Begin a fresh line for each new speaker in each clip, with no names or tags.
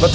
Wat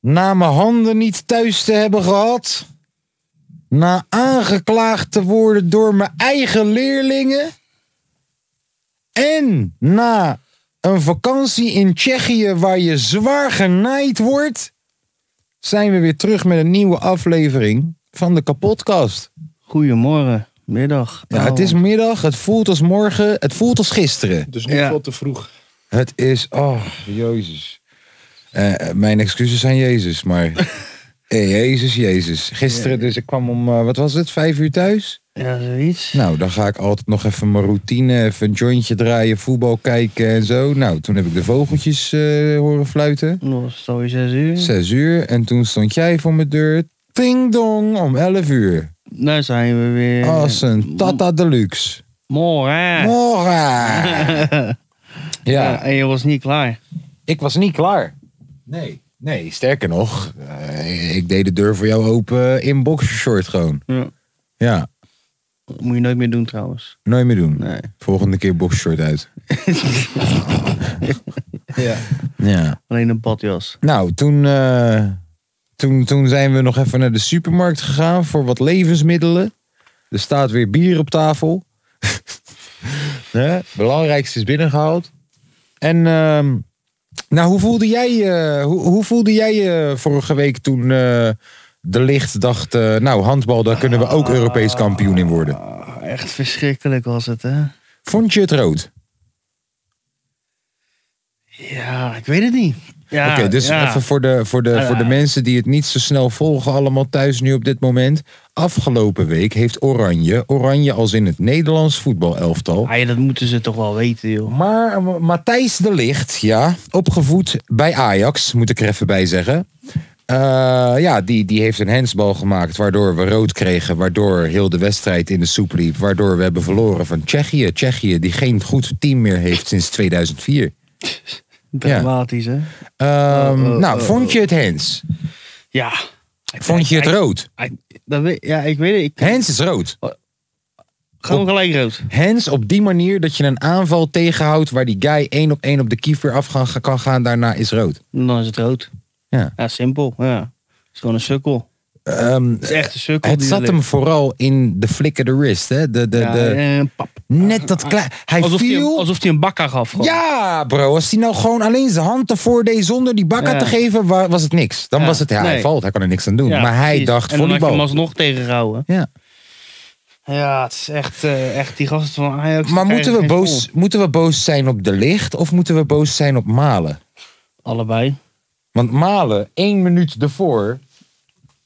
Na mijn handen niet thuis te hebben gehad. Na aangeklaagd te worden door mijn eigen leerlingen. En na een vakantie in Tsjechië waar je zwaar genaaid wordt. Zijn we weer terug met een nieuwe aflevering van de kapotkast.
Goedemorgen, middag. Nou,
Ja, het is middag, het voelt als morgen, het voelt als gisteren.
Dus niet
Ja.
veel te vroeg.
Het is, oh, Jezus. Eh, mijn excuses aan Jezus, maar. Eh, Jezus, Jezus. Gisteren, dus ik kwam om, eh, wat was het, vijf uur thuis?
Ja, zoiets.
Nou, dan ga ik altijd nog even mijn routine, even een jointje draaien, voetbal kijken en zo. Nou, toen heb ik de vogeltjes eh, horen fluiten.
Nog was het alweer zes uur.
Zes uur en toen stond jij voor mijn deur. Ting dong, om elf uur.
Daar zijn we weer.
Als een Tata Deluxe.
Morgen.
Morgen! Ja,
Ja, en je was niet klaar.
Ik was niet klaar. Nee. Nee, sterker nog. eh, ik deed de deur voor jou open in boxershort gewoon.
Ja.
Ja,
Dat moet je nooit meer doen trouwens.
nooit meer doen.
Nee.
Volgende keer boxershort uit.
Ja.
Ja.
Alleen een badjas.
Nou, toen, eh, toen, toen zijn we nog even naar de supermarkt gegaan voor wat levensmiddelen. Er staat weer bier op tafel. Hè? Belangrijkste is binnengehaald. En ehm, nou, hoe voelde jij je hoe, hoe voelde jij je vorige week toen eh, de licht dacht, eh, nou handbal, daar kunnen we ook Europees kampioen in worden.
Ah, echt verschrikkelijk was het, hè?
Vond je het rood?
Ja, ik weet het niet. Ja,
Oké, dus
ja.
even voor de, voor, de, voor de mensen die het niet zo snel volgen, allemaal thuis nu op dit moment. Afgelopen week heeft Oranje, Oranje als in het Nederlands voetbalelftal.
Ah, ja, dat moeten ze toch wel weten, joh.
Maar eh, Matthijs de Licht, ja, opgevoed bij Ajax, moet ik er even bij zeggen. Eh, ja, die, die heeft een handsbal gemaakt, waardoor we rood kregen. Waardoor heel de wedstrijd in de soep liep. Waardoor we hebben verloren van Tsjechië. Tsjechië, die geen goed team meer heeft sinds 2004.
Dramatisch, hè?
Ehm,
oh,
nou,
oh,
vond je het Hens?
Ja.
Vond je het
Kijk,
rood?
kijk, dat weet, ja, ik weet het. Ik,
Hens is rood.
gewoon gelijk rood.
Hens op die manier dat je een aanval tegenhoudt waar die guy één op één op de keeper af gaan- kan gaan, daarna is rood.
Dan is het rood.
Ja.
Ja, simpel. Ja. Het is gewoon een sukkel.
Ehm,
Het is echt een sukkel.
het
die
zat
er
hem
ligt.
vooral in de flikkerde wrist. Hè? De, de,
Ja,
de,
eh, pap.
net dat klein. Hij
alsof hij
viel.
hem- alsof hij een bakka gaf. gewoon.
ja, bro. Als hij nou gewoon alleen zijn hand ervoor deed zonder die bakken
Ja.
te geven, wa- was het niks. Dan
Ja,
was het, ja, hij
nee.
valt, hij kan er niks aan doen.
Ja,
maar hij
precies.
dacht
En
voor
dan
die
had je
bal.
hem alsnog tegengehouden.
Ja.
Ja, het is echt, eh, echt die gasten van Ajax.
Maar
die
moeten we,
krijgen geen
boos, moeten we boos zijn op de licht of moeten we boos zijn op Malen?
goal. Allebei.
Want Malen, één minuut ervoor,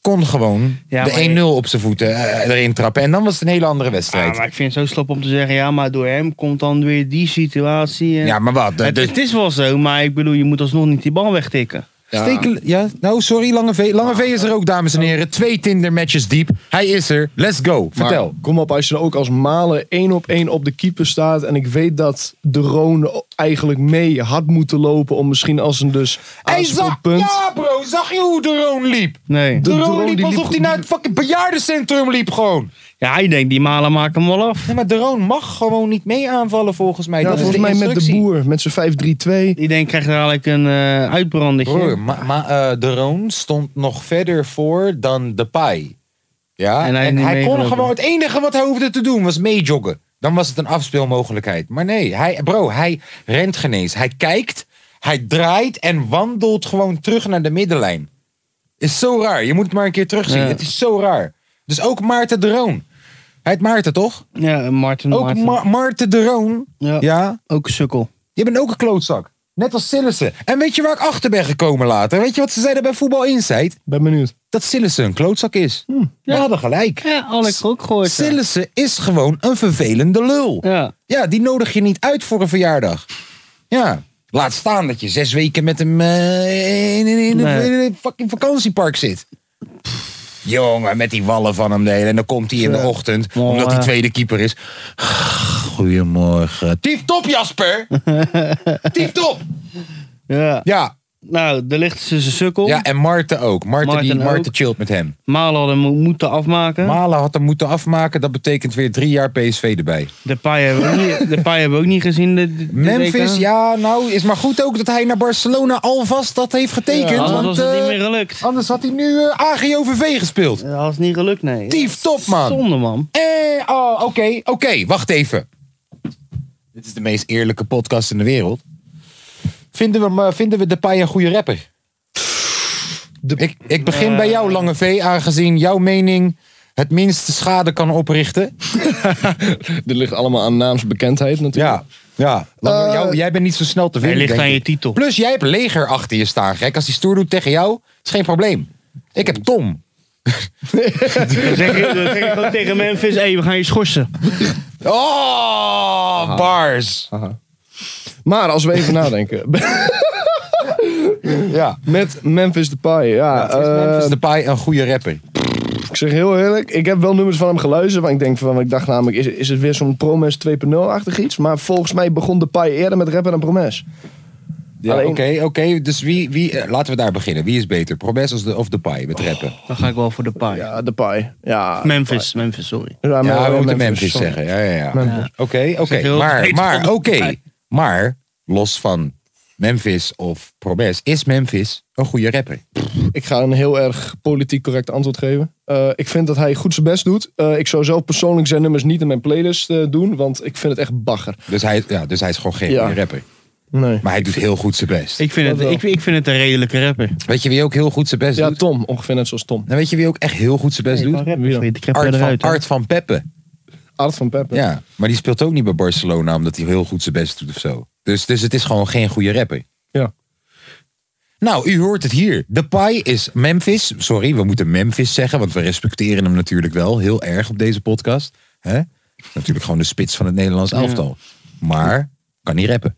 kon gewoon
Ja, maar-
de 1-0 op zijn voeten eh, erin trappen. En dan was het een hele andere wedstrijd.
Ah, maar ik vind het zo slap om te zeggen, ja, maar door hem komt dan weer die situatie. En...
Ja, maar wat? eh, dus-
het,
De-
het is wel zo, maar ik bedoel, je moet alsnog niet die bal wegtikken.
ja. Oh. Stekel- ja, nou sorry, Lange V. Lange V is er ook, dames en heren. Twee Tinder matches diep. Hij is er. Let's go.
Maar
Vertel.
kom op, als je dan ook als Malen één op één op de keeper staat. En ik weet dat de Roon eigenlijk mee had moeten lopen. Om misschien als een dus
Hey, zag,
aanspoelpunt.
ja bro, zag je hoe de Roon liep?
Nee.
De,
De
Roon
Roon
liep
die liep-
alsof hij naar het fucking bejaardencentrum liep gewoon.
Ja, hij denkt, die malen maken hem wel af.
Nee, maar de Roon mag gewoon niet mee aanvallen volgens mij.
Ja,
dat is
volgens
de
mij met de
instructie.
boer. Met zijn 5-3-2.
Die denkt, krijgt dadelijk een eh uitbrandetje.
Broer, maar de Roon stond nog verder voor dan de Pai. Ja, en
En hij
hij,
is niet
kon
meegelopen.
gewoon. Het enige wat hij hoefde te doen was meejoggen. Dan was het een afspeelmogelijkheid. Maar nee, hij, bro, hij rent geen eens. Hij kijkt, hij draait en wandelt gewoon terug naar de middenlijn. Is zo raar. Je moet het maar een keer terugzien.
Ja.
Het is zo raar. Dus ook Maarten de Roon. Hij heet Maarten, toch?
Ja, Martin.
Ook
Maarten.
Ma- Maarten de Roon.
ja.
ja,
Ook een sukkel.
je bent ook een klootzak. Net als Sillissen. En weet je waar ik achter ben gekomen later? Weet je wat ze zeiden bij Voetbal Insight?
Ben benieuwd.
Dat Sillissen een klootzak is. We hadden gelijk.
Ja, Alex ook gehoord. ja.
Sillissen is gewoon een vervelende lul.
Ja.
Ja, die nodig je niet uit voor een verjaardag. Ja, Laat staan dat je zes weken met hem eh, in, in, in,
Nee.
in een fucking vakantiepark zit. Jongen, met die wallen van hem de hele. En dan komt hij in de
Ja.
ochtend,
Mooi.
omdat hij tweede keeper is. Goedemorgen. Tief top, Jasper! Tief top!
Ja.
Ja,
Nou, de ligt ze zijn sukkel.
ja, en Marten ook. Marten, die,
Marten ook.
Marten chillt met hem.
Malen hadden mo- moeten afmaken.
Malen had hem moeten afmaken. Dat betekent weer drie jaar PSV erbij.
de paai hebben, we ook niet- Depay hebben we ook niet gezien. De, de- de
Memphis,
WK.
ja, nou is maar goed ook dat hij naar Barcelona alvast dat heeft getekend.
Anders
want,
was het
eh,
niet meer gelukt.
Anders had hij nu eh, AGOVV gespeeld.
Dat was niet gelukt, nee.
Tief top, man.
Zonde, man.
Eh, oh, oké, oké, wacht even. Dit is de meest eerlijke podcast in de wereld. Vinden we, hem, eh, vinden we Depay een goede rapper? Ik, ik begin bij jou, Lange V, aangezien jouw mening het minste schade kan oprichten.
Dit ligt allemaal aan naamsbekendheid natuurlijk.
Ja, ja. Lange,
Eh,
jou- jij bent niet zo snel te
Hij
vinden.
ligt
denk
aan je
ik.
titel.
Plus, jij hebt leger achter je staan, gek. Als hij stoer doet tegen jou, is geen probleem. Ik heb Tom.
Dan zeg je, dan zeg je gewoon tegen Memphis, hé, we gaan je schorsen.
Oh, bars.
Maar als we even nadenken.
Ja.
Met Memphis Depay. Ja,
Is
eh,
Memphis Depay een goede rapper?
ik zeg heel eerlijk. Ik heb wel nummers van hem geluisterd. Want ik, denk van, ik dacht namelijk, is, is het weer zo'n Promes 2.0-achtig iets? Maar volgens mij begon Depay eerder met rappen dan Promes.
Ja, oké,
Alleen-
oké. Dus wie, wie, eh, laten we daar beginnen. Wie is beter? Promes of, de, of Depay met rappen?
Dan ga ik wel voor de paai.
Ja, Depay. Ja,
Memphis, Memphis, sorry.
Ja, maar-
ja, we moeten
Memphis,
Memphis
sorry.
zeggen. Ja, ja, ja.
Memphis.
Oké, oké.
Zeg heel
Maar,
breed
maar, oké.
van Depay.
Maar, los van Memphis of Promes, is Memphis een goede rapper?
Ik ga een heel erg politiek correct antwoord geven. Eh, ik vind dat hij goed zijn best doet. Eh, ik zou zelf persoonlijk zijn nummers niet in mijn playlist eh, doen, want ik vind het echt bagger.
Dus hij, ja, dus hij is gewoon geen
Ja.
goede rapper.
Nee.
Maar hij doet heel goed zijn best.
Ik vind, het, ik, ik vind het een redelijke rapper.
Weet je wie ook heel goed zijn best
Ja,
doet?
Tom, ongeveer net zoals Tom.
En weet je wie ook echt heel goed zijn best doet?
Wie dan?
Ik heb
Art van,
eruit. hoor.
Art van Peppe.
Art van Peppe.
Ja, maar die speelt ook niet bij Barcelona omdat hij heel goed zijn best doet of zo. Dus, dus het is gewoon geen goede rapper.
Ja.
Nou, u hoort het hier. Depay is Memphis. Sorry, we moeten Memphis zeggen, want we respecteren hem natuurlijk wel heel erg op deze podcast. Hè? Natuurlijk gewoon de spits van het Nederlands elftal. Maar kan niet rappen.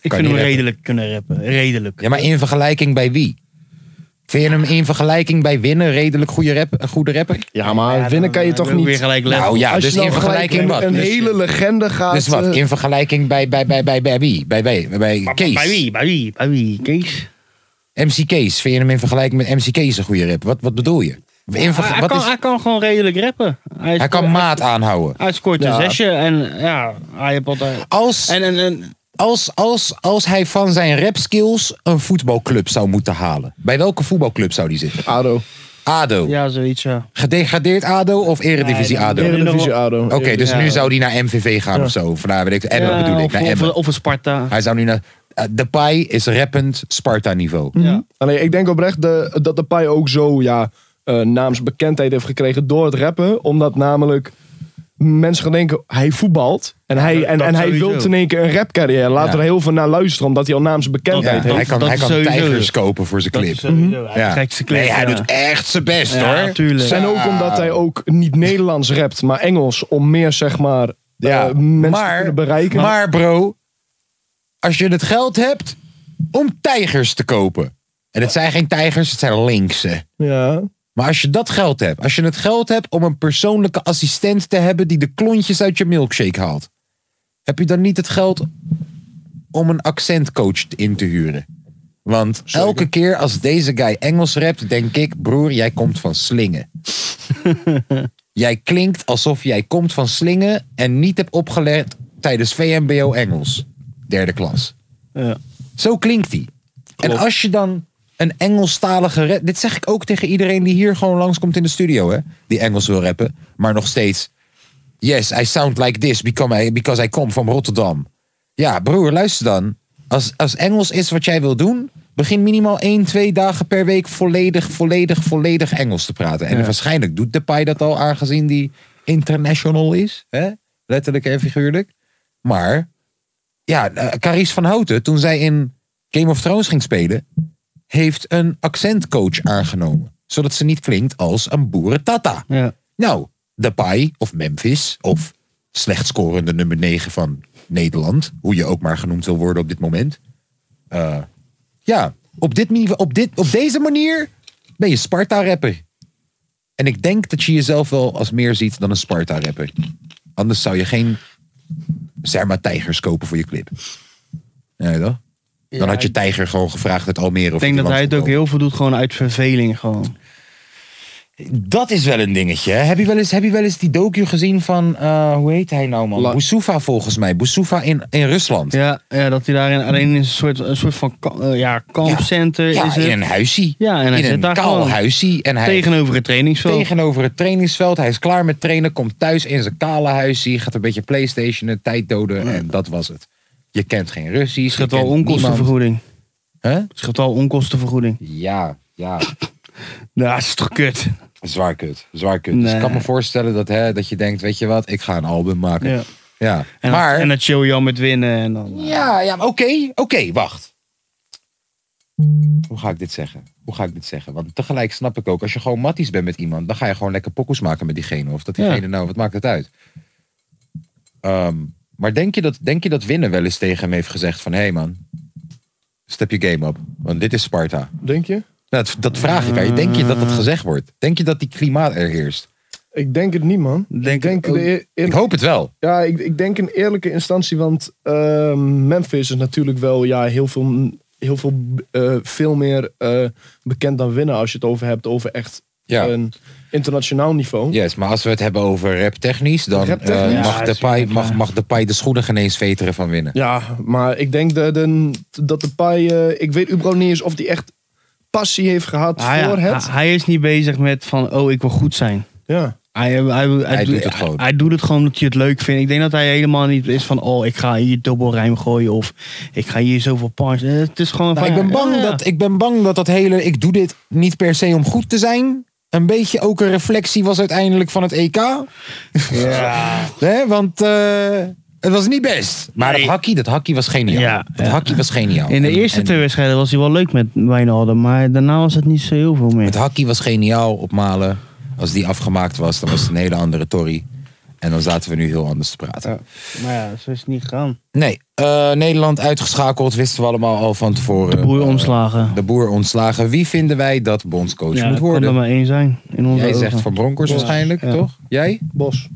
Ik
kan niet
vind hem
rappen.
redelijk kunnen rappen. Redelijk.
Ja, maar in vergelijking bij wie? Vind je hem in vergelijking bij winnen redelijk goede rap, een goede rapper?
Ja, maar
Ja,
winnen
dan
kan je
hebben
toch
we Weer
niet.
gelijk level.
Nou ja,
Als je
dus
nou
in
gelijk
vergelijking
een,
wat?
Een
Dus-
hele legende gaat.
Dus wat,
eh,
in vergelijking bij, bij, bij, bij, bij wie? Bij, bij, bij, bij
Maar
Kees?
Bij wie? Bij wie? Bij wie? Kees?
MC Kees, vind je hem in vergelijking met MC Kees een goede rap? Wat, wat bedoel je? In verge-
Ah, Hij, hij
wat
kan,
is-
hij kan gewoon redelijk rappen. Hij,
hij
sco-
kan maat aanhouden.
hij scoort
Ja.
een zesje en ja, hij heeft altijd...
Als,
En, en, en
als, als, als hij van zijn rap skills een voetbalclub zou moeten halen. Bij welke voetbalclub zou die zitten?
eh, Ado.
ADO.
ja, zoiets ja.
Gedegradeerd ADO of Eredivisie
Nee,
ADO?
nee, nee.
Eredivisie Ado.
Oké, dus
Ja.
nu zou die naar MVV gaan of zo. Of naar, weet ik, Emmen
Ja,
bedoel ik.
Of,
Naar
of,
Emmen.
of een Sparta.
Hij zou nu naar... eh, Depay is rappend Sparta niveau.
Ja.
Alleen, ik denk oprecht de, dat Depay ook zo ja, eh, naamsbekendheid heeft gekregen door het rappen. Omdat namelijk mensen gaan denken, hij voetbalt. En hij,
dat-
en,
dat
en hij
sowieso.
wil in één keer een rapcarrière. Laat
Ja.
er heel veel naar luisteren, omdat hij al
Ja,
naamsbekendheid
hij
heeft.
kan,
dat
hij
is
kan
sowieso.
tijgers kopen voor zijn
Dat
clip. Mhm.
is sowieso. Hij
Ja.
kijkt zijn clip,
Nee, hij
ja.
doet echt zijn best
Ja,
hoor.
tuurlijk.
Zo.
En ook omdat hij ook niet Nederlands rapt, maar Engels. Om meer, zeg maar, eh, mensen te kunnen bereiken.
Maar bro, als je het geld hebt om tijgers te kopen. En het zijn geen tijgers, het zijn linkse.
ja.
Maar als je dat geld hebt, als je het geld hebt om een persoonlijke assistent te hebben die de klontjes uit je milkshake haalt. Heb je dan niet het geld om een accentcoach in te huren? Want elke keer als deze guy Engels rapt, denk ik, broer, jij komt van slingen. jij klinkt alsof jij komt van slingen en niet hebt opgelet tijdens VMBO Engels, derde klas.
Ja.
Zo klinkt die. En als je dan een Engelstalige rap... Dit zeg ik ook tegen iedereen die hier gewoon langskomt in de studio, hè. Die Engels wil rappen. Maar nog steeds... Yes, I sound like this because I, because I come from Rotterdam. Ja, broer, luister dan. Als, als Engels is wat jij wil doen... Begin minimaal 1, 2 dagen per week volledig, volledig, volledig Engels te praten. En waarschijnlijk doet Depay dat al, aangezien die international is. Hè? Letterlijk en figuurlijk. Maar ja, eh, Carice van Houten, toen zij in Game of Thrones ging spelen, heeft een accentcoach aangenomen. Zodat ze niet klinkt als een boerentata.
Ja.
Nou, Depay of Memphis of slecht scorende nummer 9 van Nederland, hoe je ook maar genoemd wil worden op dit moment, eh, ja, op, dit, nive- op, dit, op deze manier ben je Sparta-rapper. En ik denk dat je jezelf wel als meer ziet dan een Sparta-rapper. Anders zou je geen, zeg maar, tijgers kopen voor je clip. Ja, toch? Dan
Ja,
had je
ik-
tijger gewoon gevraagd uit Almere.
Ik denk dat hij het ook heel veel doet gewoon uit verveling gewoon.
Dat is wel een dingetje. hè. Heb je wel eens, heb je wel eens die docu gezien van, eh, hoe heet hij nou man?
La-
Bousoufa volgens mij. Bousoufa in, in Rusland.
Ja, ja dat hij daarin alleen in een soort, een soort van ka- eh, ja, kampcenter
Ja,
is
in
het.
een huisie.
Ja, en hij
in
zit
een
daar
kaal
gewoon
huisie. En hij
tegenover het trainingsveld.
tegenover het trainingsveld. Hij is klaar met trainen, komt thuis in zijn kale huisie, gaat een beetje playstationen, tijd doden en dat was het. Je kent geen Russisch.
Schept
je
al
kent niemand.
onkostenvergoeding.
Hè?
Schept al onkostenvergoeding.
Ja, ja.
Ja, dat is toch kut.
Zwaar kut. Zwaar kut. Dus
Nee.
ik kan me voorstellen dat, hè, dat je denkt, weet je wat, ik ga een album maken. Ja.
Ja. En,
maar,
dat, en dat chill je al met winnen. En dan,
ja, ja, maar oké, oké, wacht. Hoe ga ik dit zeggen? Hoe ga ik dit zeggen? Want tegelijk snap ik ook, als je gewoon matties bent met iemand, dan ga je gewoon lekker pokkels maken met diegene. Of dat diegene,
Ja.
nou, wat maakt het uit? Ehm, maar denk je, dat, denk je dat Winnen wel eens tegen hem heeft gezegd van... Hé hey man, step je game op, want dit is Sparta.
Denk je?
Nou, dat, dat vraag ik aan je. Denk je dat dat gezegd wordt? Denk je dat die klimaat er heerst?
Ik denk het niet, man.
Denk
ik denk,
het ook.
de, e- in-
Ik hoop het wel.
ja, ik, ik denk een eerlijke instantie, want ehm, Memphis is natuurlijk wel ja, heel veel, heel veel, eh, veel meer eh, bekend dan winnen als je het over hebt over echt
Ja.
een internationaal niveau.
Yes, maar als we het hebben over raptechnisch, dan eh,
Raptechnisch?
Ja,
mag,
is
Depay,
goed,
mag,
ja.
mag Depay de schoenen geen eens veteren van winnen.
Ja, maar ik denk dat, de, dat de Pai, eh, ik weet überhaupt niet eens of die echt passie heeft gehad
Ah,
hij,
voor
hij,
het.
hij is niet bezig met van, oh, ik wil goed zijn.
ja.
Hij, hij, hij,
Hij
doe-
doet het gewoon.
Hij, hij doet het gewoon omdat hij het leuk vindt. Ik denk dat hij helemaal niet is van, oh, ik ga hier dubbelrijm gooien. Of ik ga hier zoveel punch. Eh, Het is gewoon
Nou,
van,
ik, ben
ja,
bang
Oh, ja.
dat, ik ben bang dat dat hele. Ik doe dit niet per se om goed te zijn. Een beetje ook een reflectie was uiteindelijk van het EK. Hè, want eh, het was niet best. Maar
Nee.
dat hakkie, dat hakkie was geniaal.
Ja,
dat
ja.
hakkie was geniaal.
In de
En-
eerste
en
twee wedstrijden was hij wel leuk met Wijnaldum. Maar daarna was het niet zo heel veel meer.
Het hakkie was geniaal op Malen. Als die afgemaakt was, dan was het een hele andere Tory. En dan zaten we nu heel anders te praten.
Maar ja, zo is het niet gegaan.
Nee, eh, Nederland uitgeschakeld, wisten we allemaal al van tevoren.
De boer
Eh,
ontslagen.
De boer ontslagen. Wie vinden wij dat bondscoach
Ja,
moet
dat kan er
worden?
maar één zijn. In onze
Jij
ogen.
zegt Van Bronckhorst waarschijnlijk,
Ja.
toch? Jij?
Bos,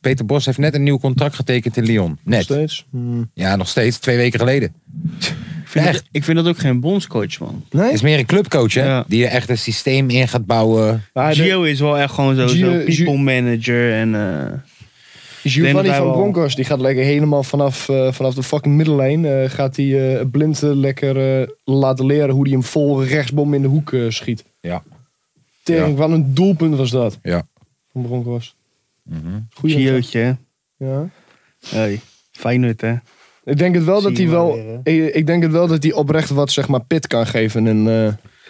Peter Bos heeft net een nieuw contract getekend in Lyon.
nog
Net.
steeds. Hmm.
Ja, nog steeds. Twee weken geleden.
Ik vind, dat,
Echt.
ik vind dat ook geen bondscoach, man.
Nee?
Is meer een clubcoach, hè?
Ja.
Die er echt een systeem in gaat bouwen.
Maar de-
Gio is wel echt gewoon zo-
Gio-
zo'n
Gio-
people manager. En, eh, denk
Giovanni
dat hij
van
wel-
Bronckhorst, die gaat lekker helemaal vanaf, eh, vanaf de fucking middellijn. eh, gaat hij eh, blind eh, lekker eh, laten leren hoe hij hem vol rechtsbom in de hoek eh, schiet.
Ja.
Tering,
Ja.
wat een doelpunt was dat
Ja. Mhm.
van Bronckhorst. Goeie
Giootje, hè.
Ja.
Hey, Feyenoord, hè.
Ik denk het wel
Zie
dat
je
hij
maar
wel, ik, ik denk het wel dat hij oprecht wat zeg maar pit kan geven in, eh,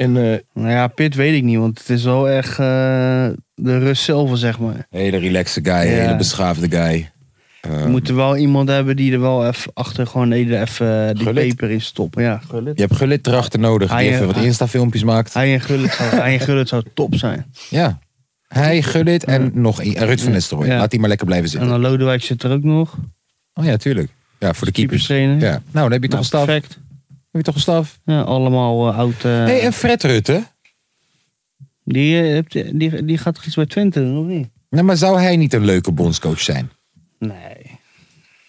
in eh,
Nou ja, Pit weet ik niet, want het is wel echt eh, de rust zelf, zeg maar.
Hele relaxe guy,
Ja.
hele beschaafde guy. Eh,
Je moet er wel iemand hebben die er wel even achter gewoon even eh, die
Gullit.
peper in stoppen. Ja,
Je hebt Gullit erachter nodig,
Hij,
die even
eh,
wat
hij-
Insta-filmpjes maakt.
Hij en Gullit zou, hij en Gullit zou top zijn.
Ja. Hij, Gullit en nog één. En Ruud van Nistelrooy.
Ja.
Laat die maar lekker blijven
En
zitten.
dan Lodewijk zit er ook nog.
Oh ja, tuurlijk. Ja, voor de keepers.
Keeperstrainer.
Ja. Nou, dan heb je toch
Nou,
een staf. Heb
perfect.
je toch een staf.
Ja, allemaal eh, oud... eh,
hey, en Fred Rutte?
die, eh, hebt- die, die gaat toch iets bij Twente doen, of niet?
Nou, maar zou hij niet een leuke bondscoach zijn?
Nee.
Hij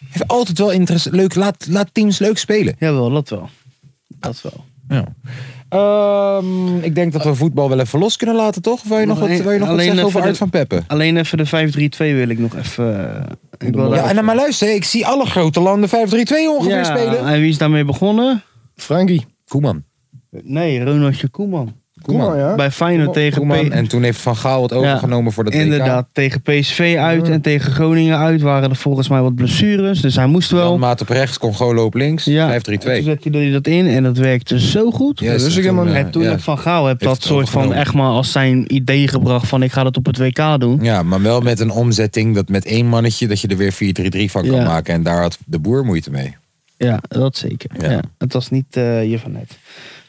heeft altijd wel interesse. Leuk, laat, laat teams leuk spelen.
Jawel, dat wel. Dat wel.
Ehm, ik denk dat we voetbal wel even los kunnen laten, toch? Wil je nog wat, wil je nog wat
Alleen
zeggen over
even
Art
de-
van Peppen?
Alleen even de 5-3-2 wil ik nog even... eh, ik wil
Ja,
daar-
en dan maar luister, ik zie alle grote landen 5-3-2 ongeveer
Ja,
spelen.
En wie is daarmee begonnen?
Frankie.
Koeman.
Nee, Ronaldje Koeman.
Koeman,
Koeman, ja.
Bij Feyenoord tegen
Koeman.
P-
En toen heeft Van Gaal het overgenomen voor dat WK.
Inderdaad, tegen PSV uit en tegen Groningen uit waren er volgens mij wat blessures. Dus hij moest wel.
Jan Maat op rechts, Congolo op links. 5-3-2.
En Toen zette hij dat in en dat werkte zo goed.
Yes,
dus
en
ik helemaal
toen,
niet.
eh,
En toen
ja.
heb Van Gaal heb
Heeft
dat
het
soort van
overgenomen.
echt maar als zijn idee gebracht van ik ga dat op het WK doen.
Ja, maar wel met een omzetting dat met één mannetje dat je er weer 4-3-3 van kan
Ja.
maken. En daar had de boer moeite mee.
Ja, dat zeker.
Hm. Ja.
Ja. het was niet eh je van net.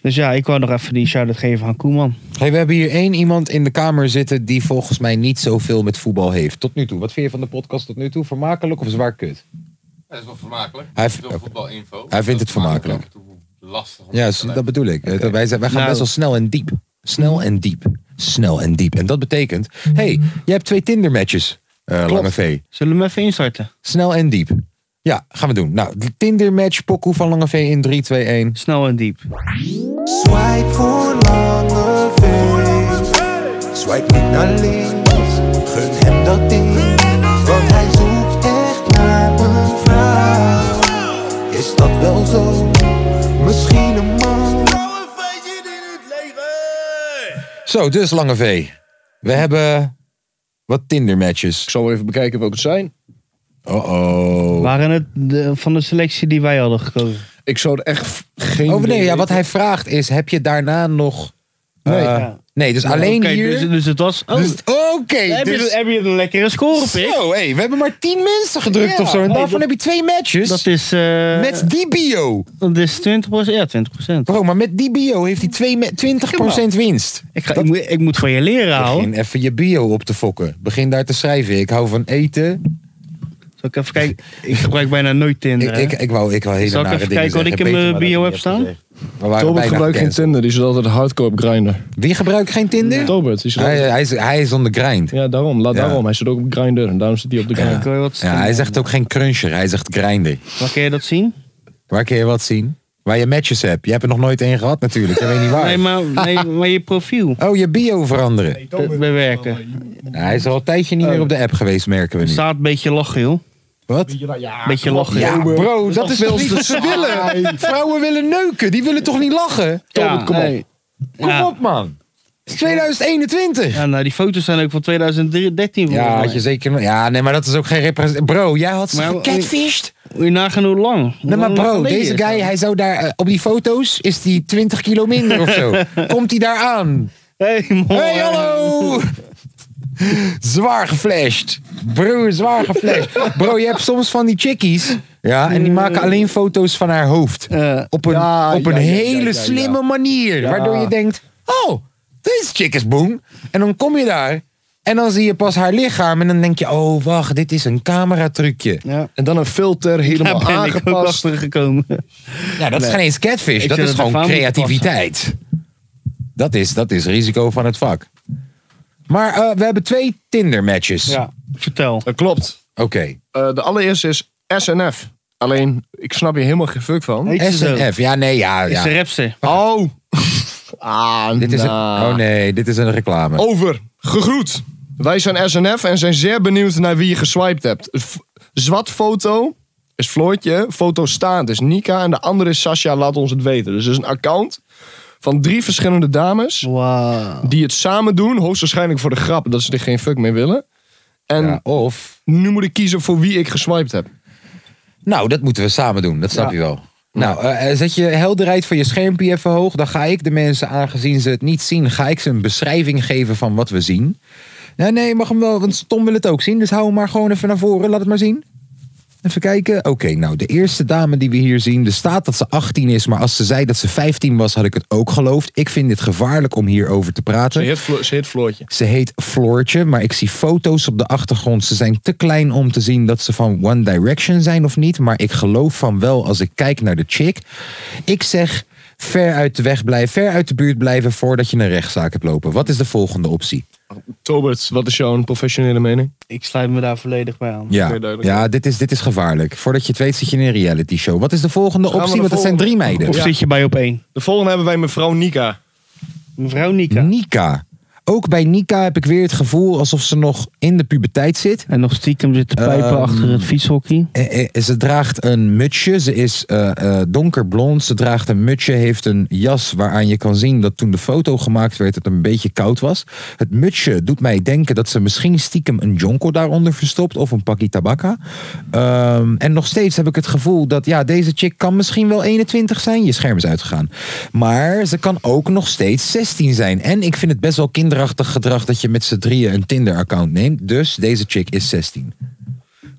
Dus ja, ik wou nog even die shout-out geven aan Koeman.
Hey, we hebben hier één iemand in de kamer zitten die volgens mij niet zoveel met voetbal heeft. Tot nu toe. Wat vind je van de podcast tot nu toe? Vermakelijk of zwaar kut?
Ja, dat is wel vermakelijk.
Hij
Hij
v-
veel voetbalinfo.
Hij vindt het vermakelijk.
Af en toe lastig. om
Ja,
te
dus
vergelijken.
dat bedoel ik. Dat Wij, zijn- wij gaan
Nou.
best wel snel en diep. Snel en diep. Snel en diep. En dat betekent, hé, hey, jij hebt twee Tinder-matches, eh Lange V.
Zullen we hem even instarten?
Snel en diep. Ja, gaan we doen. Nou, de Tinder-match, pokoe van Lange V in 3, 2, 1.
Snel en diep.
Swipe voor lange vee. Swipe niet naar links. Gun hem dat ding. Want hij zoekt echt naar een vrouw. Is dat wel zo? Misschien een man.
Zo, dus Lange V. We hebben wat Tinder-matches.
Ik zal wel even bekijken welke het zijn.
Oh-oh.
Waren het de- van de selectie die wij hadden gekozen?
Ik zou er echt f- geen...
Oh nee,
idee
ja, wat
weten.
hij vraagt is, heb je daarna nog...
Nee.
eh,
Ja.
nee, dus alleen
Oké,
hier...
Dus, dus het was... Oh,
dus- Oké,
heb, je,
dus...
heb je een lekkere score op, ik?
Zo, hey, we hebben maar tien mensen gedrukt
Ja,
of zo. En
hey,
daarvan
dat-
heb je twee matches.
Dat is, eh,
Met die bio.
dat is 20%. Ja, 20%.
Bro, maar met die bio heeft hij twee me- 20% winst.
Ik, ga, ik, moet, ik moet van je leren houden.
Begin even je bio op te fokken. Begin daar te schrijven. Ik hou van eten.
Zal ik even kijken? Ik gebruik bijna nooit Tinder.
Ik,
hè?
ik, ik wou, ik wou hele
Zal ik
nare
even
dingen
kijken wat
zeggen.
ik in mijn
Beter maar dat
bio
ik
heb
niet
staan?
gezegd. We waren
Tobert
bijna
gebruikt geen
gecanceld.
Tinder, die zit altijd hardcore op Grindr.
Wie gebruikt geen Tinder?
Tobert, die zit
Hij,
altijd-
hij, is, hij is on the grind.
Ja, daarom. Laat
Ja.
daarom. Hij zit ook op Grindr en daarom zit hij op de Grindr.
Ik wil je wat
Ja, hij zegt ook geen cruncher. Hij zegt grinder.
Waar kun je dat zien?
Waar kun je wat zien? Waar je matches hebt. Je hebt er nog nooit één gehad natuurlijk. Je weet niet waar.
Nee, maar, nee, maar je profiel
Oh, je bio veranderen.
be- bewerken.
Nou, hij is al een tijdje niet meer op de app geweest, merken we nu.
Staat een beetje lachen, joh.
Wat?
Beetje lachen.
Ja,
joh.
bro, dat is wel niet wat ze willen. Vrouwen willen neuken, die willen toch niet lachen?
Ja,
kom
nee.
op. Kom
Ja.
op, man. Het is 2021.
Ja, nou, die foto's zijn ook van 2013.
Ja,
volgens
had
mij.
je zeker... nog- Ja, nee, maar dat is ook geen representatie. Bro, jij had ze
Maar-
gecatfished.
Moet je nagaan hoe lang. Hoe
Nee, maar
lang dat
bro,
geleden
deze
is,
guy,
dan?
hij zou daar... eh, Op die foto's is die 20 kilo minder of zo. Komt hij daar aan?
Hey, man.
Hey, hallo! Zwaar geflasht. Bro, zwaar geflasht. Bro, je hebt soms van die chickies. Ja, en die maken alleen foto's van haar hoofd.
Eh,
Op een,
Ja,
op een
ja, ja,
hele
ja, ja,
slimme manier.
Ja.
Waardoor je denkt, oh, deze chick is boem. En dan kom je daar en dan zie je pas haar lichaam. En dan denk je, oh, wacht, dit is een cameratrucje.
ja.
En dan een filter,
Daar
helemaal
ben ik ook
aangepast.
achter gekomen.
Ja, Nou, dat is geen eens catfish.
Ik
Dat
zet
is
het even
gewoon
aan moeten
creativiteit. Dat is, dat is risico van het vak. Maar eh, we hebben twee Tinder-matches.
Ja, vertel.
Dat klopt.
Oké.
Eh, de allereerste is SNF. Alleen, ik snap hier helemaal geen fuck van.
Heet ze zo?
SNF, ja, nee, ja.
Is
ja.
de rapster.
Oh! ah,
Dit is een,
nah. Oh.
oh nee, dit is een reclame.
Over. Gegroet. Wij zijn SNF en zijn zeer benieuwd naar wie je geswiped hebt. F- zwart foto is Floortje. Foto staand is Nika. En de andere is Sasha. Laat ons het weten. Dus het is een account van drie verschillende dames.
Wauw.
Die het samen doen. Hoogstwaarschijnlijk voor de grap. Dat ze er geen fuck mee willen. En
Ja, of,
nu moet ik kiezen voor wie ik geswiped heb.
nou, dat moeten we samen doen, dat snap
Ja.
je wel. Nou, eh, zet je helderheid van je schermpje even hoog. Dan ga ik de mensen, aangezien ze het niet zien, ga ik ze een beschrijving geven van wat we zien. Nee, nee, je mag hem wel, want Tom wil het ook zien. Dus hou hem maar gewoon even naar voren, laat het maar zien. Even kijken. Oké, nou, de eerste dame die we hier zien. Er staat dat ze 18 is, maar als ze zei dat ze 15 was, had ik het ook geloofd. Ik vind dit gevaarlijk om hierover te praten.
heet, Flo- ze heet Floortje.
Ze heet Floortje, maar ik zie foto's op de achtergrond. Ze zijn te klein om te zien dat ze van One Direction zijn of niet. Maar ik geloof van wel als ik kijk naar de chick. Ik zeg ver uit de weg blijven, ver uit de buurt blijven voordat je een rechtszaak hebt lopen. Wat is de volgende optie?
Tobert, wat is jouw professionele mening?
Ik sluit me daar volledig bij aan.
Ja,
Oké, duidelijk.
ja dit, is, dit is gevaarlijk. Voordat je het weet zit je in een reality show. Wat is de volgende
we
optie?
naar
Want dat zijn drie
volgende.
meiden.
Of zit je bij op één?
De volgende hebben wij mevrouw Nika.
Mevrouw Nika.
Hm. Nika. Ook bij Nika heb ik weer het gevoel alsof ze nog in de puberteit zit.
En nog stiekem zit te pijpen
Ehm,
achter het fietshockey.
Eh, eh, Ze draagt een mutsje. Ze is eh, eh, donkerblond. Ze draagt een mutsje. Heeft een jas waaraan je kan zien dat toen de foto gemaakt werd, het een beetje koud was. Het mutsje doet mij denken dat ze misschien stiekem een jonko daaronder verstopt. Of een pakje tabakka. Ehm, en nog steeds heb ik het gevoel dat ja, deze chick kan misschien wel 21 zijn. Je scherm is uitgegaan. Maar ze kan ook nog steeds 16 zijn. En ik vind het best wel kinderachtig gedrag dat je met z'n drieën een Tinder-account neemt. Dus deze chick is 16.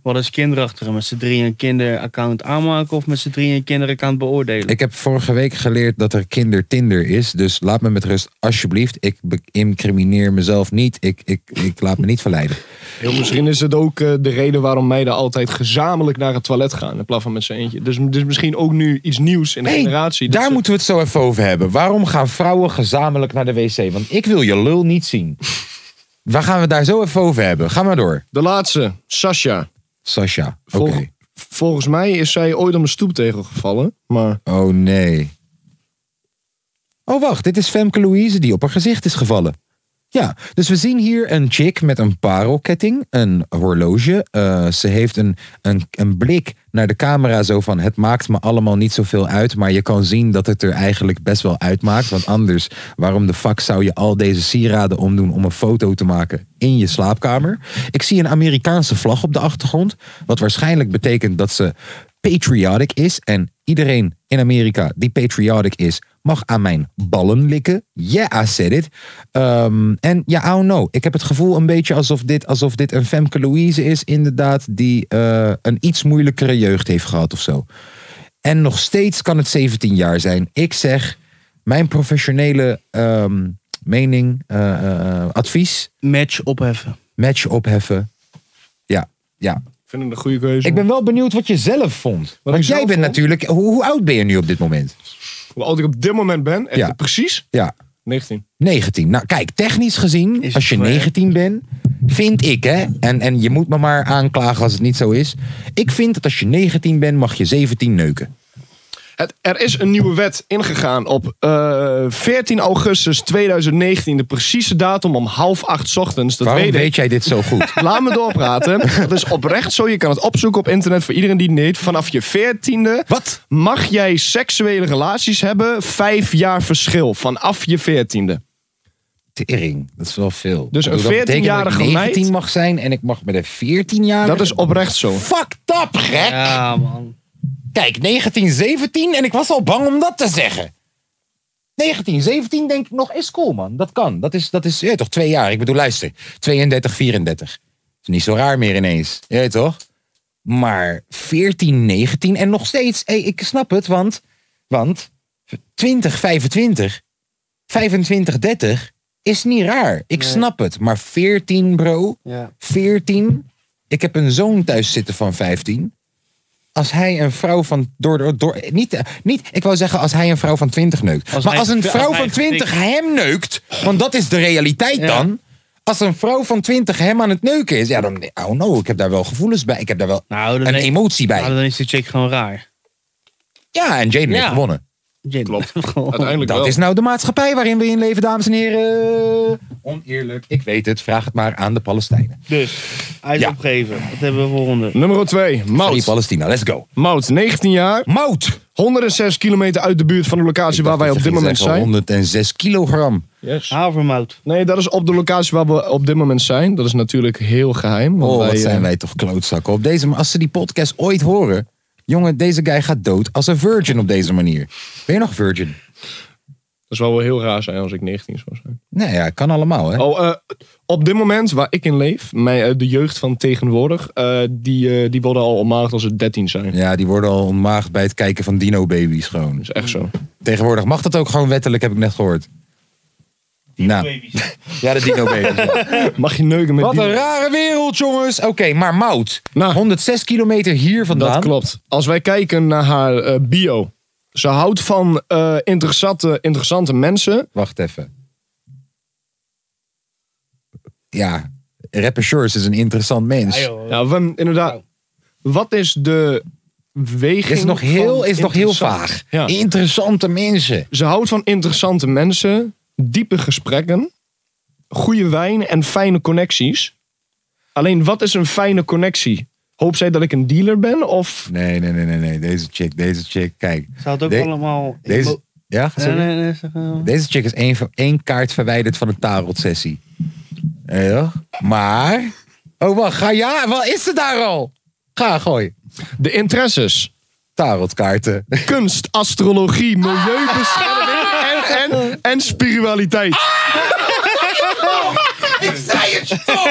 Wat is kinderachtiger? Met z'n drieën een kinderaccount aanmaken of met z'n drieën een kinderaccount beoordelen?
Hm.
Ik heb vorige week geleerd dat er kindertinder is. Dus laat me met rust, alsjeblieft. Ik be- incrimineer mezelf niet. Ik, ik, ik laat me niet verleiden.
Heel, misschien is het ook eh, de reden waarom meiden altijd gezamenlijk naar het toilet gaan. In plaats van met z'n eentje. Dus, dus misschien ook nu iets nieuws in de
Hey,
generatie. Dus, dat
Daar
ze-
moeten we het zo even over hebben. Waarom gaan vrouwen gezamenlijk naar de wc? Want ik wil je lul niet zien. Waar gaan we het daar zo even over hebben? Ga maar door,
eh, De laatste, Sasha.
Sasha. Oké.
Volg- Volgens mij is zij ooit om een stoeptegel gevallen. Maar
Oh nee. Oh wacht, dit is Femke Louise die op haar gezicht is gevallen. Ja, dus we zien hier een chick met een parelketting, een horloge. Eh, ze heeft een, een, een blik naar de camera zo van... het maakt me allemaal niet zoveel uit... maar je kan zien dat het er eigenlijk best wel uitmaakt. Want anders, waarom de fuck zou je al deze sieraden omdoen... om een foto te maken in je slaapkamer? Ik zie een Amerikaanse vlag op de achtergrond... wat waarschijnlijk betekent dat ze patriotic is... en iedereen in Amerika die patriotic is mag aan mijn ballen likken. Yeah, I said it. Ehm, en ja, I don't know. Ik heb het gevoel een beetje alsof dit, alsof dit een Femke Louise is, inderdaad, die eh, een iets moeilijkere jeugd heeft gehad of zo. En nog steeds kan het 17 jaar zijn. Ik zeg, mijn professionele ehm, mening, eh, eh, advies,
Match opheffen.
match opheffen. Ja, ja.
ik vind het een goede keuze.
Ik ben wel benieuwd wat je zelf vond. Want
ik
jij
zelf
bent
vond?
natuurlijk, hoe, hoe oud ben je nu op dit moment?
Hoe oud ik op dit moment ben, echt
Ja.
precies
Ja.
19.
19. Nou, kijk, technisch gezien,
het
als je
voor-
19 bent, vind ik, hè, en, en je moet me maar aanklagen als het niet zo is. Ik vind dat als je 19 bent, mag je 17 neuken.
Het, er is een nieuwe wet ingegaan op eh, 14 augustus 2019. De precieze datum om half acht 's ochtends. Dat
Waarom
weet ik.
weet jij dit zo goed?
Laat me doorpraten. Dat is oprecht zo. Je kan het opzoeken op internet voor iedereen die het niet. Vanaf je veertiende
Wat?
mag jij seksuele relaties hebben. Vijf jaar verschil vanaf je veertiende.
Tering, dat is wel veel.
Dus een
Ik bedoel, dat betekent dat
14-jarige
ik
meid-
19 mag zijn en ik mag met een Oh. 14 jaar.
Dat is oprecht zo.
Fucked up, gek!
Ja, man.
Kijk, 1917 en ik was al bang om dat te zeggen. 1917 denk ik nog is cool, man. Dat kan. Dat is, dat is ja, toch twee jaar. Ik bedoel, luister. 32, 34. Is niet zo raar meer ineens. Je weet toch? Maar 14, 19 en nog steeds. Hey, ik snap het, want, want 20, 25, 25, 30 is niet raar. Ik snap het. Maar 14, bro.
Ja.
14. Ik heb een zoon thuis zitten van 15. Als hij een vrouw van. Door, door, door, niet, eh, niet, ik wou zeggen als hij een vrouw van 20 neukt.
Als
maar
hij-
als een
als
vrouw
hij
van 20 hem neukt. Want dat is de realiteit
Ja.
dan. Als een vrouw van 20 hem aan het neuken is. Ja, dan. Oh no, ik heb daar wel gevoelens bij. Ik heb daar wel
Nou, dan,
een
is-
emotie bij.
nou, dan is die chick gewoon raar.
ja, en Jaden heeft
Ja.
gewonnen.
Klopt.
Uiteindelijk
Dat
wel.
is nou de maatschappij waarin we in leven, dames en heren. Oneerlijk. Ik weet het. Vraag het maar aan de Palestijnen.
Dus, hij is
Ja.
opgegeven. Wat hebben we volgende?
Nummer 2.
Free
Mout.
Palestina, let's go.
Mout, 19 jaar.
Mout!
106 kilometer uit de buurt van de locatie waar wij op dit moment zijn.
106 kilogram.
Havermout.
Nee, dat is op de locatie waar we op dit moment zijn. Dat is natuurlijk heel geheim. want
Oh, wat
wij, eh,
zijn wij toch klootzakken. Op deze, als ze die podcast ooit horen... Jongen, deze guy gaat dood als een virgin op deze manier. Ben je nog virgin?
Dat zou wel heel raar zijn als ik 19 zou zijn.
Nou ja, kan allemaal, hè?
Oh, eh, op dit moment waar ik in leef, mijn, eh, de jeugd van tegenwoordig, eh, die, eh, die worden al ontmaagd als ze 13 zijn.
Ja, die worden al ontmaagd bij het kijken van dino-babies gewoon.
Dat is echt zo.
Tegenwoordig mag dat ook gewoon wettelijk, heb ik net gehoord. Nou, ja, de dino-babies.
Mag je neuken met
Wat
die?
een rare wereld, jongens. Oké, maar Mout.
Nou.
106 kilometer hier vandaan.
Dat klopt. Als wij kijken naar haar eh, bio. Ze houdt van eh, interessante, interessante mensen.
Wacht even. Ja, rapper Shores is een interessant mens.
Ja, we- inderdaad. Wat is de weging
is nog heel,
van
is nog heel
interessant?
vaag.
Ja.
Interessante mensen.
Ze houdt van interessante mensen, diepe gesprekken, goede wijn en fijne connecties. Alleen wat is een fijne connectie? Hoop zij dat ik een dealer ben? Of
Nee, nee, nee, nee, nee. Deze chick, deze chick. Kijk.
Ze had ook
De-
allemaal...
Deze, ja, ga
Nee,
zo.
nee, nee, zeg maar.
deze chick is één, van- één kaart verwijderd van een tarot-sessie. Ja, maar. Oh, wacht. Ga ja. Wat is er daar al? Ga, gooi.
de interesses?
Tarotkaarten.
Kunst, astrologie, milieubescherming en, en, en spiritualiteit.
Ik zei het je toch!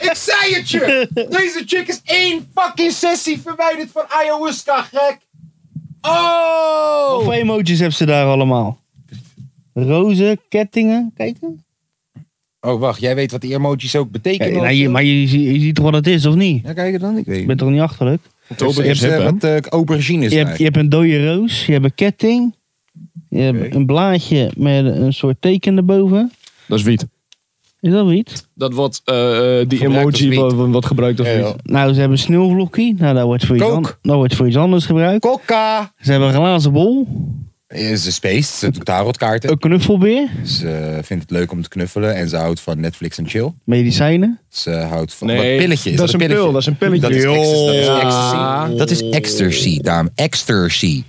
Ik zei het je! Deze chick is één fucking sessie verwijderd van ayahuasca, gek! Oh!
Hoeveel emojis hebben ze daar allemaal? Rozen, kettingen, kijken.
Oh, wacht. Jij weet wat die emoties ook betekenen?
nou, je, maar je, zie- je ziet toch wat het is, of niet?
Ja, kijk het dan. Ik weet
Je
het.
bent toch niet achterlijk?
Oktober
Je
is
hebt
hip,
eh,
hè?
wat eh, aubergines
Je hebt, je
eigenlijk.
hebt een dode roos, je hebt een ketting. Je hebt
Oké.
een blaadje met een soort teken erboven.
Dat is wiet.
Is dat wiet?
Dat wordt eh, eh, die
Gebruikt als
emoji
wiet.
wat, wat gebruikt als
Ja,
wiet.
joh.
Nou, ze hebben sneeuwvlokkie. Nou, dat wordt, voor iets
Coke.
an- dat wordt voor iets anders gebruikt.
Kokka!
Ze hebben een glazen bol.
Is een space. Ze doet tarotkaarten.
Een knuffelbeer.
Ze vindt het leuk om te knuffelen. En ze houdt van Netflix en chill.
medicijnen.
Ze eh, houdt van...
Nee,
wat pilletje is
dat is een
pilletje?
pil, dat is een pilletje.
Dat is ecstasy. Dat is ecstasy.
Joh.
Dat is ecstasy, dame. Ecstasy.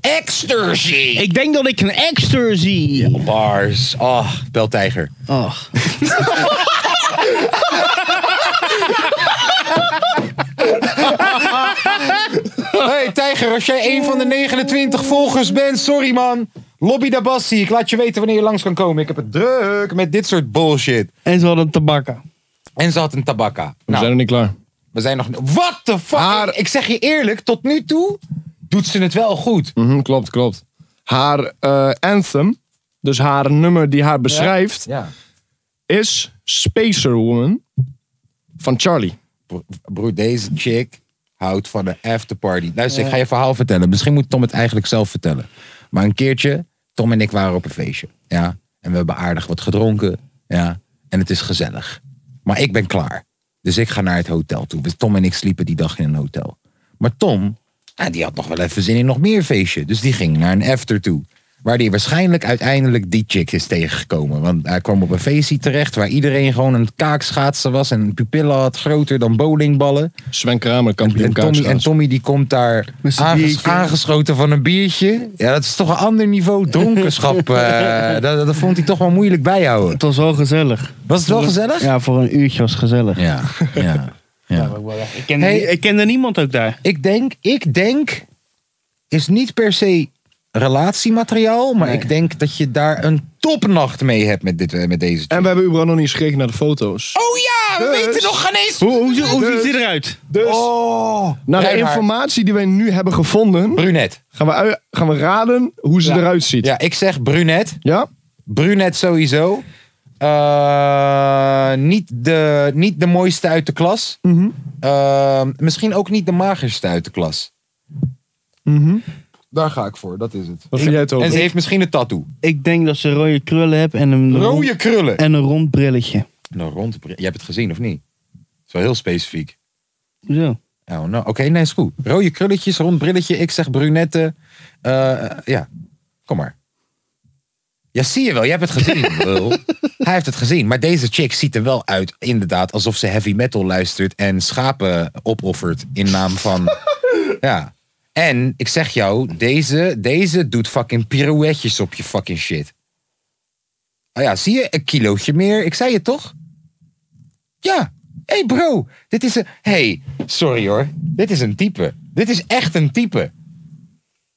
Ecstasy!
Ik denk dat ik een extra zie.
Bars. Oh, beltijger.
Ach.
Hey Tijger, als jij een van de 29 volgers bent, sorry man. Lobby Dabassi, ik laat je weten wanneer je langs kan komen. Ik heb het druk met dit soort bullshit.
En ze hadden tabakken.
En ze had een tabakka.
We zijn
Nou,
er niet klaar.
we zijn nog... What the fuck?
Haar-
Ik zeg je eerlijk, tot nu toe doet ze het wel goed.
Mhm, klopt, klopt. Haar eh, anthem, dus haar nummer die haar beschrijft,
Ja.
is Spacer Woman van Charlie.
Bro- Broer, deze chick houdt van een afterparty. Luister, ik ga je verhaal vertellen. Misschien moet Tom het eigenlijk zelf vertellen. Maar een keertje, Tom en ik waren op een feestje. Ja? En we hebben aardig wat gedronken. Ja? En het is gezellig. Maar ik ben klaar. Dus ik ga naar het hotel toe. Dus Tom en ik sliepen die dag in een hotel. Maar Tom, ja, die had nog wel even zin in nog meer feestje. Dus die ging naar een after toe. Waar die waarschijnlijk uiteindelijk die chick is tegengekomen. Want hij kwam op een feestje terecht waar iedereen gewoon een kaakschaatsen was. En pupillen had groter dan bowlingballen.
Sven Kramer,
En
kampioen
Tommy, en
kaakschaats.
Tommy die komt daar
Met zijn
aanges-
biertje.
aangeschoten van een biertje. Ja, dat is toch een ander niveau dronkenschap. eh, dat, dat vond hij toch wel moeilijk bijhouden.
Het was wel gezellig.
Was het wel gezellig?
Ja, voor een uurtje was het gezellig.
Ja, ja, ja.
Ik, kende,
Hey.
ik kende niemand ook daar.
Ik denk, ik denk, is niet per se relatiemateriaal, maar ik denk dat je daar een topnacht mee hebt met, dit, eh, met deze.
En we hebben überhaupt nog niet eens gekeken naar de foto's.
Oh ja, we
Dus-
weten nog geen eens.
Hoe, hoe,
Hoe ziet
dus-
hij eruit?
dus
Oh,
naar de
Reinhard.
informatie die wij nu hebben gevonden,
Brunet.
gaan we, ui- gaan we raden hoe ze
Ja.
eruit ziet. Ja?
Ja, ik zeg brunet. Brunet sowieso. Eh, niet, de, niet de mooiste uit de klas.
Mhm.
Eh, misschien ook niet de magerste uit de klas.
Mhm.
Daar ga ik voor, dat is het.
Wat vind jij het
En ze
over?
heeft misschien een tattoo.
Ik denk dat ze rode krullen heeft en een, rond,
Rode krullen.
en een rond brilletje.
Nou, rond. Je hebt het gezien of niet? Het is wel heel specifiek.
Zo.
Oh, nou, oké, nee, is goed. Rode krulletjes, rond brilletje. Ik zeg brunette. Eh, eh, ja, kom maar. Ja, zie je wel. Je hebt het gezien, lul. Hij heeft het gezien. Maar deze chick ziet er wel uit, inderdaad, alsof ze heavy metal luistert en schapen opoffert in naam van... ja. En ik zeg jou, deze, deze doet fucking pirouetjes op je fucking shit. Oh ja, zie je? Een kilootje meer. Ik zei het toch? Ja. Hé hey bro, dit is een... hey, sorry hoor. Dit is een type. Dit is echt een type.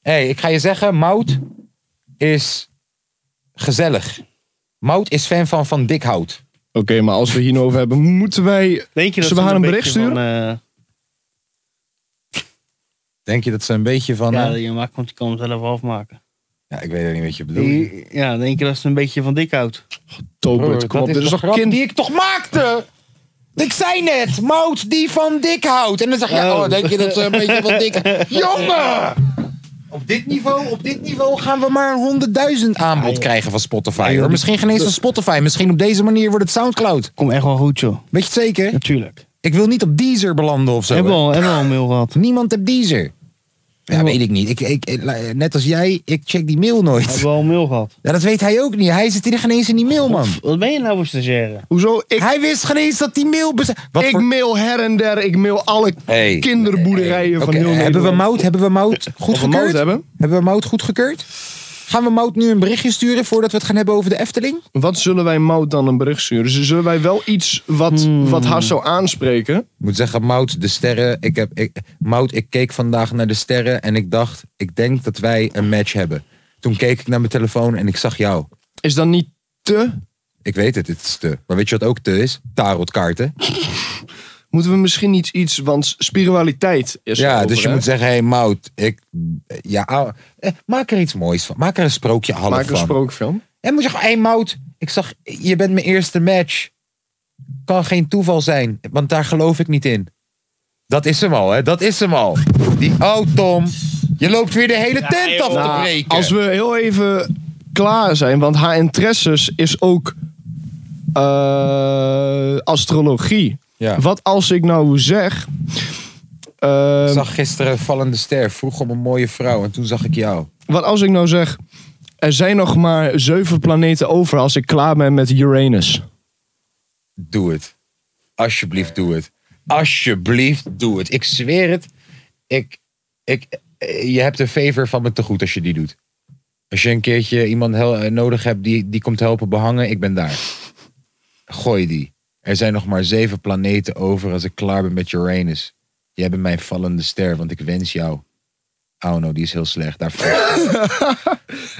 Hé, hey, ik ga je zeggen, Mout is gezellig. Mout is fan van Van Dikhout.
Oké, maar als we hier nou over hebben, moeten wij...
Denk je dat
Zullen we haar een bericht
beetje eh,
sturen?
Denk je dat ze een beetje van...
van, eh,
eh,
ja, je maakt, want je kan hem zelf afmaken.
Ja, ik weet ook niet wat je bedoelt.
Die- Ja, denk je dat ze een beetje van dik houdt?
Oh,
Tobert, kom op,
Dus
dit is
de
toch
grap
kind...
die ik toch maakte? Ik zei net, Mout die van Dikhout. En dan zeg je, oh,
Oh.
denk je dat ze een beetje van Dikhout... Jongen! Op dit, niveau, op dit niveau gaan we maar een 100.000 aanbod krijgen van Spotify. Hoor. Misschien geen eens van Spotify. Misschien op deze manier wordt het Soundcloud.
Kom echt wel goed, joh.
Weet je het zeker?
Natuurlijk.
Ik wil niet op Deezer belanden of zo.
Hebben we
hè.
al, hebben we al een mail gehad.
Niemand heeft Deezer. Ja,
Hebben we-
weet ik niet. Ik, ik, ik- net als jij, ik check die mail nooit.
Hebben we al een mail gehad.
Ja, dat weet hij ook niet. Hij zit hier geen eens in die mail, man.
Wat ben je nou voor stagiaire?
Hoezo? Ik,
Hij wist geen eens dat die mail bestaat. Wat
ik
voor-
mail her en der, ik mail alle
Hey.
kinderboerderijen van
Oké,
heel Nederland.
hebben we mout? Hebben we mout goed
Of we mout
gekeurd?
hebben?
Hebben we mout goed gekeurd? Gaan we mout nu een berichtje sturen voordat we het gaan hebben over de Efteling?
Wat zullen wij Mout dan een bericht sturen? Dus zullen wij wel iets wat,
Hmm.
wat haar zou aanspreken?
Ik moet zeggen, Mout, de sterren. Ik heb, ik, Mout, ik keek vandaag naar de sterren en ik dacht, ik denk dat wij een match hebben. Toen keek ik naar mijn telefoon en ik zag jou.
Is dan niet te
Ik weet het, het is te. Maar weet je wat ook te is? Tarotkaarten.
Moeten we misschien iets, iets want spiritualiteit is
Ja,
erover,
dus je
hè?
moet zeggen, hé hey, Mout, ik, ja, ah, eh, maak er iets moois van. Maak er een sprookje half
Maak er
van.
een sprookfilm.
En moet je gewoon, hé hey, Mout, ik zag, je bent mijn eerste match. Kan geen toeval zijn, want daar geloof ik niet in. Dat is hem al, hè? Dat is hem al. Die, oh Tom, je loopt weer de hele tent af te
Nou,
breken.
als we heel even klaar zijn, want haar interesses is ook eh, astrologie.
Ja.
Wat als ik nou zeg. eh,
Ik zag gisteren Vallende Ster, vroeg om een mooie vrouw en toen zag ik jou.
wat als ik nou zeg. Er zijn nog maar zeven planeten over als ik klaar ben met Uranus.
Doe het. Alsjeblieft, doe het. Alsjeblieft, doe het. Ik zweer het. Ik, ik, eh, je hebt een favor van me te goed als je die doet. Als je een keertje iemand hel- eh, nodig hebt die, die komt helpen behangen, ik ben daar. Gooi die. Er zijn nog maar zeven planeten over als ik klaar ben met Uranus. Jij bent mijn vallende ster, want ik wens jou. Oh no, die is heel slecht. Daar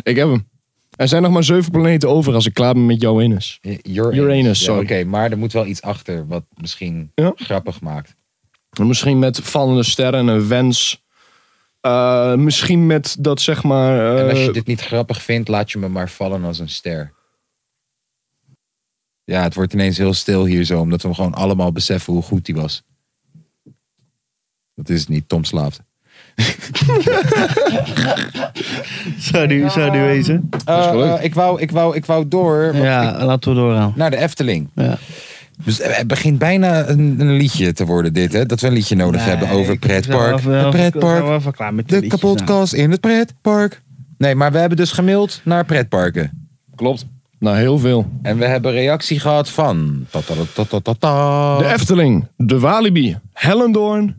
Ik heb hem. Er zijn nog maar zeven planeten over als ik klaar ben met Uranus.
Eh, Uranus,
Uranus, sorry.
Ja, Oké, maar er moet wel iets achter wat misschien
Ja.
grappig maakt.
En Misschien met vallende sterren en een wens. Eh, misschien met dat zeg maar. eh,
En als je dit niet grappig vindt, laat je me maar vallen als een ster. Ja, het wordt ineens heel stil hier zo, omdat we gewoon allemaal beseffen hoe goed die was. Dat is het niet, Tom slaapt.
Zou die, zou die wezen?
gelukt.
Eh, ik, wou, ik, wou, ik wou door want ik-
Ja, laten we doorgaan.
naar de Efteling.
Ja.
Dus het begint bijna een, een liedje te worden, dit, hè? Dat we een liedje nodig hebben over pretpark. Het pretpark. De kapotkast in het pretpark. Nee, maar we hebben dus gemaild naar pretparken.
Klopt. Nou, heel veel.
En we hebben reactie gehad van... tatatatata.
De Efteling, de Walibi, Hellendoorn,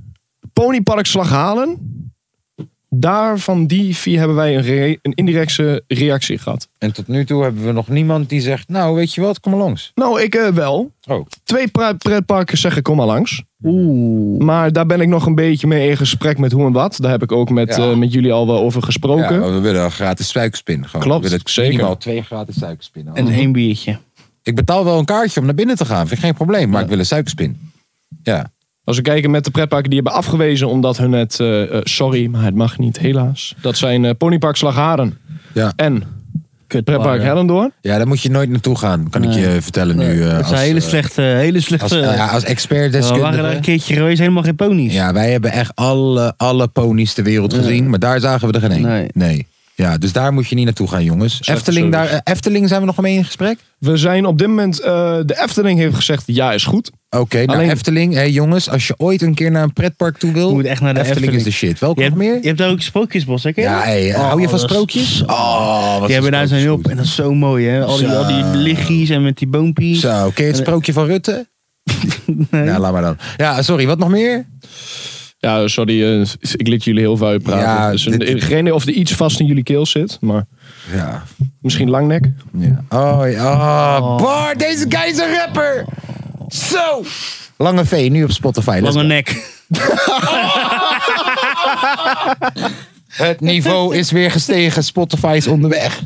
Ponypark Slaghalen. Daar van die vier hebben wij een, re- een indirecte reactie gehad.
En tot nu toe hebben we nog niemand die zegt... Nou, weet je wat, kom maar langs.
Nou, ik eh, wel.
Oh,
Twee pra- pretparken zeggen kom maar langs.
Oeh.
Maar daar ben ik nog een beetje mee in gesprek met hoe en wat. Daar heb ik ook met,
Ja.
eh, met jullie al wel over
ja,
gesproken.
maar we willen een gratis suikerspin. Gewoon.
Klopt,
we willen
zeker.
minimaal twee gratis suikerspinnen.
En één
eh,
biertje.
Ik betaal wel een kaartje om naar binnen te gaan. Vind ik geen probleem, maar ik wil een suikerspin. Ja,
Als we kijken met de pretparken die hebben afgewezen omdat hun het... eh, eh, sorry, maar het mag niet, helaas. Dat zijn eh, Ponypark Slagharen
ja.
en
Kut.
Pretpark Hellendoorn.
ja, daar moet je nooit naartoe gaan. Kan ik
Nee.
je vertellen nu. eh,
Dat
als,
is een hele
eh,
slechte, hele
als,
slechte...
eh, ja, als expert
we waren daar een
deskundige.
keertje geweest, helemaal geen ponies.
Ja, wij hebben echt alle, alle ponies ter wereld gezien. Maar daar zagen we er geen één.
Nee.
Ja, dus daar moet je niet naartoe gaan, jongens.
Slechte
Efteling, daar,
service.
eh, Efteling zijn we nog mee in gesprek?
We zijn op dit moment, eh, de Efteling heeft gezegd, ja is goed.
Oké, nou
Alleen-
Efteling. Hé jongens, als je ooit een keer naar een pretpark toe wil...
Je moet echt naar de
is
Efteling.
de shit. Welke
Je
nog
hebt,
meer?
je hebt daar ook sprookjesbos, hè? ken je
ja,
dat?
hé,
Oh,
hou je van
dat is-
sprookjes? Oh, wat
Die
is
hebben daar zijn
sprookjes
hulp.
goed.
En dat is zo mooi, hè? Al die, al die
Zo.
lichtjes en met die boompjes.
Zo, ken je het
En-
sprookje van Rutte?
Nee.
Ja, laat maar dan. Ja, sorry, wat nog meer?
Ja, sorry, eh, ik liet jullie heel vuil praten.
Ja,
dus een-
dit-
geen idee of er iets vast in jullie keel zit, maar
Ja.
misschien langnek.
ja. Oh, ja. Oh, Bar, deze guy is een rapper! Zo! Lange V, nu op Spotify. Let's
Lange
go.
nek.
Het niveau is weer gestegen. Spotify is onderweg.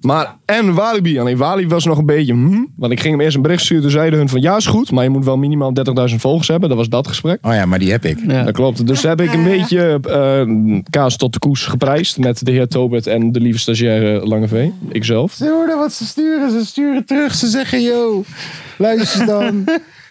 Maar, en Walibi. Alleen Walibi was nog een beetje, hm, want ik ging hem eerst een bericht sturen. Toen zeiden hun van, ja is goed, maar je moet wel minimaal 30.000 volgers hebben. Dat was dat gesprek.
Oh ja, maar die heb ik.
Ja.
Dat klopt. Dus daar heb ik een beetje eh, kaas tot de koes geprijsd met de heer Tobert en de lieve stagiaire Lange V. Ikzelf.
Ze hoorden wat ze sturen, ze sturen terug. Ze zeggen, yo, luister dan.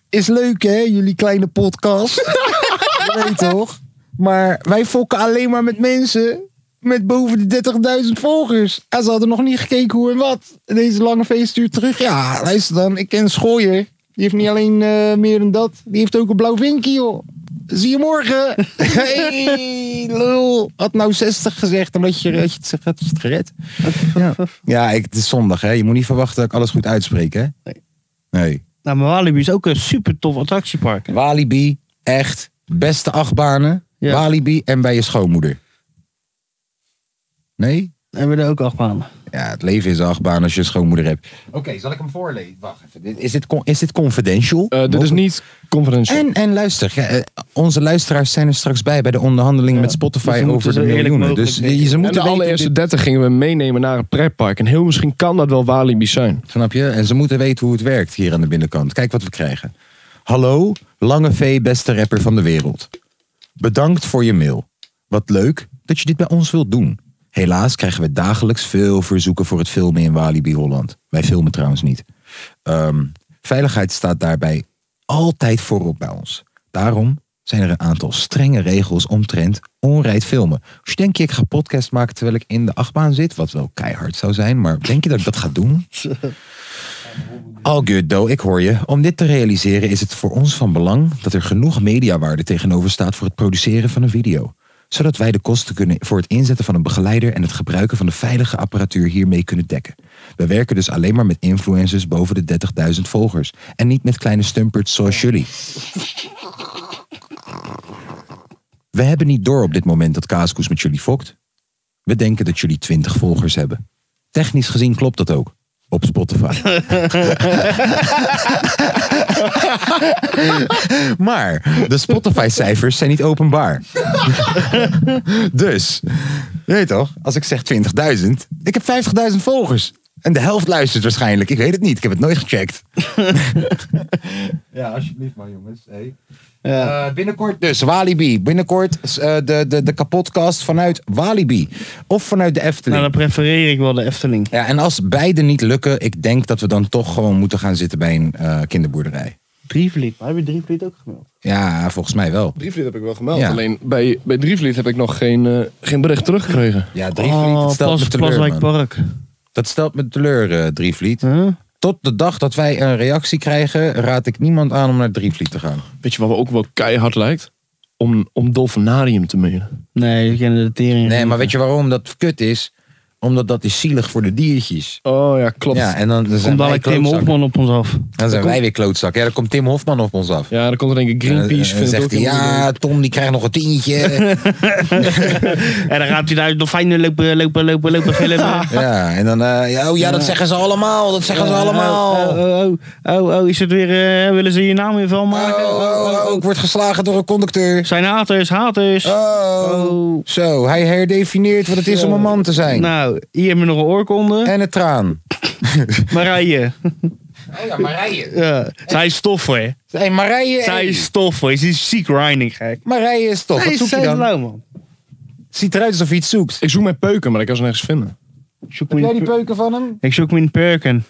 Is leuk hè, jullie kleine podcast. Je weet toch? Maar wij fokken alleen maar met mensen met boven de 30.000 volgers. En ze hadden nog niet gekeken hoe en wat. Deze lange feest stuurt terug. Ja, luister dan, ik ken Schooier. Die heeft niet alleen eh, meer dan dat. Die heeft ook een blauw vinkje, joh. Zie je morgen. Hey, lul. Had nou 60 gezegd, omdat je, had je, het- had je het gered. Ja, ik, het is zondag, hè? Je moet niet verwachten dat ik alles goed uitspreek, hè?
Nee.
Nee.
Nou, maar Walibi is ook een super tof attractiepark.
Walibi, echt. Beste achtbanen.
Ja.
Walibi en bij je schoonmoeder. Nee?
hebben we er ook achtbanen.
Ja, het leven is een achtbaan als je een schoonmoeder hebt. Oké, zal ik hem voorlezen? Wacht even. Dit- Is dit, con- is dit confidential?
Eh, dit is niet conferentieel.
En, en luister, ja, eh, onze luisteraars zijn er straks bij bij de onderhandeling met
dus
Spotify
we moeten
over de
zo eerlijk
miljoenen.
mogelijk
Dus
denken.
eh, ze
En de
moeten weten,
allereerste 30 gingen we meenemen naar een pretpark. En heel misschien kan dat wel Walibi zijn.
dit- snap je? En ze moeten weten hoe het werkt hier aan de binnenkant. Kijk wat we krijgen. Hallo, Lange V, beste rapper van de wereld. Bedankt voor je mail. Wat leuk dat je dit bij ons wilt doen. Helaas krijgen we dagelijks veel verzoeken voor het filmen in Walibi Holland. Wij filmen trouwens niet. Ehm, veiligheid staat daarbij altijd voorop bij ons. Daarom zijn er een aantal strenge regels omtrent onrijd filmen. Als je denk je ik ga podcast maken terwijl ik in de achtbaan zit, wat wel keihard zou zijn, maar denk je dat ik dat ga doen? All good though, ik hoor je. Om dit te realiseren is het voor ons van belang dat er genoeg mediawaarde tegenover staat voor het produceren van een video. Zodat wij de kosten kunnen voor het inzetten van een begeleider en het gebruiken van de veilige apparatuur hiermee kunnen dekken. We werken dus alleen maar met influencers boven de 30.000 volgers. En niet met kleine stumperts zoals jullie. We hebben niet door op dit moment dat Kaaskoes met jullie fokt. We denken dat jullie 20 volgers hebben. Technisch gezien klopt dat ook. Op Spotify. Maar de Spotify-cijfers zijn niet openbaar. dus, je weet toch, als ik zeg 20.000, ik heb 50.000 volgers. En de helft luistert waarschijnlijk. Ik weet het niet, ik heb het nooit gecheckt. ja, alsjeblieft maar jongens. Eh, binnenkort dus, Walibi. Binnenkort eh, de, de, de kapotcast vanuit Walibi. Of vanuit de Efteling.
Nou, dan prefereer ik wel de Efteling.
Ja, en als beide niet lukken, ik denk dat we dan toch gewoon moeten gaan zitten bij een eh, kinderboerderij.
Drievliet. Maar heb je Drievliet ook gemeld?
Ja, volgens mij wel.
Drievliet heb ik wel gemeld.
Ja.
Alleen bij, bij Drievliet heb ik nog geen, eh, geen bericht teruggekregen.
Ja, Drievliet, dat
Oh,
stelt
Plas,
me teleur,
Plaswijk
man.
Park.
Dat stelt me teleur, eh, Drievliet.
Huh?
Tot de dag dat wij een reactie krijgen, raad ik niemand aan om naar Drievliet te gaan.
Weet je wat me ook wel keihard lijkt? Om, om Dolfinarium te mailen.
Nee, we kennen de tering.
Nee, maar weet je waarom dat kut is? Omdat dat is zielig voor de diertjes.
Oh ja, klopt.
Ja,
Ja,
en dan, dan zijn
Komt
wij
dadelijk Tim
klootzakken.
Hofman op ons af.
Dan zijn wij weer klootzakken. Ja, dan komt Tim Hofman op ons af.
dan komt er denk ik
En,
Greenpeace.
eh,
vindt het
zegt
ook
hij,
helemaal niet leuk.
ja, Tom die krijgt nog een tientje.
En dan gaat hij daar nog fijn lopen, lopen, lopen, lopen filmen.
ja, en dan, eh, ja, oh ja, dat zeggen ze allemaal. Dat zeggen ze
Oh,
allemaal.
oh, oh, oh, oh, is het weer, eh, willen ze je naam weer vuil
Oh,
maken?
oh, oh, ik word geslagen door een conducteur.
Zijn haters, haters.
Oh.
Oh.
Zo, hij herdefinieert wat het is om een man te zijn.
Nou, hier hebben we nog een oorkonde.
En een traan.
Marije.
Oh ja, Marije.
Ja. Zij is tof, hè.
Hey, Marije.
Zij is tof, hoor. Ze is ziek grinding, gek.
Marije is toch.
Zij
Wat
is
zoek je
zij is
dan?
lauw, man.
Ziet eruit alsof je iets zoekt.
Ik zoek mijn peuken, maar ik kan ze nergens vinden.
Zoek
Heb
me
jij
in
die
per-
peuken van hem?
Ik zoek me in Perken.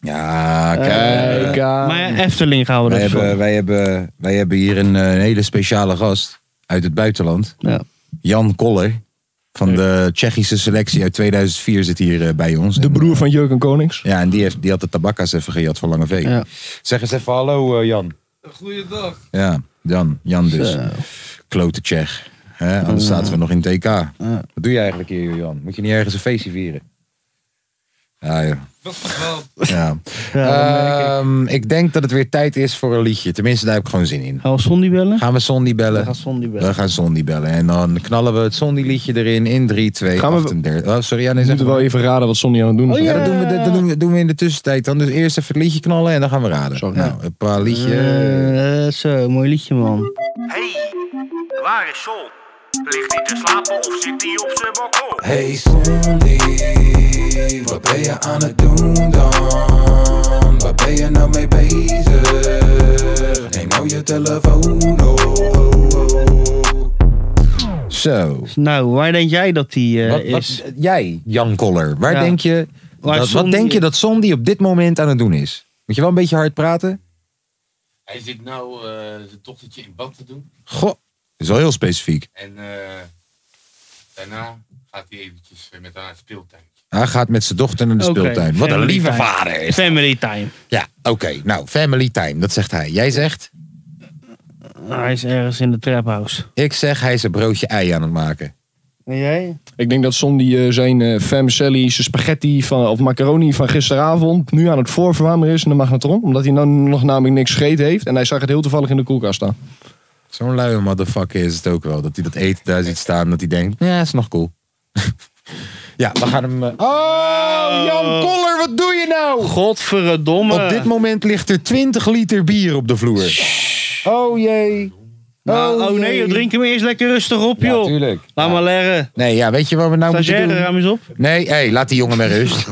Ja,
Eh,
kijk.
Kijk, aan.
Maar ja, Efteling gaan we
wij,
dat
hebben, wij, hebben, wij hebben hier een, eh, een hele speciale gast uit het buitenland.
Ja.
Jan Koller. Van de Tsjechische selectie uit 2004 zit hier eh, bij ons.
de
En,
broer van Jurgen Konings.
eh, Ja, en die, heeft, die had de tabakka's even gejat van Lange V.
Ja.
Zeg eens even hallo, eh, Jan.
Goeiedag.
Ja, Jan. Jan dus. Klote Tsjech. Hè, anders zaten we nog in TK. Wat doe je eigenlijk hier, joh, Jan? Moet je niet ergens een feestje vieren? Ja, joh.
Dat is wel.
ja.
Ja,
Ehm, ik denk dat het weer tijd is voor een liedje. Tenminste, daar heb ik gewoon zin in.
Gaan we Sondi bellen?
Gaan we Sondi
We
bellen?
gaan Sondi
We
bellen.
gaan Sondi bellen. En dan knallen we het Sondi liedje erin in 3, 2,
Gaan we-
38. Oh, sorry, ja, nee,
We
zeg
moeten wel
maar.
even raden wat Sonny aan het doen is.
Oh,
Ja,
ja.
dat doen, we, dat doen we- doen we in de tussentijd dan. Dus eerst even het liedje knallen en dan gaan we raden.
Sorry.
Nou, een paar liedje.
Eh, zo, mooi liedje, man.
Hey, waar is Sol? Ligt hij te slapen of zit hij op zijn balkon?
Hey Sondi, wat ben je aan het doen dan? Waar ben je nou mee bezig? Neem nou je telefoon op.
Zo.
Nou, waar denk jij dat die eh,
Wat,
is?
wat- jij, Jan Koller, waar
Ja.
denk je,
Waar
dat, wat
Sondi-
denk je dat Sondi op dit moment aan het doen is? Moet je wel een beetje hard praten?
Hij zit nou eh, zijn dochtertje in bad te doen.
Goh, dat is wel heel specifiek.
En eh, daarna gaat hij eventjes eh, met haar een speeltuintje.
Hij gaat met zijn dochter naar de
Oké,
speeltuin. Wat een
family
lieve
time.
vader is.
Family time.
Ja, oké. Nou, family time, dat zegt hij. Jij zegt,
Hij is ergens in de traphouse.
ik zeg, hij is een broodje ei aan het maken.
En jij?
Ik denk dat Sonny eh, zijn eh vermicelli, zijn spaghetti van, of macaroni van gisteravond nu aan het voorverwarmen is in de magnetron. Omdat hij nou nog namelijk niks gegeten heeft. En hij zag het heel toevallig in de koelkast staan.
Zo'n luie motherfucker is het ook wel. Dat hij dat eten daar ziet staan, dat hij denkt, ja, is nog cool. Ja, we gaan hem... eh, Oh, Jan Koller, wat doe je nou?
Godverdomme.
Op dit moment ligt er 20 liter bier op de vloer. Oh jee.
Ah, oh nee, drink hem eerst lekker rustig op, joh.
Natuurlijk.
Laat maar leggen.
Nee, ja, weet je wat we nou moeten
Stagiaire,
doen?
ruim eens op.
Nee, hé, laat die jongen maar rust.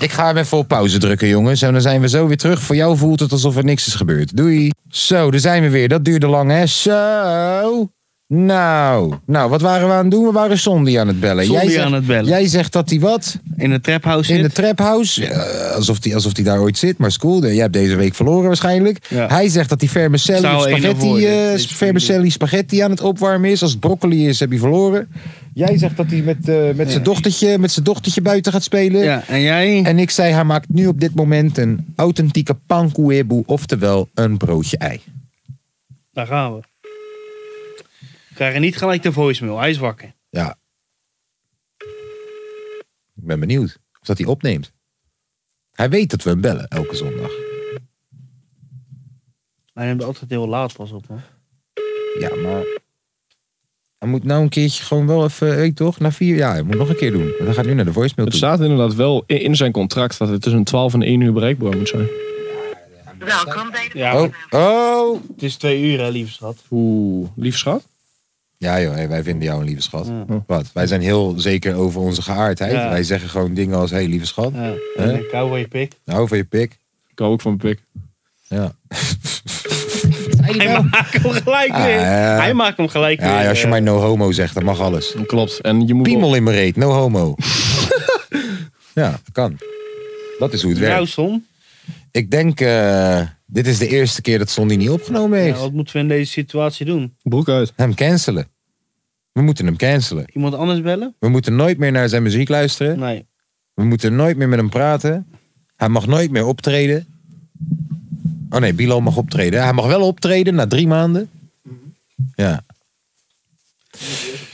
Ik ga hem even op pauze drukken, jongens. En dan zijn we zo weer terug. Voor jou voelt het alsof er niks is gebeurd. Doei. Zo, daar zijn we weer. Dat duurde lang, hè? Zo. Nou, nou, wat waren we aan het doen? We waren Sondi aan het bellen.
Sondi
jij zegt,
aan het bellen.
Jij zegt dat hij wat?
In de traphouse
In de
zit.
traphouse. Ja, alsof hij alsof die daar ooit zit. Maar school, eh, jij hebt deze week verloren waarschijnlijk.
Ja.
Hij zegt dat hij vermicelli
Zou één of
spaghetti,
worden.
eh,
Is-
vermicelli spaghetti aan het opwarmen is. Als het broccoli is, heb hij verloren. Jij zegt dat hij met, eh, met, zijn dochtertje, met zijn dochtertje buiten gaat spelen.
Ja, en jij?
En ik zei, hij maakt nu op dit moment een authentieke pankoeeboe, oftewel een broodje ei.
Daar gaan we. We krijgen niet gelijk de voicemail. Hij is wakker.
Ja. Ik ben benieuwd of dat hij opneemt. Hij weet dat we hem bellen elke zondag.
Hij neemt altijd heel laat pas op, hoor.
Ja, maar. Hij moet nou een keertje gewoon wel even, eh, weet je toch? Na vier jaar. Hij moet nog een keer doen. Want hij gaat nu naar de voicemail
Het
toe.
staat inderdaad wel in- in zijn contract dat het tussen 12 en 1 uur bereikbaar moet zijn.
Welkom bij de
Ja,
Oh, oh.
het is twee uur, hè, lieve schat.
Oeh, lief schat.
Ja joh, hey, wij vinden jou een lieve schat.
Ja.
Wat? Wij zijn heel zeker over onze geaardheid.
Ja.
Wij zeggen gewoon dingen als, hé hey, lieve schat,
Ja.
Hè?
Eh, Een cowboy pik.
nou van je pik.
Ik hou ook van mijn pik.
Ja.
Hij maakt hem gelijk weer.
Ah, ja.
Hij maakt hem gelijk weer.
ja, als je
eh.
mij no homo zegt, dan mag alles.
Klopt. En je moet wel-
Piemel in mijn reet, no homo. ja, dat kan. Dat is hoe het
Nou,
werkt.
Son.
Ik denk, eh, dit is de eerste keer dat Sonny niet opgenomen
Ja,
heeft.
wat moeten we in deze situatie doen?
broek uit.
Hem cancelen. We moeten hem cancelen.
Iemand anders bellen?
We moeten nooit meer naar zijn muziek luisteren.
Nee.
We moeten nooit meer met hem praten. Hij mag nooit meer optreden. Oh nee, Bilal mag optreden. Hij mag wel optreden na drie maanden. Ja.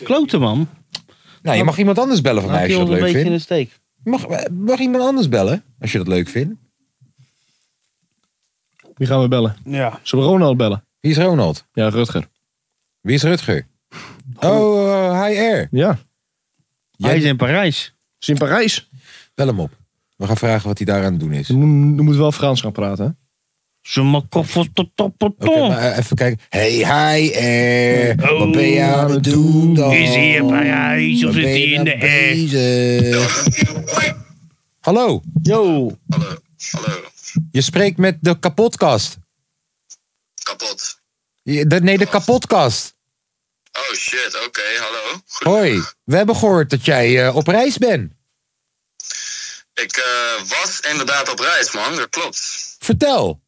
Klote, man.
Nou, je mag iemand anders bellen van mij
Laat
als
je
je dat
ons een
leuk
beetje in
vindt.
de steek.
Mag, eh, mag iemand anders bellen als je dat leuk vindt?
Wie gaan we bellen?
Ja.
Zullen we Ronald bellen?
Wie is Ronald?
Ja, Rutger.
Wie is Rutger? Oh, eh, hi R.
Ja. Is
Jij-
Hij is in Parijs.
hij in Parijs?
Bel hem op. We gaan vragen wat hij daar aan het doen is.
Je
Oké,
moet, je moet wel Frans gaan praten, hè?
Je me koffers tot op het ton.
maar eh, even kijken. Hey, hi R.
Oh,
wat ben je aan het doen dan?
Is hij in Parijs of
Waar
is
ben
hij
je
in de
nou
air?
bezig? Hallo,
Yo.
je spreekt met de kapotkast.
Kapot.
Je- de- nee, de kapotkast.
Oh shit, oké, hallo.
Hoi, we hebben gehoord dat jij eh, op reis bent.
Ik eh, was inderdaad op reis, man, dat klopt.
Vertel.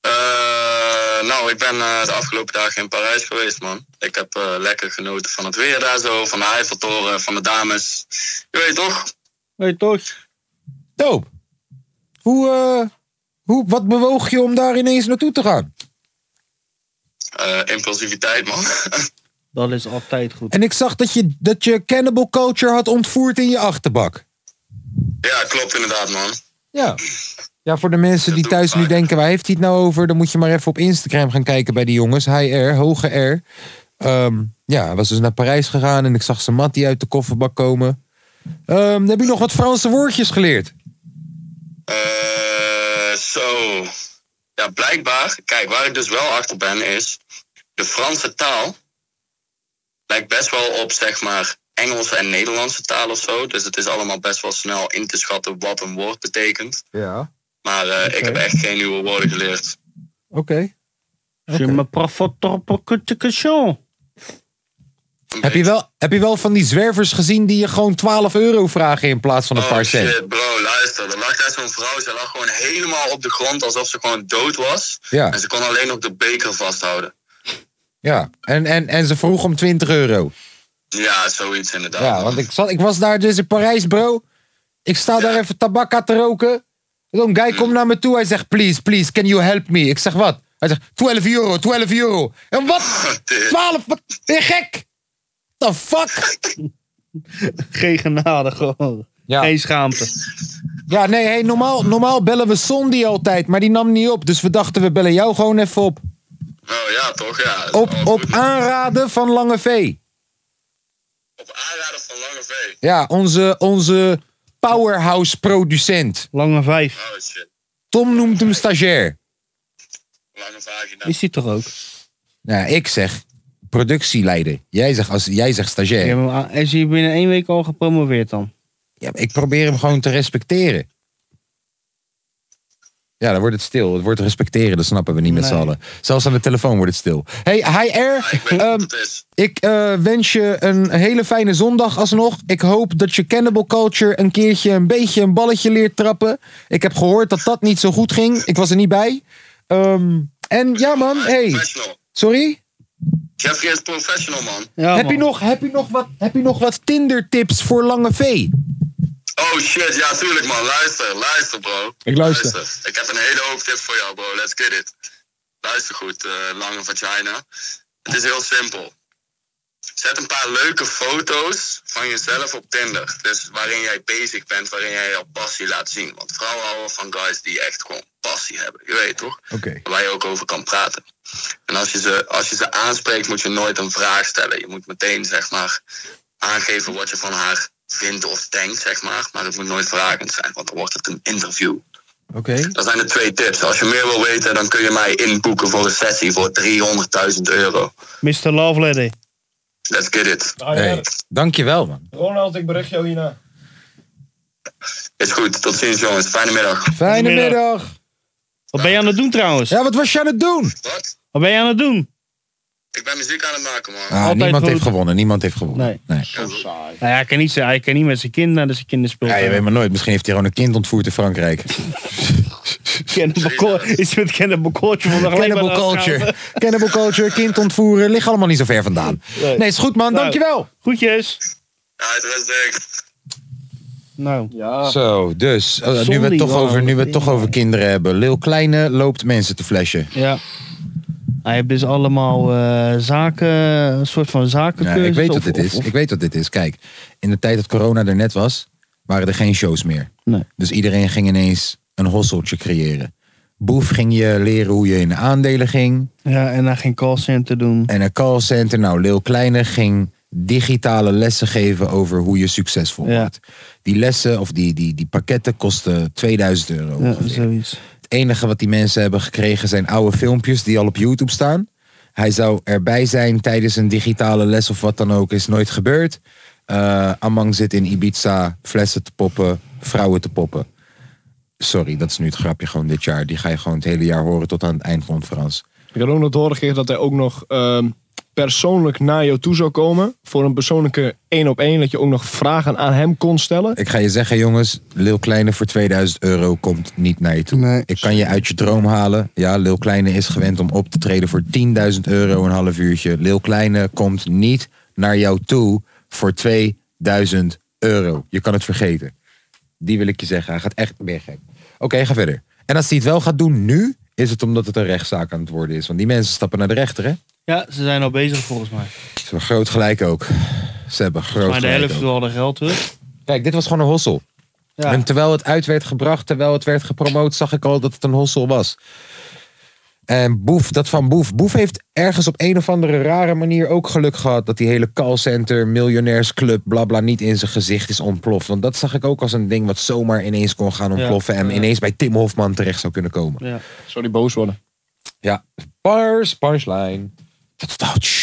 Eh, nou, ik ben eh, de afgelopen dagen in Parijs geweest, man. Ik heb eh, lekker genoten van het weer daar zo, van de Eiffeltoren, van de dames. Je weet toch?
Hey, toch?
Doop. Hoe, eh, hoe, wat bewoog je om daar ineens naartoe te gaan?
Eh, impulsiviteit, man.
Dat is altijd goed.
En ik zag dat je, dat je cannibal culture had ontvoerd in je achterbak.
ja, klopt inderdaad, man.
Ja. Ja, voor de mensen die thuis nu denken, waar heeft hij het nou over? Dan moet je maar even op Instagram gaan kijken bij die jongens. Hi R, hoge R. Ehm, ja, hij was dus naar Parijs gegaan en ik zag zijn mattie uit de kofferbak komen. Ehm, heb je nog wat Franse woordjes geleerd?
Eh, zo. Ja, blijkbaar. Kijk, waar ik dus wel achter ben is. De Franse taal lijkt best wel op, zeg maar, Engelse en Nederlandse taal of zo. Dus het is allemaal best wel snel in te schatten wat een woord betekent.
Ja.
Maar eh, ik heb echt geen nieuwe woorden geleerd.
Oké.
Je me koffers tot op het kastje.
Een
Heb, je
beetje-
wel, heb je wel van die zwervers gezien die je gewoon 12 euro vragen in plaats van een
Oh
paar cent?
shit, bro, luister. Er lag daar zo'n vrouw. Ze lag gewoon helemaal op de grond alsof ze gewoon dood was.
Ja,
En ze kon alleen nog de beker vasthouden.
ja. En, en, en ze vroeg om 20 euro.
Ja, zoiets inderdaad.
Ja, want ik, zat, ik was daar dus in Parijs, bro. Ik sta daar even tabakka te roken. Zo'n guy komt naar me toe. Hij zegt, please, please, can you help me? Ik zeg, wat? Hij zegt, 12 euro, 12 euro. En
Oh,
wat? 12? Wat? Ben je gek? The fuck?
Geen genade gewoon.
Ja.
Geen schaamte.
Ja, nee, hey, normaal, normaal bellen we Sondi altijd. Maar die nam niet op. Dus we dachten, we bellen jou gewoon even op.
Oh ja, toch? Ja.
Op,
Oh,
op
goed.
aanraden van Lange V.
Op aanraden van Lange Sauvé.
Ja, onze, onze powerhouse producent.
Lange vijf.
Oh shit,
Tom noemt hem stagiair.
lange vagina.
Is die toch ook?
Nou, ik zeg productieleider. Jij zegt, als, jij zegt stagiair.
Je hebt hem a- ah, Is hij binnen één week al gepromoveerd dan?
Ja, maar ik probeer hem gewoon te respecteren. Ja, dan wordt het stil. Het wordt respecteren, dat snappen we niet met
Nee.
z'n allen. Zelfs aan de telefoon wordt het stil. Hey, hi R,
Ah, Ik weet niet wat het is.
ik eh, wens je een hele fijne zondag alsnog. Ik hoop dat je Cannibal Culture een keertje een beetje een balletje leert trappen. Ik heb gehoord dat dat niet zo goed ging. Ik was er niet bij. Ehm, en ja man, hey,
Ah, Professional.
sorry?
Jeffrey is professional, man.
Ja,
Heb
man.
je, nog, heb, je nog wat, heb je nog wat Tinder tips voor Lange V?
Oh shit, ja tuurlijk man, luister, luister bro.
Ik luister.
Ik heb een hele hoop tip voor jou bro, let's get it. Luister goed, eh, lange vagina. Het is heel simpel. Zet een paar leuke foto's van jezelf op Tinder. Dus waarin jij bezig bent, waarin jij jouw passie laat zien. Want vrouwen houden van guys die echt gewoon passie hebben, je weet toch?
Oké.
waar je ook over kan praten. En als je, ze, als je ze aanspreekt, moet je nooit een vraag stellen. Je moet meteen, zeg maar, aangeven wat je van haar vindt of denkt, zeg maar. Maar het moet nooit vragend zijn, want dan wordt het een interview.
Oké.
Dat zijn de twee tips. Als je meer wil weten, dan kun je mij inboeken voor een sessie voor 300.000 euro.
Mr. Love Lady.
Let's get it.
Oh,
Hey, dankjewel man.
Ronald, ik bericht jou hierna.
Is goed, tot ziens jongens. Fijne middag.
Fijne
Goedemiddag.
middag.
Wat ben je aan het doen trouwens?
Ja, wat was je aan het doen?
Wat?
Wat ben je aan het doen?
Ik ben muziek aan het maken, man.
Ah,
Altijd
niemand
goed.
heeft gewonnen. Niemand heeft gewonnen.
Nee.
nee.
Nou ja, hij kan niet, zijn- hij kan niet met zijn kind naar de zijn kinderspeeltuin.
Ja, je weet maar nooit. Misschien heeft hij gewoon een kind ontvoerd in Frankrijk.
Cannibal Culture. Iets met Cannibal Culture. want dan alleen maar
Cannibal
dat
culture.
gaan.
Cannibal culture, kind ontvoeren. Ligt allemaal niet zo ver vandaan.
Nee.
Nee, is goed man.
Nou.
Dankjewel.
Groetjes.
Ja, het is leuk.
Nou.
Ja.
Zo, dus. eh, nu we
Zonde,
het toch
jongen.
over, nu we het toch over kinderen hebben. Lil Kleine loopt mensen te flashen.
Ja. Hij heeft dus allemaal eh, zaken, een soort van
Ja,
zakencursus.
ik weet wat
of-
dit
of-
is.
of-
Ik weet wat dit is. Kijk, in de tijd dat corona er net was, waren er geen shows meer.
Nee.
Dus iedereen ging ineens een hosseltje creëren. Boef ging je leren hoe je in aandelen ging.
Ja, en hij ging callcenter doen.
En een callcenter, nou, Lil Kleine ging digitale lessen geven over hoe je succesvol
Ja.
wordt. Die lessen of die, die, die pakketten kosten 2000 euro.
Ja,
ongeveer.
zoiets.
Het enige wat die mensen hebben gekregen zijn oude filmpjes die al op YouTube staan. Hij zou erbij zijn tijdens een digitale les of wat dan ook, is nooit gebeurd. Eh, Amang zit in Ibiza, flessen te poppen, vrouwen te poppen. Sorry, dat is nu het grapje gewoon dit jaar. Die ga je gewoon het hele jaar horen tot aan het eind van Frans.
Ik had ook nog te horen gekregen dat hij ook nog ehm, persoonlijk naar jou toe zou komen. Voor een persoonlijke één op één. Dat je ook nog vragen aan hem kon stellen.
Ik ga je zeggen, jongens, Lil Kleine voor 2000 euro komt niet naar je toe.
Nee.
Ik kan je uit je droom halen. Ja, Lil Kleine is gewend om op te treden voor 10.000 euro een half uurtje. Lil Kleine komt niet naar jou toe voor 2000 euro. Je kan het vergeten. Die wil ik je zeggen. Hij gaat echt meer gek. Oké, ga verder. En als hij het wel gaat doen nu, is het omdat het een rechtszaak aan het worden is. Want die mensen stappen naar de rechter, hè?
Ja, ze zijn al bezig volgens mij.
Ze hebben groot gelijk ook. Ze hebben groot
Maar de
gelijk
helft
ook.
wil al de geld terug.
Kijk, dit was gewoon een hossel.
Ja.
En terwijl het uit werd gebracht, terwijl het werd gepromoot, zag ik al dat het een hossel was. En Boef, dat van Boef. Boef heeft ergens op een of andere rare manier ook geluk gehad. dat die hele callcenter, miljonairsclub, bla bla niet in zijn gezicht is ontploft. Want dat zag ik ook als een ding wat zomaar ineens kon gaan ontploffen. en
ja.
ineens bij Tim Hofman terecht zou kunnen komen.
Ja.
Sorry, boos worden.
Ja, bars, punchline.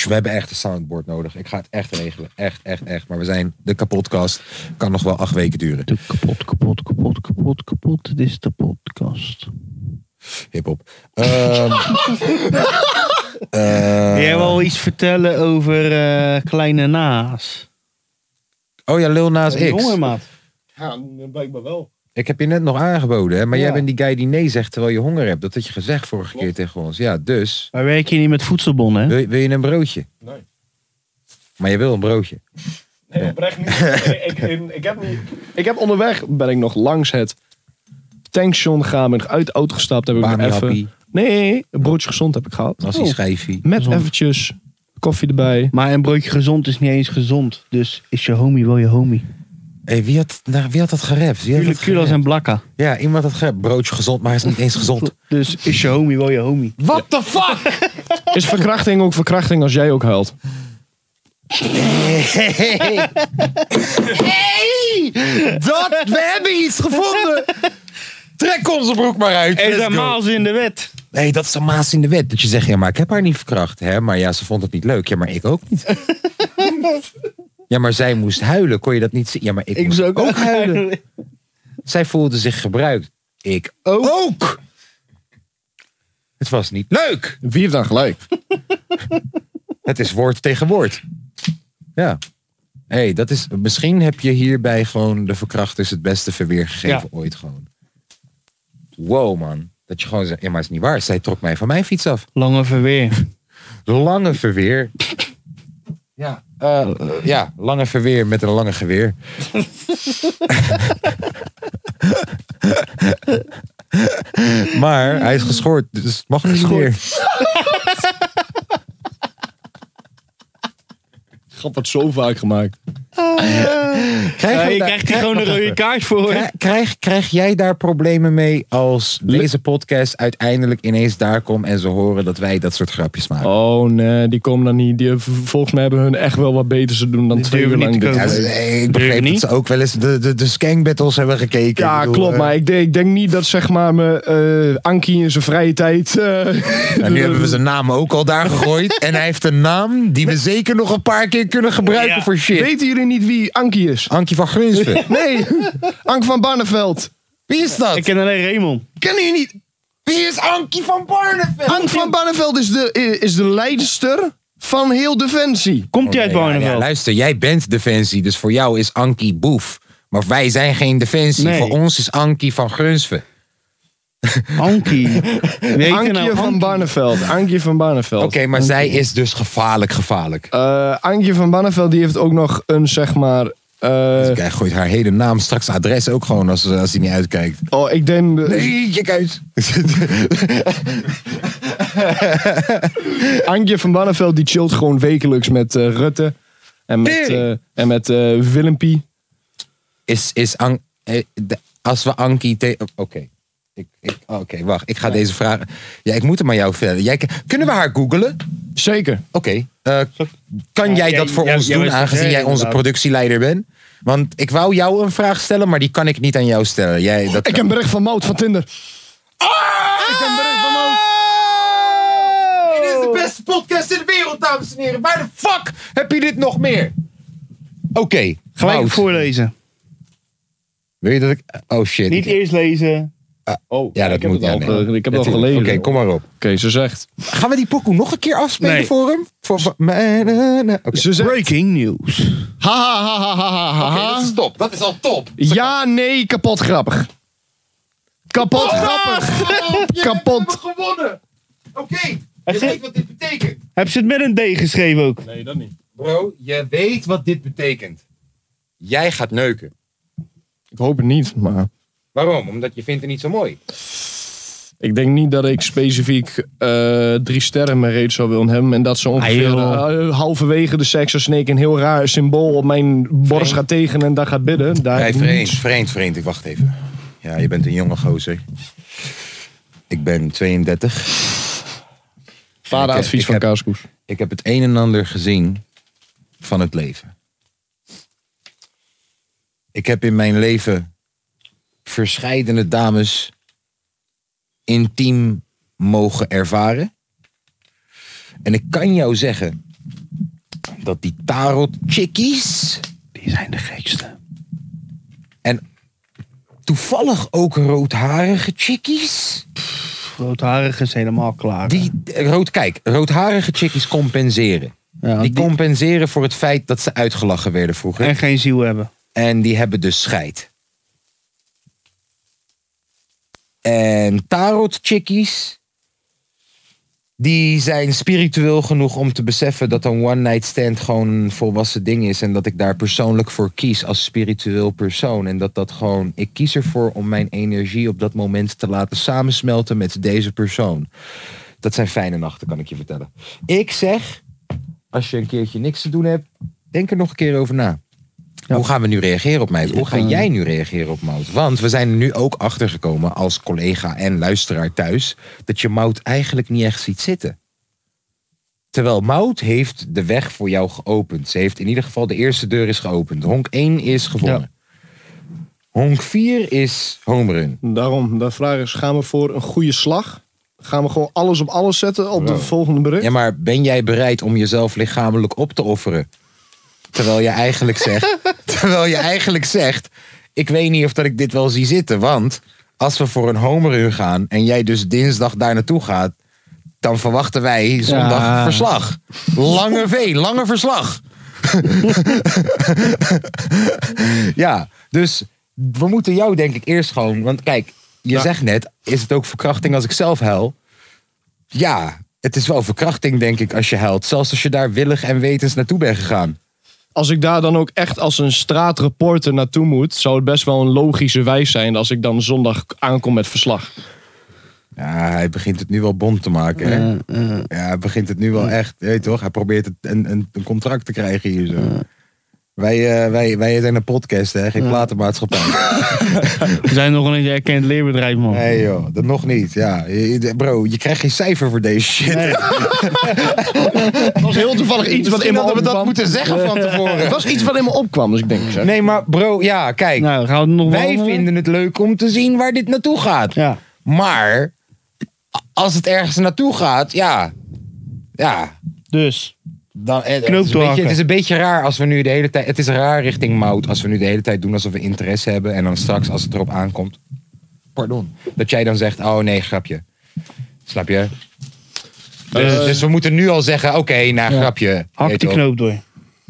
We hebben echt een soundboard nodig. Ik ga het echt regelen. Echt, echt, echt. Maar we zijn de kapotkast. Kan nog wel acht weken duren.
De kapot, kapot, kapot, kapot, kapot. Dit is de podcast.
Hip-hop. Ehm,
Wil jij wel iets vertellen over eh, Kleine Naas?
oh ja, Lil Nas
Een
X.
Jongen, maat.
Ja, blijkbaar wel.
Ik heb je net nog aangeboden, hè? maar
Ja.
jij bent die guy die nee zegt terwijl je honger hebt. Dat had je gezegd vorige keer tegen ons. Ja, dus.
Maar werk je niet met voedselbonnen, hè?
Wil, wil je een broodje?
Nee.
Maar je wil een broodje.
Nee, oprecht niet. ik, ik, ik heb niet. Ik heb onderweg, ben ik nog langs het tankstation gegaan. Ben ik uit de auto gestapt. Heb ik nog
Bami happy,
even... Nee, een broodje gezond heb ik gehad.
Oh.
Oh.
nasi schijfie.
Met
Gezond.
eventjes koffie erbij.
Maar een broodje gezond is niet eens gezond. Dus is je homie wel je homie?
Hey, wie, had, nou, wie had dat gerept? Wie had dat
Jullie Kulas en
gerapt?
Blakka.
Ja, iemand had gerept. Broodje gezond, maar hij is niet eens gezond.
Dus is je homie wel je homie?
What the fuck?
Is verkrachting ook verkrachting als jij ook huilt?
Dat, we hebben iets gevonden. Trek onze broek maar uit.
Er
let's
zijn
go.
maals in de wet.
Nee, dat is een maas in de wet. Dat je zegt, ja, maar ik heb haar niet verkracht. Hè? Maar ja, ze vond het niet leuk. Ja, maar ik ook niet. ja, maar zij moest huilen. Kon je dat niet zien? Ja, maar ik, moest ook, huilen. Zij voelde zich gebruikt. Ik ook. Het was niet leuk.
Wie heeft dan gelijk?
Het is woord tegen woord. Ja. hey, dat is. Misschien heb je hierbij gewoon de verkrachters het beste verweer gegeven ooit gewoon. Wow, man. Dat je gewoon zegt, ja, maar het is niet waar. Zij trok mij van mijn fiets af.
Lange verweer.
Lange verweer. Ja, eh, eh, ja, lange verweer met een lange geweer. maar hij is geschort, dus het mag niet meer.
Grap wordt zo vaak gemaakt.
Krijgen
Ja,
we
je
daar-
krijgt hier gewoon een rode kaart voor. hè?
Krij- Krijg, krijg jij daar problemen mee als deze podcast uiteindelijk ineens daar komt en ze horen dat wij dat soort grapjes maken?
Oh nee, die komen dan niet. Die, volgens mij hebben hun echt wel wat beter te doen dan
Die
twee uur
durven
lang
niet te
dit
Ja,
komen.
te
ze-
doen.
eh, ik
Durf je
begreep dat
niet?
ze ook wel eens de, de, de skank battles hebben gekeken. Ik
Ja,
bedoel,
klopt.
eh,
Maar ik denk, ik denk niet dat zeg maar me, eh, Ankie in zijn vrije tijd... eh,
En nu hebben we zijn naam ook al daar gegooid. en hij heeft een naam die we zeker nog een paar keer kunnen gebruiken
Ja.
voor shit.
Weten jullie niet wie Ankie is?
Ankie van Grunsven.
Nee, Ank van Barneveld.
Wie is
Ik
dat?
ken alleen Raymond.
Kennen jullie niet?
Wie is Ankie van Barneveld?
Ank van Barneveld is de, eh, is de leidster van heel Defensie.
Komt hij uit
Oh, Ja,
Barneveld?
luister, jij bent Defensie, dus voor jou is Ankie boef. Maar wij zijn geen Defensie.
Nee.
Voor ons is Ankie van Grunsven.
Ankie. Weet
Ankie van Barneveld. Ankie van Barneveld.
nou, Oké, maar zij is dus gevaarlijk gevaarlijk.
Eh, Ankie van Barneveld die heeft ook nog een zeg maar... eh,
Dus hij gooit haar hele naam, straks adres ook gewoon als, als hij niet uitkijkt.
oh, ik denk...
Nee, je uit.
Antje van Barneveld die chillt gewoon wekelijks met eh, Rutte. En met, eh
Tering.
en met eh, Willempie.
is, is An- eh, de- als we Ankie te- Oh, Oké. Ik, ik, oh, Oké, wacht. Ik ga deze vraag. Ja, ik moet hem aan jou vertellen. Jij, ken- kunnen we haar googlen?
Zeker.
Oké. eh, kan
Ja,
jij
jij-
dat voor
jij-
ons
jij
doen,
was het
aangezien jij
derde,
onze
inderdaad.
productieleider bent? Want ik wou jou een vraag stellen, maar die kan ik niet aan jou stellen. Jij, dat
Ik heb een bericht van Mout van Tinder. Ik heb een bericht van
Oh!
Mout.
Dit is de beste podcast in de wereld, dames en heren. Waar de fuck heb je dit nog meer? Oké,
Gelijk
Wout,
voorlezen.
Wil je dat ik... Oh shit.
Niet eerst lezen.
Oh,
ja, dat
ik heb
moet.
het
ja,
al
nee.
ge- Ik heb het al
Natuurlijk.
gelezen.
Oké, kom maar op.
Oké, ze zegt.
Gaan we die pokoe nog een keer afspelen
Nee.
voor hem? Voor, voor- Nee, nee, nee. Oké.
Ze zegt.
Breaking news.
Ha ha ha ha ha ha, ha.
dat is top. Dat is al top.
Ja, nee, kapot grappig. Kapot Oh, grappig. kapot.
gewonnen. Oké,
Hij zit-
wat dit betekent.
Heb ze het met een D geschreven ook?
Nee, dat niet.
Bro, je weet wat dit betekent. Jij gaat neuken.
Ik hoop het niet, maar.
Waarom? Omdat je vindt het niet zo mooi.
Ik denk niet dat ik specifiek eh, drie sterren in mijn reet zou willen hebben. En dat ze ongeveer
Ah,
eh, halverwege de seks als snake een heel raar symbool op mijn borst gaat tegen en daar gaat bidden. Daar
Hey,
heb ik
vreemd,
niets.
vreemd, vreemd. Ik wacht even. Ja, je bent een jonge gozer. Ik ben 32. Ik-
Vaderadvies
ik
van
heb-
Kaaskoes.
Ik heb het een en ander gezien van het leven. Ik heb in mijn leven verscheidene dames intiem mogen ervaren. En ik kan jou zeggen dat die tarot chickies
Die zijn de gekste.
en toevallig ook roodharige chickies
Roodharig is helemaal klaar.
Die, rood, kijk, roodharige chickies compenseren.
Ja,
die,
die-
compenseren voor het feit dat ze uitgelachen werden vroeger.
En geen ziel hebben.
En die hebben dus scheid. En tarot chickies. Die zijn spiritueel genoeg om te beseffen dat een one night stand gewoon een volwassen ding is. En dat ik daar persoonlijk voor kies als spiritueel persoon. En dat dat gewoon, ik kies ervoor om mijn energie op dat moment te laten samensmelten met deze persoon. Dat zijn fijne nachten, kan ik je vertellen. Ik zeg, als je een keertje niks te doen hebt, denk er nog een keer over na. Hoe gaan we nu reageren op Mout? Hoe ga jij nu reageren op Mout? Want we zijn er nu ook achtergekomen als collega en luisteraar thuis... dat je Mout eigenlijk niet echt ziet zitten. Terwijl Mout heeft de weg voor jou geopend. Ze heeft in ieder geval de eerste deur is geopend. Honk 1 is gewonnen. Honk 4 is homerun.
Daarom, de vraag is, gaan we voor een goede slag? Gaan we gewoon alles op alles zetten op de
Wow.
volgende brug?
Ja, maar ben jij bereid om jezelf lichamelijk op te offeren? Terwijl je eigenlijk zegt... terwijl je eigenlijk zegt... Ik weet niet of dat ik dit wel zie zitten. Want als we voor een homerun gaan... en jij dus dinsdag daar naartoe gaat... dan verwachten wij zondag
Ja.
verslag. Lange V, lange verslag. ja, dus we moeten jou denk ik eerst gewoon... Want kijk, je zegt net... Is het ook verkrachting als ik zelf huil? Ja, het is wel verkrachting, denk ik, als je huilt. Zelfs als je daar willig en wetens naartoe bent gegaan.
Als ik daar dan ook echt als een straatreporter naartoe moet... zou het best wel een logische wijs zijn als ik dan zondag aankom met verslag.
Ja, hij begint het nu wel bond te maken. Hè? Ja, hij begint het nu wel echt. Je weet toch? Hij probeert het, een, een, een contract te krijgen hier zo. Wij, eh, wij, wij zijn een podcast, hè? Geen platenmaatschappij.
We zijn nog een erkend leerbedrijf, man.
Nee joh, dat nog niet. Ja, je- je- bro, je krijgt geen cijfer voor deze shit.
Het was heel toevallig iets wat
Misschien
in me
hadden we
opkwam.
dat moeten zeggen van
Het
tevoren.
was iets wat in me opkwam, dus ik denk... Zeg,
Nee, maar bro, ja, kijk.
Nou, gaan we er nog
wij
wel-
vinden het leuk om te zien waar dit naartoe gaat.
Ja.
Maar als het ergens naartoe gaat, ja. Ja.
Dus.
Dan, eh, het,
Knoop
is een beetje,
doorhakken.
het is een beetje raar als we nu de hele tijd. Het is raar richting Mout als we nu de hele tijd doen alsof we interesse hebben. En dan straks als het erop aankomt. Pardon. Dat jij dan zegt: oh nee, grapje. Snap je? Dus, dus we moeten nu al zeggen: oké, nou grapje.
Hak
Weet
die
je wel.
knoop door.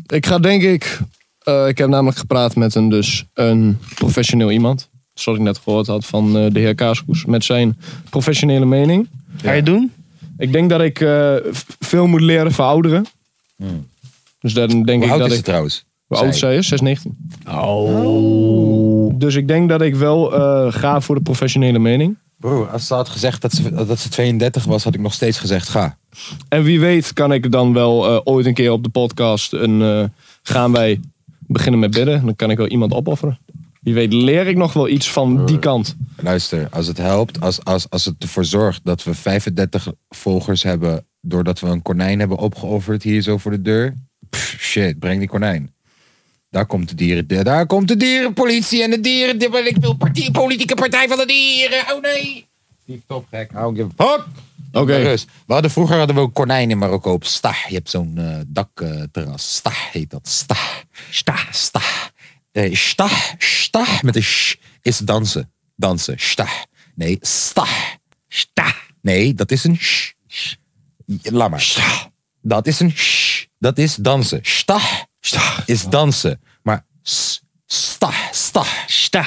Ik ga denk ik... eh, ik heb namelijk gepraat met een, dus, een professioneel iemand. Zoals ik net gehoord had van eh, de heer Kaaskoes. Met zijn professionele mening.
Ga je het doen?
Ik denk dat ik eh, v- veel moet leren van ouderen. Dus dan denk
Hmm. Hoe
ik
oud is
dat ik...
het trouwens?
Hoe oud
Zij.
zij is? 619. Oh. Dus ik denk dat ik wel eh, ga voor de professionele mening.
Broer, als ze had gezegd dat ze, dat ze 32 was, had ik nog steeds gezegd: ga.
En wie weet kan ik dan wel eh, ooit een keer op de podcast een... eh, gaan wij beginnen met bidden. Dan kan ik wel iemand opofferen. Wie weet leer ik nog wel iets van die kant.
Luister, als het helpt, als, als, als het ervoor zorgt dat we 35 volgers hebben. doordat we een konijn hebben opgeofferd hier zo voor de deur. pff, shit, breng die konijn. Daar komt de dieren. Daar komt de dierenpolitie en de dieren. Ik wil partie- politieke partij van de dieren. Oh nee. Die top gek. Hou je. Hop!
Oké.
Rust. We hadden vroeger hadden we ook konijn in Marokko op Stah. Je hebt zo'n eh, dakterras. Stah heet dat. Stah. Stah. Stah. Eh, stah. Stah. Met een sh is dansen. Dansen. Stah. Nee, stah. Stah. Nee, dat is een sh. sh. Laat maar. Stah. Dat is een sh. Dat is dansen. Stah. Stah. Is dansen. Maar s- stah. Stah.
Sta.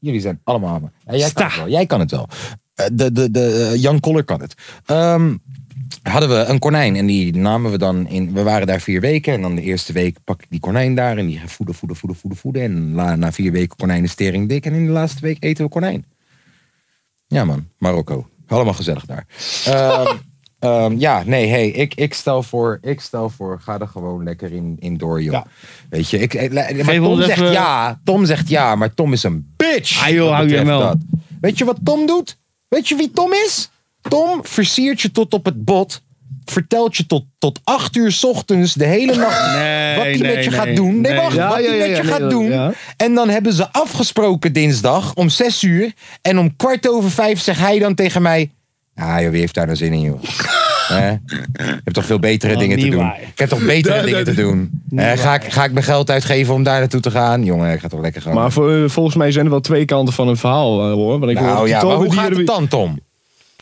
Jullie zijn allemaal aan me. Ja, jij, kan
Sta.
het wel. jij kan het wel. Eh, De, de, de, eh, Jan Koller kan het. Ehm, hadden we een konijn en die namen we dan in. We waren daar vier weken en dan de eerste week pak ik die konijn daar en die ga voeden, voeden, voeden, voeden, voeden. En la- na vier weken konijn is tering dik en in de laatste week eten we konijn. Ja man, Marokko. Allemaal gezellig daar. Ehm, ehm, ja, nee, hey, ik, ik, stel voor, ik stel voor, ga er gewoon lekker in, in door, joh.
Ja.
Weet je, ik, eh, la- maar
ons
Tom zegt
even-
ja, Tom zegt ja, maar Tom is een bitch.
Ah, joh,
wat
hou je hem
betreft
wel.
Weet je wat Tom doet? Weet je wie Tom is? Tom versiert je tot op het bot. Vertelt je tot, tot acht uur 's ochtends de hele nacht
Nee,
wat hij
nee,
met je
nee.
gaat doen. Nee,
Nee.
wacht,
Ja,
wat hij
ja, ja,
met
ja,
je
nee,
gaat
dat-
doen.
ja.
En dan hebben ze afgesproken dinsdag om zes uur. En om kwart over vijf zegt hij dan tegen mij... Ah joh, wie heeft daar nou zin in joh? Hè? Je hebt toch veel betere
Dat
dingen te
Oh, niet
doen.
waar.
Ik heb toch betere dingen te doen. Hè, ga, ik, ga ik mijn geld uitgeven om daar naartoe te gaan? Jongen, ik ga toch lekker gaan.
Maar voor- eh, volgens mij zijn er wel twee kanten van een verhaal eh, hoor. Want ik hoor
nou ja, maar
Tobe
hoe gaat
Dierenwie-
het dan, Tom?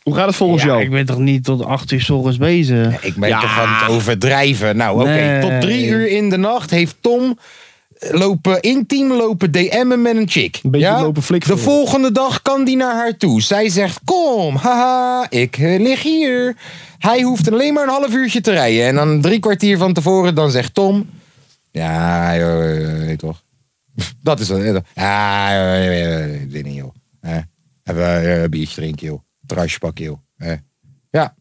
hoe gaat het volgens
Ja,
jou?
ik ben toch niet tot 8 uur 's ochtends bezig?
Ik ben toch aan het overdrijven. Nou, oké.
Nee.
Tot drie uur in de nacht heeft Tom eh, lopen intiem lopen DM'en met een chick.
Een beetje lopen flikken.
De volgende dag kan die naar haar toe. Zij zegt, kom, haha, ik eh, lig hier. Hij hoeft alleen maar een half uurtje te rijden. En dan drie kwartier van tevoren, dan zegt Tom... Ja, joh, eh, weet toch. Dat is wel. Ja, eh, eh, zin in, joh. Eh, Even eh, een biertje drinken, joh. Terrasje pakken, joh. Eh, Ja,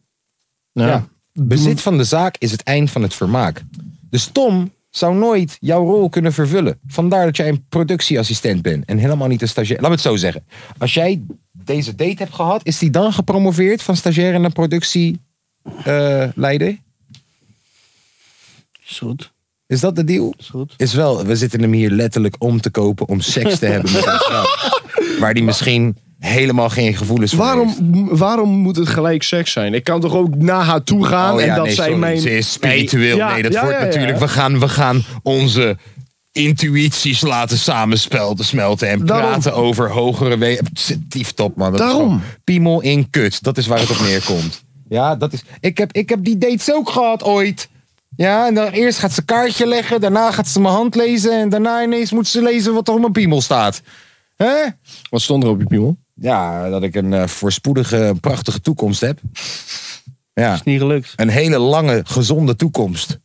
Nou,
ja. Bezit van de zaak is het eind van het vermaak. Dus Tom zou nooit jouw rol kunnen vervullen. Vandaar dat jij een productieassistent bent en helemaal niet een stagiair. Laat me het zo zeggen. Als jij deze date hebt gehad, is die dan gepromoveerd van stagiair naar productieleider? Eh,
Is goed,
Is dat de deal?
is goed.
Is wel, we zitten hem hier letterlijk om te kopen om seks te hebben met een vrouw. Waar die misschien helemaal geen gevoelens voor
Waarom,
heeft.
m- waarom moet het gelijk seks zijn? Ik kan toch ook naar haar toe gaan
Oh
en
ja,
dat
nee,
zij
sorry.
mijn...
Ze is spiritueel. Nee,
Ja,
dat
ja,
wordt
ja, ja.
natuurlijk. We gaan, we gaan onze intuïties laten samensmelten smelten en
Daarom.
praten over hogere wegen. Tieftop, man. Dat is
Daarom.
gewoon Piemel in kut. Dat is waar het op neerkomt. Ja, dat is. Ik heb, ik heb die dates ook gehad ooit. Ja, en dan eerst gaat ze kaartje leggen, daarna gaat ze mijn hand lezen en daarna ineens moet ze lezen wat er op mijn piemel staat. Hè?
Wat stond er op je piemel?
Ja, dat ik een eh, voorspoedige, prachtige toekomst heb. Ja
Is niet gelukt.
een hele lange, gezonde toekomst.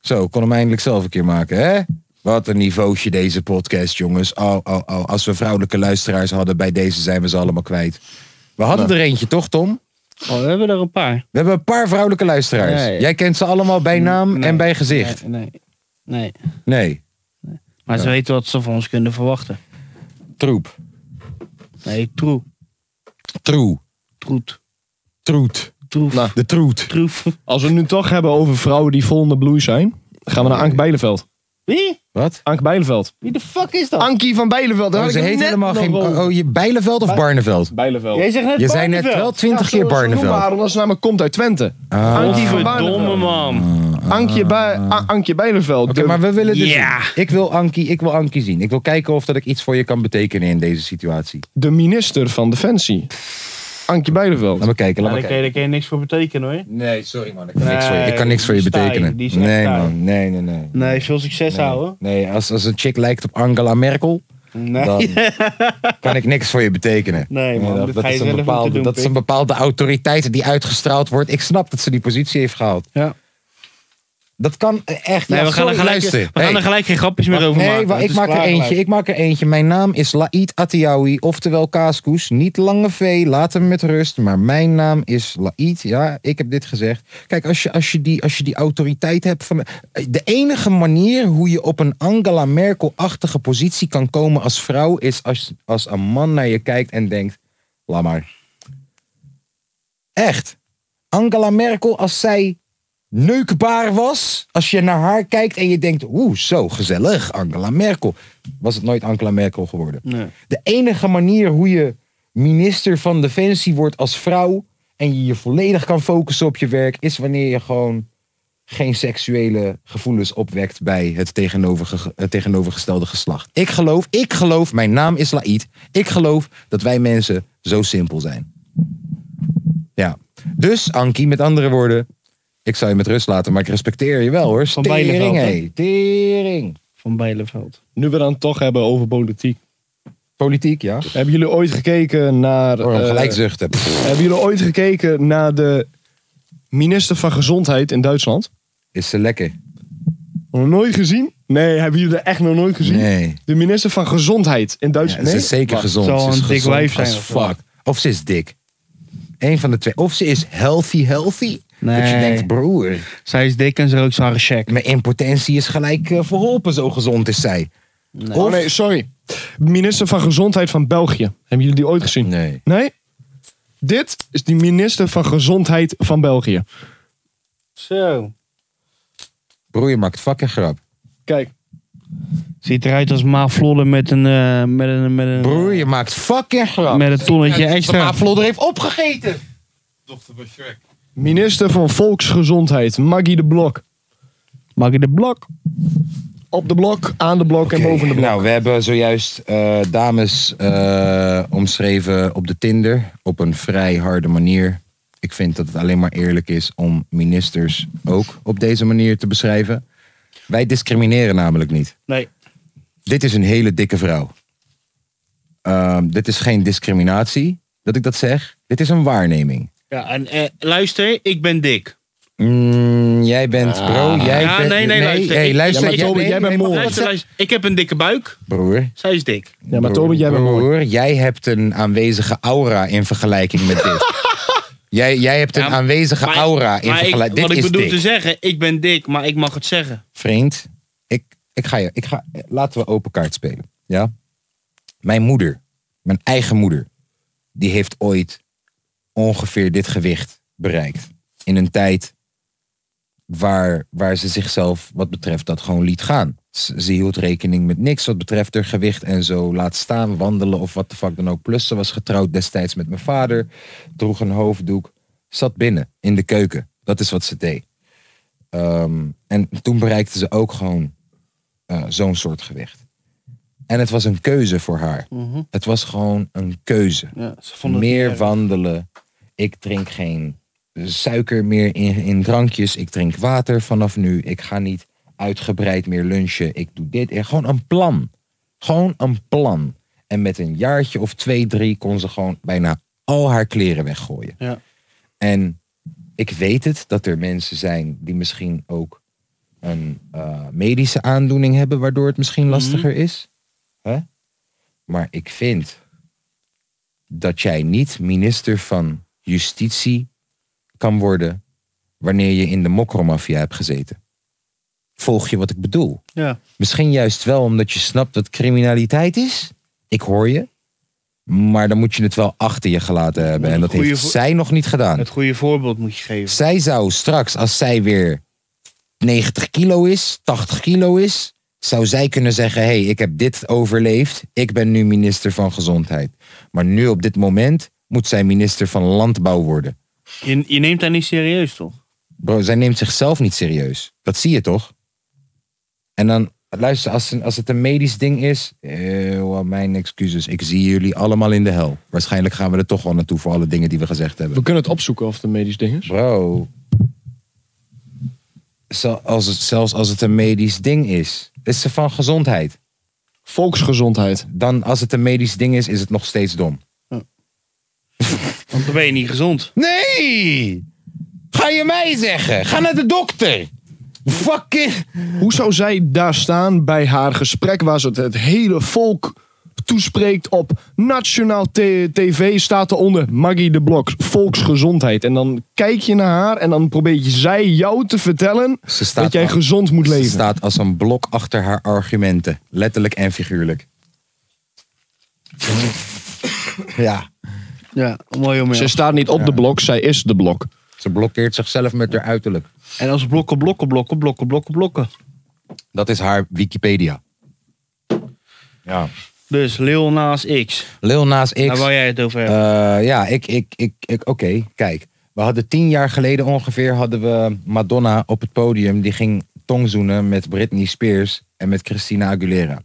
Zo, kon hem eindelijk zelf een keer maken, hè? Wat een niveautje deze podcast, jongens. Oh, oh, oh. Als we vrouwelijke luisteraars hadden, bij deze zijn we ze allemaal kwijt. We hadden
Nou.
er eentje, toch, Tom?
Oh, we hebben er een paar.
We hebben een paar vrouwelijke luisteraars.
Nee.
Jij kent ze allemaal bij naam
Nee,
en bij gezicht.
Nee, nee. nee.
Nee,
Maar ze weten wat ze van ons kunnen verwachten.
troep.
Nee, troe.
Troe.
Troet.
Troet.
Troef.
De troet.
Troef.
Als we het nu toch hebben over vrouwen die vol in de bloei zijn, gaan we naar Ank Bijleveld.
Wie?
Wat?
Ank Bijleveld.
Wie de fuck is dat?
Ankie van Bijleveld. daar
Oh,
had
ze
ik hem
heet
net
helemaal
nog
geen...
over.
Oh, je Bijleveld of Barneveld?
Bijleveld.
Jij zegt net
Je zei net
Barneveld.
wel twintig
Zo-
keer
zo noemen we
Barneveld.
haar, omdat ze namelijk komt uit Twente.
Ah. Mm.
Ankie van
Verdomme
Barneveld.
man.
Ankje, bij, A- Ankje Bijleveld.
Oké, maar we willen dus.
Ja.
zien. Ik wil Ankie, ik wil Ankie zien. Ik wil kijken of dat ik iets voor je kan betekenen in deze situatie.
De minister van Defensie. Ankje Bijleveld.
Laat me kijken, laat
daar,
me
kan
kijken.
je, daar kan je niks voor betekenen hoor.
Nee, sorry man, ik kan,
Nee,
niks, voor je. Ik kan niks voor je
die is taai,
betekenen.
die is echt
nee
taai.
man, nee, nee, nee.
Nee, veel succes
Nee.
houden.
Nee, als, als een chick lijkt op Angela Merkel,
Nee.
dan kan ik niks voor je betekenen.
Nee, man, dat ga je
is een
zelf moeten
bepaalde,
doen,
dat is een
pik.
bepaalde autoriteit die uitgestraald wordt. Ik snap dat ze die positie heeft gehaald.
Ja.
Dat kan echt.
Nee,
ja,
we, gaan er
sorry,
gelijk,
luisteren.
we gaan
Hey.
er gelijk geen grapjes meer
Wacht,
over
nee,
maken.
wa-
Het
ik
is
maak er
klaar
eentje.
gelijk.
Ik maak er eentje. Mijn naam is Laid Atiawi, oftewel Kaaskoes. Niet lange V, laat hem met rust. Maar mijn naam is Laid. Ja, ik heb dit gezegd. Kijk, als je, als je, die, als je die autoriteit hebt van. De enige manier hoe je op een Angela Merkel-achtige positie kan komen als vrouw. is als, als een man naar je kijkt en denkt: laat maar. Echt. Angela Merkel, als zij neukbaar was. Als je naar haar kijkt en je denkt, oeh, zo gezellig, Angela Merkel. Was het nooit Angela Merkel geworden.
Nee.
De enige manier hoe je minister van Defensie wordt als vrouw... en je je volledig kan focussen op je werk... is wanneer je gewoon geen seksuele gevoelens opwekt... bij het, tegenoverge- het tegenovergestelde geslacht. Ik geloof, ik geloof, mijn naam is Laïd. Ik geloof dat wij mensen zo simpel zijn. Ja. Dus, Ankie, met andere woorden... Ik zou je met rust laten, maar ik respecteer je wel hoor.
Van
Tering,
Bijleveld, hè?
hé. Tering.
Van Bijleveld.
Nu we dan het toch hebben over politiek.
Politiek, ja.
Hebben jullie ooit gekeken naar...
Waarom
eh,
gelijk zuchten?
hebben jullie ooit gekeken naar de minister van Gezondheid in Duitsland?
Is ze lekker?
Nog nooit gezien? Nee, hebben jullie er echt nog nooit gezien?
Nee.
De minister van Gezondheid in
Ja,
Duitsland.
Ze
nee?
is zeker
Wacht.
gezond.
zal
Ze is
een dik
gezond
wijf zijn
as
of
fuck. Of ze is dik. Eén van de twee. Of ze is healthy, healthy. Dat je
Nee.
denkt, broer,
Zij is dik en ze rookt zware check.
mijn impotentie is gelijk eh, verholpen. Zo gezond is zij.
Oh nee, sorry. Minister van Gezondheid van België. Hebben jullie die ooit gezien?
Nee.
Nee? Dit is die minister van Gezondheid van België.
Zo.
Broer, je maakt fucking grap.
Kijk.
Ziet eruit als Ma Flodder met een, eh, met een, met een, eh,
Broer, je maakt fucking grap.
met een tonnetje extra.
Maar Vlodder heeft opgegeten.
Dochter van Shrek.
Minister van Volksgezondheid, Maggie de Blok.
Maak je de blok.
Op de blok, aan de blok en
Oké,
boven de blok.
Nou, we hebben zojuist eh, dames eh, omschreven op de Tinder. Op een vrij harde manier. Ik vind dat het alleen maar eerlijk is om ministers ook op deze manier te beschrijven. Wij discrimineren namelijk niet.
Nee.
Dit is een hele dikke vrouw. Ehm, dit is geen discriminatie dat ik dat zeg. Dit is een waarneming.
Ja, en eh, luister, ik ben dik.
Mm, jij bent bro, jij
Ja,
bent...
nee, nee, luister.
hey,
Ik-
luister.
Ja, maar Toby, jij bent
nee,
mol.
mag-
Luister, luister, ik heb een dikke buik.
Broer.
Zij is dik.
Ja, maar Toby, jij bent
Broer,
mooi.
jij hebt een aanwezige aura in vergelijking met dit. jij, jij hebt een
Ja,
aanwezige
Maar-
aura in
maar ik-
vergelijking...
Wat
Dit
ik
is
bedoel dus
dik.
te zeggen, ik ben dik, maar ik mag het zeggen.
Vriend, ik, ik ga je... Ik ga, laten we open kaart spelen. Ja? Mijn moeder, mijn eigen moeder, die heeft ooit ongeveer dit gewicht bereikt. In een tijd waar, waar ze zichzelf wat betreft dat gewoon liet gaan. Ze, ze hield rekening met niks wat betreft haar gewicht en zo. Laat staan, wandelen of wat de fuck dan ook. Plus ze was getrouwd destijds met mijn vader. Droeg een hoofddoek. Zat binnen in de keuken. Dat is wat ze deed. Ehm, en toen bereikte ze ook gewoon eh, zo'n soort gewicht. En het was een keuze voor haar.
Mhm.
Het was gewoon een keuze
Ja, ze vonden het
meer
niet erg.
wandelen. Ik drink geen suiker meer in, in drankjes. Ik drink water vanaf nu. Ik ga niet uitgebreid meer lunchen. Ik doe dit. En gewoon een plan. Gewoon een plan. En met een jaartje of twee, drie kon ze gewoon bijna al haar kleren weggooien.
Ja.
En ik weet het dat er mensen zijn die misschien ook een eh, medische aandoening hebben, waardoor het
Mhm.
misschien lastiger is. Hè? Maar ik vind dat jij niet minister van Justitie kan worden wanneer je in de mokromafia hebt gezeten. Volg je wat ik bedoel?
Ja.
Misschien juist wel omdat je snapt wat criminaliteit is. Ik hoor je. Maar dan moet je het wel achter je gelaten hebben. En dat
Goeie
heeft
voor-
zij nog niet gedaan.
Het goede voorbeeld moet je geven.
Zij zou straks, als zij weer 90 kilo is, 80 kilo is, zou zij kunnen zeggen: hé, hey, ik heb dit overleefd. Ik ben nu minister van Gezondheid. Maar nu op dit moment moet zij minister van Landbouw worden.
Je, je neemt haar niet serieus, toch?
Bro, zij neemt zichzelf niet serieus. Dat zie je toch? En dan, luister, als, een- als het een medisch ding is, eeuw, mijn excuses. Ik zie jullie allemaal in de hel. Waarschijnlijk gaan we er toch wel naartoe voor alle dingen die we gezegd hebben.
We kunnen het opzoeken of het een medisch ding is.
Bro. Zo- als het, zelfs als het een medisch ding is. Is ze van gezondheid?
Volksgezondheid.
Dan als het een medisch ding is, is het nog steeds dom.
Want dan ben je niet gezond.
Nee! Ga je mij zeggen? Ga naar de dokter! Fucking...
Hoe zou zij daar staan bij haar gesprek waar ze het, het hele volk toespreekt op nationaal t- tv staat eronder Maggie de Blok, volksgezondheid. En dan kijk je naar haar en dan probeert zij jou te vertellen
Ze staat
dat jij
al-
gezond moet
Ze
leven.
staat als een blok achter haar argumenten. Letterlijk en figuurlijk. ja.
Ja, mooi om
Ze staat niet op de blok, zij is de blok.
Ze blokkeert zichzelf met haar uiterlijk.
En als blokken, blokken, blokken, blokken, blokken, blokken.
Dat is haar Wikipedia. Ja. Nou,
Dus Lil Nas X.
Lil Nas X.
Daar wou jij het over hebben.
Eh, ja, ik, ik, ik, ik oké, kijk. We hadden tien jaar geleden ongeveer hadden we Madonna op het podium. Die ging tongzoenen met Britney Spears en met Christina Aguilera.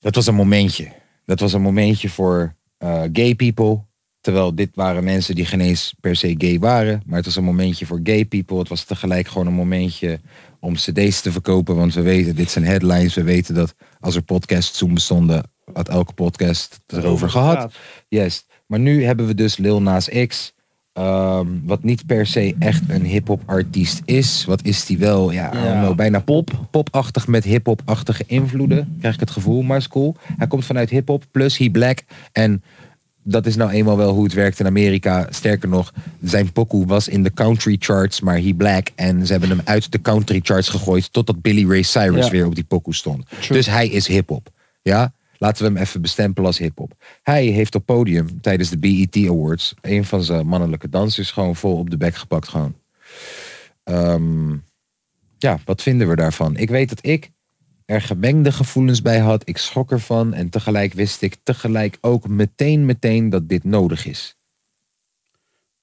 Dat was een momentje. Dat was een momentje voor eh, gay people. Terwijl dit waren mensen die geen eens per se gay waren. Maar het was een momentje voor gay people. Het was tegelijk gewoon een momentje om cd's te verkopen. Want we weten, dit zijn headlines. We weten dat als er podcasts toen bestonden, had elke podcast het erover gehad.
Praat.
Yes. Maar nu hebben we dus Lil Nas X. ehm, wat niet per se echt een hip-hop artiest is. Wat is die wel? Ja, I don't
Ja.
know, bijna pop. Popachtig met hip-hop-achtige invloeden. Krijg ik het gevoel, maar is cool. Hij komt vanuit hip-hop, plus he black. En dat is nou eenmaal wel hoe het werkt in Amerika. Sterker nog, zijn pokoe was in de country charts, maar he black. En ze hebben hem uit de country charts gegooid. Totdat Billy Ray Cyrus
Ja.
weer op die pokoe stond. Dus hij is hip-hop. Ja? Laten we hem even bestempelen als hip-hop. Hij heeft op podium tijdens de BET Awards. een van zijn mannelijke dansers gewoon vol op de bek gepakt. Gewoon. Ehm, ja, wat vinden we daarvan? Ik weet dat ik er gemengde gevoelens bij had. Ik schrok ervan. En tegelijk wist ik tegelijk ook meteen, meteen dat dit nodig is.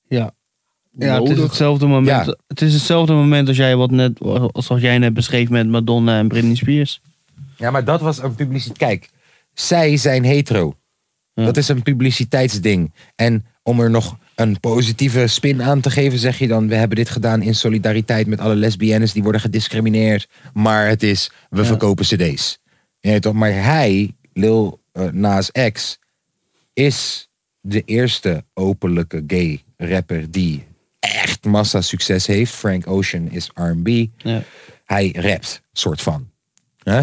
Ja, het is
Nodig.
hetzelfde moment.
Eh, Ja.
Het is hetzelfde moment als jij wat net, zoals jij net beschreef met Madonna en Britney Spears.
Ja, maar dat was een publiciteit. Kijk, zij zijn hetero.
Ja.
Dat is een publiciteitsding. En om er nog een positieve spin aan te geven, zeg je dan: we hebben dit gedaan in solidariteit met alle lesbiennes die worden gediscrimineerd. Maar het is, we verkopen CD's. Je weet toch? Maar hij, Lil eh, Nas X, is de eerste openlijke gay rapper die echt massa succes heeft. Frank Ocean is R&B.
Ja.
Hij rapt, soort van. Hè?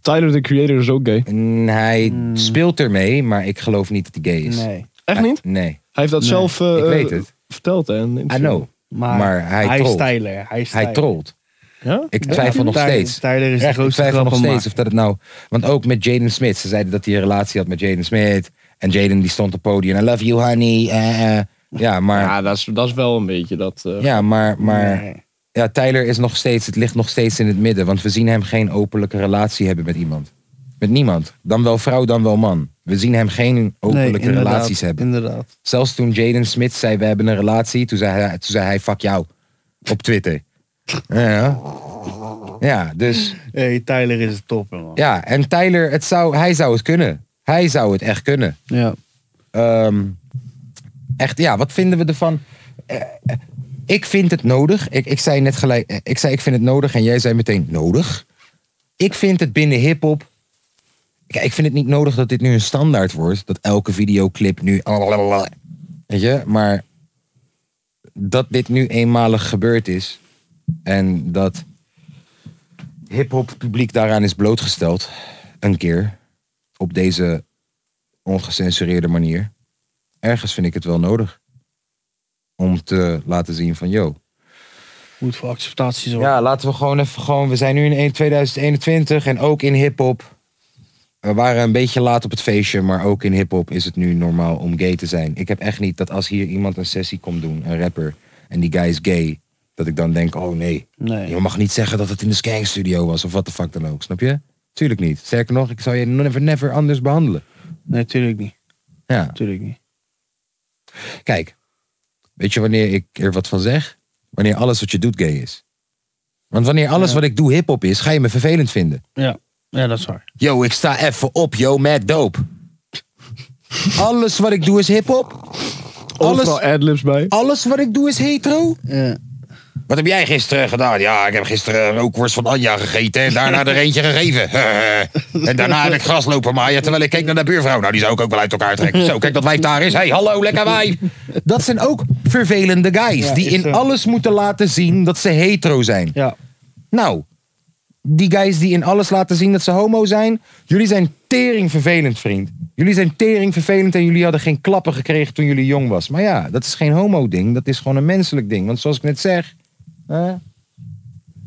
Tyler, the creator, is ook gay.
Mm, Hij
Hmm.
speelt ermee, maar ik geloof niet dat hij gay is.
Echt niet?
Hij- nee,
Hij heeft dat
Nee.
zelf eh,
Ik weet
eh,
het.
verteld. Hè, in een
I
interview.
know. Maar, hij,
eh, hij is
trolt.
Tyler. Hij is
Hij trolt.
Ja?
Ik twijfel nog
Tyler-
steeds.
Tyler is de
Echt, ik
grootste
twijfel nog steeds
grappenmaker.
of dat het nou... Want ook met Jaden Smith. Ze zeiden dat hij een relatie had met Jaden Smith. En Jaden die stond op het podium. I love you honey. eh, eh. Ja, maar, ja.
Ja, dat is, dat is wel een beetje dat... eh,
maar, maar ja, Tyler is nog steeds, het ligt nog steeds in het midden. Want we zien hem geen openlijke relatie hebben met iemand. Met niemand. Dan wel vrouw, dan wel man. We zien hem geen openlijke
inderdaad,
relaties hebben.
Inderdaad.
Zelfs toen Jaden Smith zei, we hebben een relatie, toen zei hij, toen zei hij fuck jou. Op Twitter. Ja. Ja, dus
hey, Tyler is het topper, man.
ja. En Tyler, het zou, hij zou het kunnen. Hij zou het echt kunnen.
Ja.
Ehm, echt, ja, wat vinden we ervan? Eh, eh, ik vind het nodig. Ik, ik zei net gelijk, eh, ik zei ik vind het nodig en jij zei meteen nodig. Ik vind het binnen hip-hop. Kijk, ik vind het niet nodig dat dit nu een standaard wordt. Dat elke videoclip nu. alalala, Weet je, maar dat dit nu eenmalig gebeurd is. En dat hip-hop publiek daaraan is blootgesteld. Een keer. Op deze ongecensureerde manier. Ergens vind ik het wel nodig. Om te laten zien van, yo.
Goed voor acceptatie zorgen.
Ja, laten we gewoon even gewoon... We zijn nu in 2021 en ook in hiphop. We waren een beetje laat op het feestje, maar ook in hiphop is het nu normaal om gay te zijn. Ik heb echt niet dat als hier iemand een sessie komt doen, een rapper, en die guy is gay, dat ik dan denk, oh nee.
Nee.
Je mag niet zeggen dat het in de Skank studio was of wat de fuck dan ook, snap je? Tuurlijk niet. Sterker nog, ik zou je never, never anders behandelen.
Nee, tuurlijk niet.
Ja.
Tuurlijk niet.
Kijk, weet je wanneer ik er wat van zeg? Wanneer alles wat je doet gay is. Want wanneer alles wat ik doe hip-hop is, ga je me vervelend vinden.
Ja. Ja, dat is waar.
Yo, ik sta even op, yo, mad dope. Alles wat ik doe is hip-hop.
Overal
Alles-
adlibs bij.
Alles wat ik doe is hetero.
Ja.
Wat heb jij gisteren gedaan? Ja, ik heb gisteren een rookworst van Anja gegeten en daarna er eentje gegeven. en daarna heb ik gras lopen maaien terwijl ik keek naar de buurvrouw. Nou, die zou ik ook wel uit elkaar trekken. Zo, kijk dat wijf daar is. hey, hallo, lekker wijf. Dat zijn ook vervelende guys
Ja,
die
is
in
zo.
alles moeten laten zien dat ze hetero zijn.
Ja.
Nou, die guys die in alles laten zien dat ze homo zijn. Jullie zijn tering vervelend, vriend. Jullie zijn tering vervelend en jullie hadden geen klappen gekregen toen jullie jong was. Maar ja, dat is geen homo-ding. Dat is gewoon een menselijk ding. Want zoals ik net zeg... hè,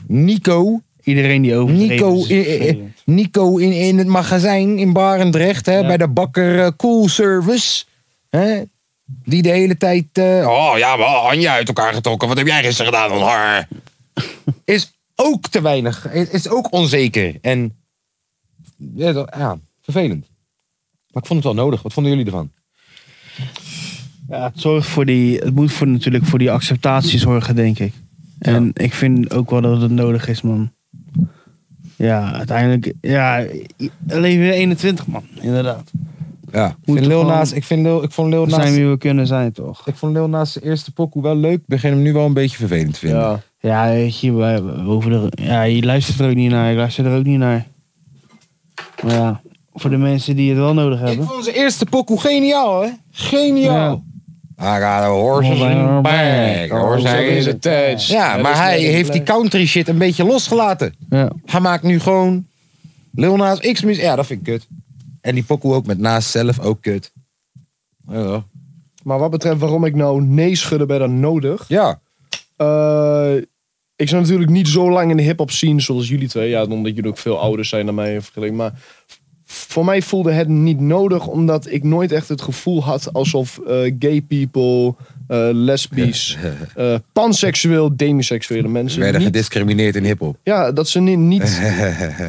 Nico,
Iedereen die over
Nico, i- i-
in
Nico in, in het magazijn in Barendrecht, hè,
Ja.
bij de bakker eh, Cool Service. Hè, die de hele tijd. eh, oh ja, wel Anja uit elkaar getrokken. Wat heb jij gisteren gedaan? Dan? Har. Is ook te weinig. Is, is ook onzeker. En. Ja, dat- ja, vervelend. Maar ik vond het wel nodig. Wat vonden jullie ervan?
Ja, het zorgt voor die, het moet voor, natuurlijk voor die acceptatie zorgen, denk ik. En ik vind ook wel dat het nodig is, man. Ja, uiteindelijk, ja, i- leven we 21, man, inderdaad.
Ja, ik
Moet
vind Lil
gewoon-
Nas. Ik, vind Lil, ik vond Lil
We zijn
Nas.
wie we kunnen zijn, toch?
Ik vond Lil Nas' eerste pokoe wel leuk. Ik begin hem nu wel een beetje vervelend te vinden.
Ja.
Ja, weet je, we, we hoeven er, ja, je luistert er ook niet naar, ik luister er ook niet naar. Maar ja, voor de mensen die het wel nodig
Ik
hebben.
vond zijn eerste pokoe geniaal, hè? Geniaal. I got a horse in a bag. Horse Oh, is het.
touch.
Ja, maar hij heeft die country shit een beetje losgelaten.
Ja,
Hij maakt nu gewoon Lil Nas X mis. Ja, dat vind ik kut. En die pokoe ook met Nas zelf ook kut. Ja.
Maar wat betreft waarom ik nou nee schudden ben dan nodig.
Ja.
Eh, ik zit natuurlijk niet zo lang in de hip-hop scene zoals jullie twee. Ja, omdat jullie ook veel ouder zijn dan mij in vergelijking. Maar voor mij voelde het niet nodig, omdat ik nooit echt het gevoel had alsof eh, gay people, eh, lesbisch, eh, panseksueel, demiseksuele
Ze
mensen.
werden
niet-
gediscrimineerd in hiphop.
ja, dat ze niet. niet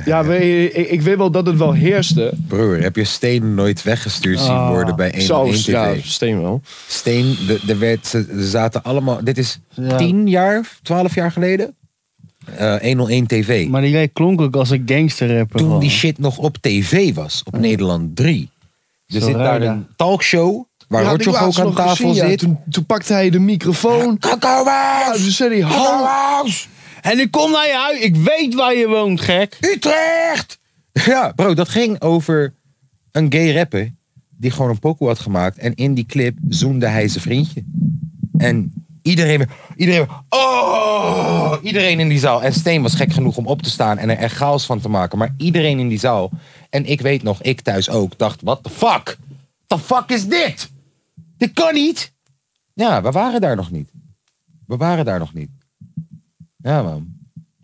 ja, we- ik, ik weet wel dat het wel heerste.
Broer, heb je Steen nooit weggestuurd zien
Ah.
worden bij 1
Zo, ja,
TV?
steen wel.
Steen, de- er werd, ze ze zaten allemaal... Dit is
Ja.
10 jaar, 12 jaar geleden. Eh, 101 TV.
maar die guy klonk ook als een gangster rapper.
toen
gewoon.
die shit nog op tv was, op Nederland 3. Er
Zo
zit
raar,
daar
ja.
een talkshow waar
Ja, had ik
Rotjoch ook
laatst
aan
nog
tafel
gezien, ja.
zit.
Toen, toen pakte hij de microfoon. Ja,
Kakaohuis!
toen zei hij, hallo.
Kakaohuis!
En ik kom naar je huis, ik weet waar je woont, gek.
Utrecht! Ja, bro, dat ging over een gay rapper die gewoon een pokoe had gemaakt. En in die clip zoende hij zijn vriendje. En iedereen, iedereen, oh, iedereen in die zaal. En Steen was gek genoeg om op te staan en er echt chaos van te maken. Maar iedereen in die zaal, en ik weet nog, ik thuis ook, dacht, what the fuck? The fuck is dit? Dit kan niet. Ja, we waren daar nog niet. We waren daar nog niet. Ja, man.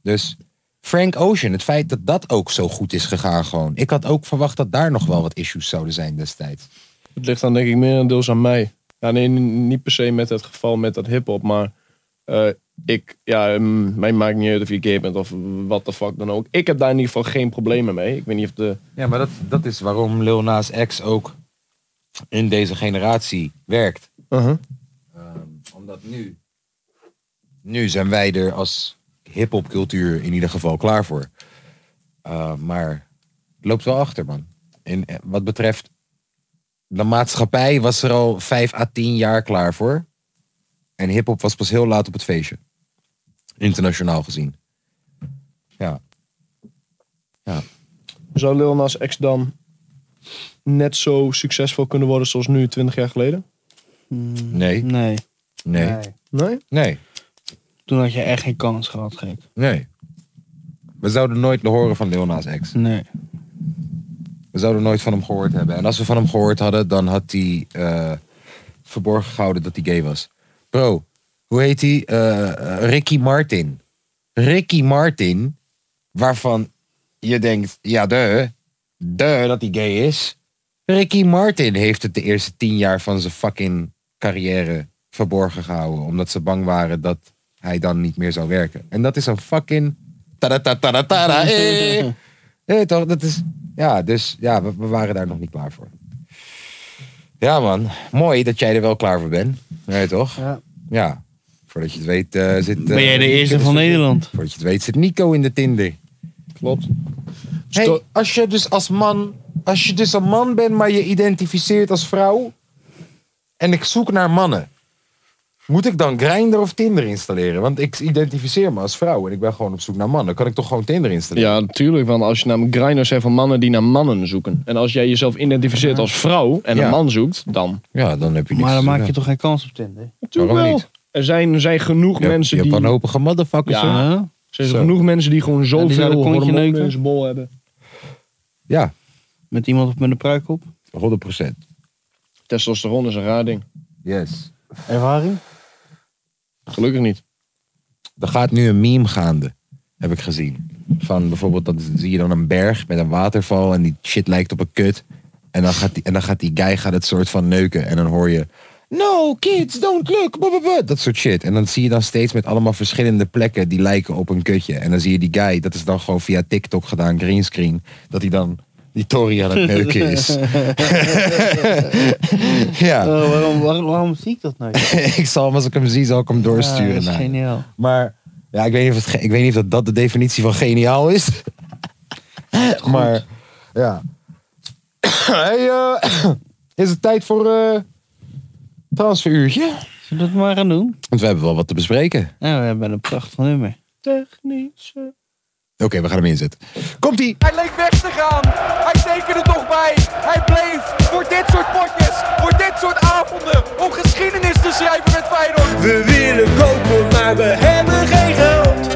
Dus Frank Ocean, het feit dat dat ook zo goed is gegaan gewoon. Ik had ook verwacht dat daar nog wel wat issues zouden zijn destijds.
Het ligt dan denk ik meer deels aan mij. Ja, Nou, nee, n- niet per se met het geval met dat hip-hop, maar eh, ik, ja, mm, mij maakt niet uit of je gay bent of wat de fuck dan ook. Ik heb daar in ieder geval geen problemen mee. Ik weet niet of de.
Ja, maar dat, dat is waarom Lil Nas X ook in deze generatie werkt. Ehm, omdat nu... Nu zijn wij er als hiphopcultuur in ieder geval klaar voor. Eh, maar het loopt wel achter, man. En eh, wat betreft de maatschappij was er al vijf à tien jaar klaar voor. En hiphop was pas heel laat op het feestje. Internationaal gezien.
Zou Lil Nas X dan net zo succesvol kunnen worden zoals nu, 20 jaar geleden?
Nee,
Nee.
nee,
Nee?
nee,
Toen had je echt geen kans gehad, gek.
nee. We zouden nooit horen van Lil Nas X.
Nee.
We zouden nooit van hem gehoord hebben. En als we van hem gehoord hadden, dan had hij eh, verborgen gehouden dat hij gay was. Bro, hoe heet hij? Eh, Ricky Martin. Ricky Martin, waarvan je denkt, ja de, de dat hij gay is. Ricky Martin heeft het de eerste tien jaar van zijn fucking carrière verborgen gehouden. Omdat ze bang waren dat hij dan niet meer zou werken. En dat is een fucking... Tada, tada, tada, tada, eh. Nee, toch? Dat is, ja, dus ja, we, we waren daar nog niet klaar voor. Ja, man. Mooi dat jij er wel klaar voor bent. Nee, toch?
Ja.
Ja. Voordat je het weet eh, zit... eh,
Ben jij de eerste van Nederland?
Voordat je het weet zit Nico in de Tinder.
Klopt.
Hey, als je dus als man... Als je dus een man bent, maar je identificeert als vrouw... En ik zoek naar mannen. Moet ik dan Grindr of Tinder installeren? Want ik identificeer me als vrouw en ik ben gewoon op zoek naar mannen. Kan ik toch gewoon Tinder installeren?
Ja, natuurlijk. Want als je namelijk grinders hebt van mannen die naar mannen zoeken. En als jij jezelf identificeert als vrouw en
Ja.
een man zoekt, dan.
Ja, dan heb je niks
Maar dan
te
maak
doen.
je toch geen kans op Tinder?
Natuurlijk
Waarom
wel.
niet?
Er zijn, er zijn genoeg
Je hebt-
mensen
je hebt
die.
wanhopige motherfuckers.
Ja.
hoor.
Huh?
Er zijn
Zo.
genoeg mensen die gewoon
die
zoveel
willen kontje
hormonen
neuken.
in zijn bol hebben.
Ja,
Met iemand op met een pruik op?
100%.
Testosteron is een raar ding.
Yes.
Ervaring?
Gelukkig niet.
Er gaat nu een meme gaande, heb ik gezien. Van bijvoorbeeld, dan zie je dan een berg met een waterval en die shit lijkt op een kut. En dan gaat die, en dan gaat die guy gaat het soort van neuken en dan hoor je... No, kids, don't look, buh, buh, buh," dat soort shit. En dan zie je dan steeds met allemaal verschillende plekken die lijken op een kutje. En dan zie je die guy, dat is dan gewoon via TikTok gedaan, greenscreen, dat hij dan die Tory aan het neuken is. ja.
Oh, waarom, waarom, waarom zie ik dat nou?
ik zal hem, als ik hem zie, zal ik hem
Ja,
doorsturen.
dat is
naar je.
geniaal.
maar ja, ik weet niet of, het, ge- ik weet niet of dat, dat de definitie van geniaal is. maar ja. hey, eh, is het tijd voor eh transferuurtje?
Zullen we dat maar gaan doen?
Want we hebben wel wat te bespreken.
Ja, we hebben een prachtig nummer.
Oké, we gaan hem inzetten. Komt-ie!
Hij leek weg te gaan. Hij tekende toch bij. Hij bleef voor dit soort potjes, voor dit soort avonden, om geschiedenis te schrijven met Feyenoord. We willen kopen, maar we hebben geen geld.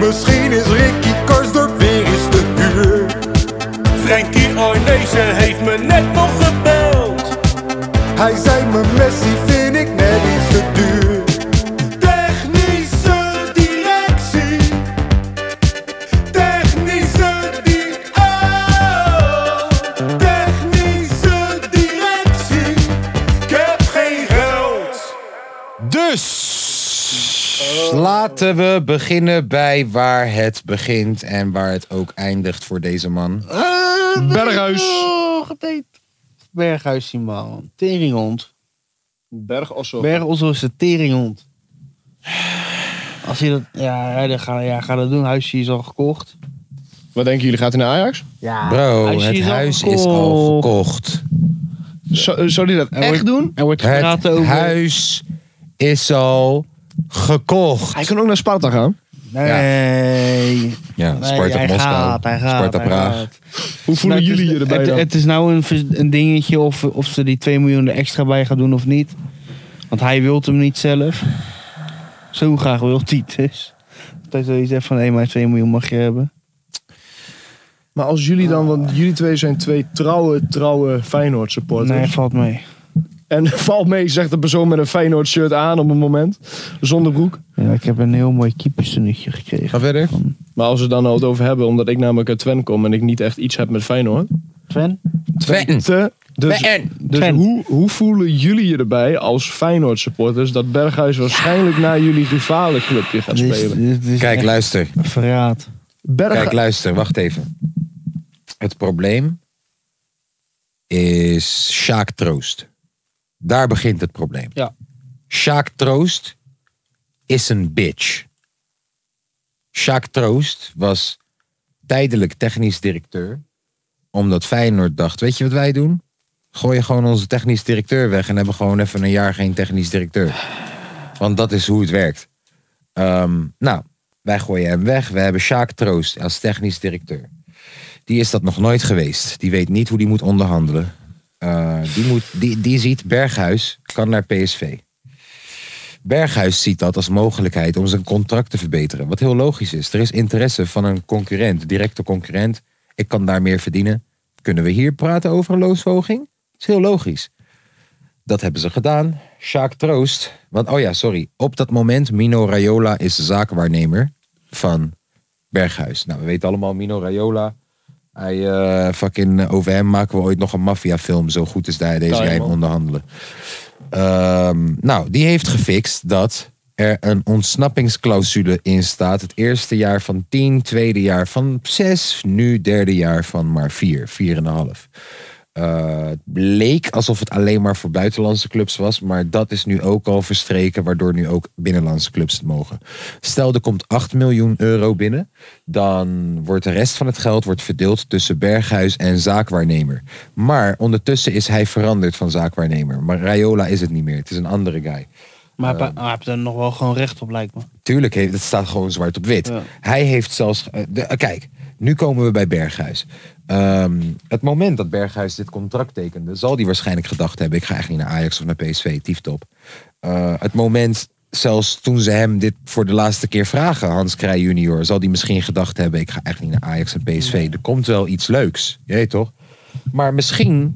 Misschien is Ricky Karsdorp weer eens te duur. Frankie Arnezen heeft me net nog gebeld. Hij zei me Messi vind ik net iets te duur. Technische directie. Technische di- oh, technische directie. Ik heb geen geld.
Dus laten we beginnen bij waar het begint en waar het ook eindigt voor deze man.
Berghuis.
Oh, geteet. Berghuis zien man. Teringhond.
Berg Osso.
Bergosso is de teringhond. Als hij dat... Ja, hij dat gaat, ja, gaat dat doen. Huisje is al gekocht.
Wat denken jullie? Gaat hij naar Ajax?
Ja.
Bro,
Huisje
het
is al
huis is al gekocht.
Zou zou hij eh, dat
Er
echt
wordt-
doen?
Er wordt
Het
gepraat over...
huis is al gekocht.
Hij kan ook naar Sparta gaan.
Nee.
Ja,
Nee, hij gaat, hij gaat,
Sparta
hij
Praag.
gaat.
Hoe voelen
Maar het
jullie
is-
je erbij
het,
dan?
het is nou een, vers- een dingetje of, of ze die 2 miljoen er extra bij gaat doen of niet. Want hij wil hem niet zelf. Zo graag wil hij het dus. Dat hij zoiets heeft van, hé, maar 2 miljoen mag je hebben.
Maar als jullie dan, want jullie twee zijn twee trouwe, trouwe Feyenoord supporters.
Nee, valt mee.
En valt mee, zegt de persoon met een Feyenoord shirt aan op een moment. Zonder broek.
Ja, ik heb een heel mooi keeperstenuutje gekregen.
Ga verder.
Maar als we het dan al het over hebben, omdat ik namelijk uit Twen kom en ik niet echt iets heb met Feyenoord.
Sven?
Twente.
Te Dus,
Ben.
dus
Ben.
hoe, hoe voelen jullie je erbij als Feyenoord supporters dat Berghuis waarschijnlijk naar jullie rivalenclubje gaat
Dit is-
spelen?
dit is
Kijk,
echt
luister.
een verraad.
Berghuis.
Kijk, luister, wacht even. Het probleem is Sjaak Troost. Daar begint het probleem.
Ja.
Sjaak Troost is een bitch. Sjaak Troost was tijdelijk technisch directeur. Omdat Feyenoord dacht, weet je wat wij doen? Gooi gewoon onze technisch directeur weg en hebben gewoon even een jaar geen technisch directeur. Want dat is hoe het werkt. Ehm, nou, wij gooien hem weg. We hebben Sjaak Troost als technisch directeur. Die is dat nog nooit geweest. Die weet niet hoe die moet onderhandelen. Eh, die, moet, die, die ziet Berghuis kan naar PSV. Berghuis ziet dat als mogelijkheid om zijn contract te verbeteren. Wat heel logisch is. Er is interesse van een concurrent, directe concurrent. Ik kan daar meer verdienen. Kunnen we hier praten over een loonsverhoging? Dat is heel logisch. Dat hebben ze gedaan. Sjaak Troost. Want, oh ja, sorry. Op dat moment, Mino Raiola is de zakenwaarnemer van Berghuis. Nou, we weten allemaal, Mino Raiola. Hij, eh, fucking, eh, over hem maken we ooit nog een maffiafilm. Zo goed is daar deze
Ja,
guy in
man.
onderhandelen. Ehm, nou, die heeft gefixt dat er een ontsnappingsclausule in staat. Het eerste jaar van 10, tweede jaar van 6, nu derde jaar van maar 4, 4,5. Eh, het leek alsof het alleen maar voor buitenlandse clubs was, maar dat is nu ook al verstreken, waardoor nu ook binnenlandse clubs het mogen. Stel er komt 8 miljoen euro binnen, dan wordt de rest van het geld wordt verdeeld tussen Berghuis en zaakwaarnemer. Maar ondertussen is hij veranderd van zaakwaarnemer. Maar Raiola is het niet meer, het is een andere guy.
Maar hij heeft- hij heeft er nog wel gewoon recht op, lijkt me.
Tuurlijk, heeft, het staat gewoon zwart op wit.
Ja.
Hij heeft zelfs. eh, de- eh, kijk, nu komen we bij Berghuis. Ehm, het moment dat Berghuis dit contract tekende, zal hij waarschijnlijk gedacht hebben: ik ga echt niet naar Ajax of naar PSV, tieftop. Eh, het moment, zelfs toen ze hem dit voor de laatste keer vragen, Hans Krij junior, zal hij misschien gedacht hebben: ik ga echt niet naar Ajax en PSV. Er komt wel iets leuks, je weet toch? Maar misschien,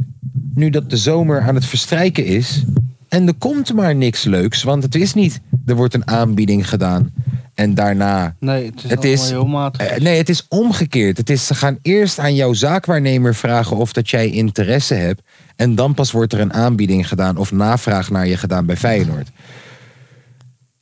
nu dat de zomer aan het verstrijken is. En er komt maar niks leuks. Want het is niet, er wordt een aanbieding gedaan. En daarna.
Nee, het is,
Het is-
allemaal heel matig.
Eh, nee, het is omgekeerd. Het is, ze gaan eerst aan jouw zaakwaarnemer vragen of dat jij interesse hebt. En dan pas wordt er een aanbieding gedaan of navraag naar je gedaan bij Feyenoord.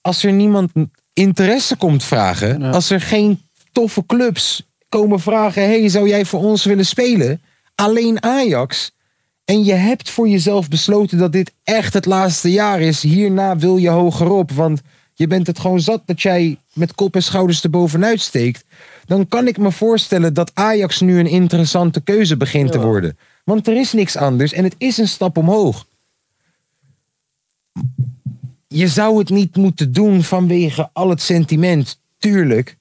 Als er niemand interesse komt vragen,
Ja.
als er geen toffe clubs komen vragen: hey, zou jij voor ons willen spelen? Alleen Ajax. En je hebt voor jezelf besloten dat dit echt het laatste jaar is. Hierna wil je hogerop, want je bent het gewoon zat dat jij met kop en schouders erbovenuit steekt. Dan kan ik me voorstellen dat Ajax nu een interessante keuze begint te worden. Want er is niks anders en het is een stap omhoog. Je zou het niet moeten doen vanwege al het sentiment, tuurlijk.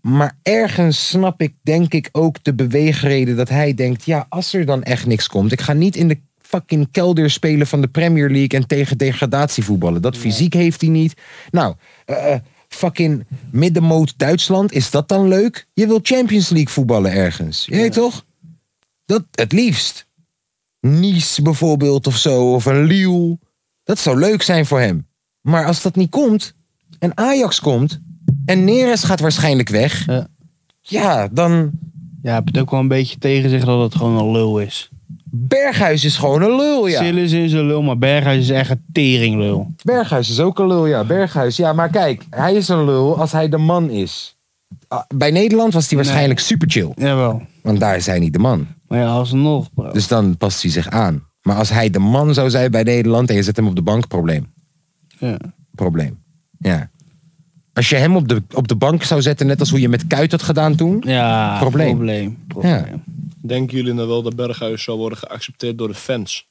Maar ergens snap ik, denk ik, ook de beweegreden dat hij denkt: ja, als er dan echt niks komt, ik ga niet in de fucking kelder spelen van de Premier League en tegen degradatie voetballen. Dat fysiek heeft hij niet. Nou, eh, eh, fucking middenmoot Duitsland, is dat dan leuk? Je wil Champions League voetballen ergens. Je weet toch? Dat het liefst. Nice bijvoorbeeld of zo, of een Lille. Dat zou leuk zijn voor hem. Maar als dat niet komt, en Ajax komt, en Neres gaat waarschijnlijk weg.
Ja.
Ja, dan.
Ja, hij heeft ook wel een beetje tegen zich dat het gewoon een lul is.
Berghuis is gewoon een lul, ja.
Sillis is een lul, maar Berghuis is echt een teringlul.
Berghuis is ook een lul, ja. Berghuis, ja, maar kijk, hij is een lul als hij de man is. Ah, Bij Nederland was hij waarschijnlijk super chill,
Jawel.
want daar is hij niet de man.
Maar ja, alsnog, bro.
Dus dan past hij zich aan. Maar als hij de man zou zijn bij Nederland en je zet hem op de bank, probleem.
Ja.
Probleem. Ja. Als je hem op de, op de bank zou zetten, net als hoe je met Kuit had gedaan toen.
Ja,
Probleem.
probleem. probleem.
Denken jullie nou wel dat Berghuis zou worden geaccepteerd door de fans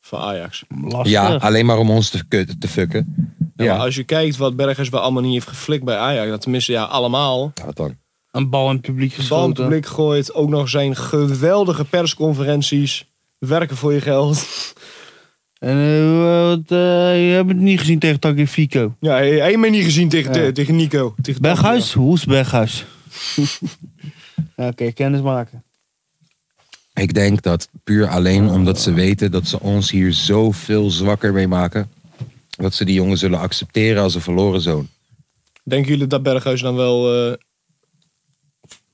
van Ajax?
Lastig.
Ja, alleen maar om ons te, kut- te fucken.
Ja,
Ja.
Maar als je kijkt wat Berghuis bij allemaal niet heeft geflikt bij Ajax, dat tenminste ja, allemaal.
Ja, wat dan?
Een bal in het publiek
Bal het
geschoten.
publiek gooit, ook nog zijn geweldige persconferenties. Werken voor je geld.
En eh, wat, eh, je hebt het niet gezien tegen Taki Fico.
Ja, hij heeft mij niet gezien tegen,
Ja.
tegen Nico. Tegen
Berghuis? Hoe is Berghuis? Ja, Oké, kennis maken.
Ik denk dat puur alleen omdat
Ah.
ze weten dat ze ons hier zoveel zwakker mee maken. Dat ze die jongen zullen accepteren als een verloren zoon.
Denken jullie dat Berghuis dan wel eh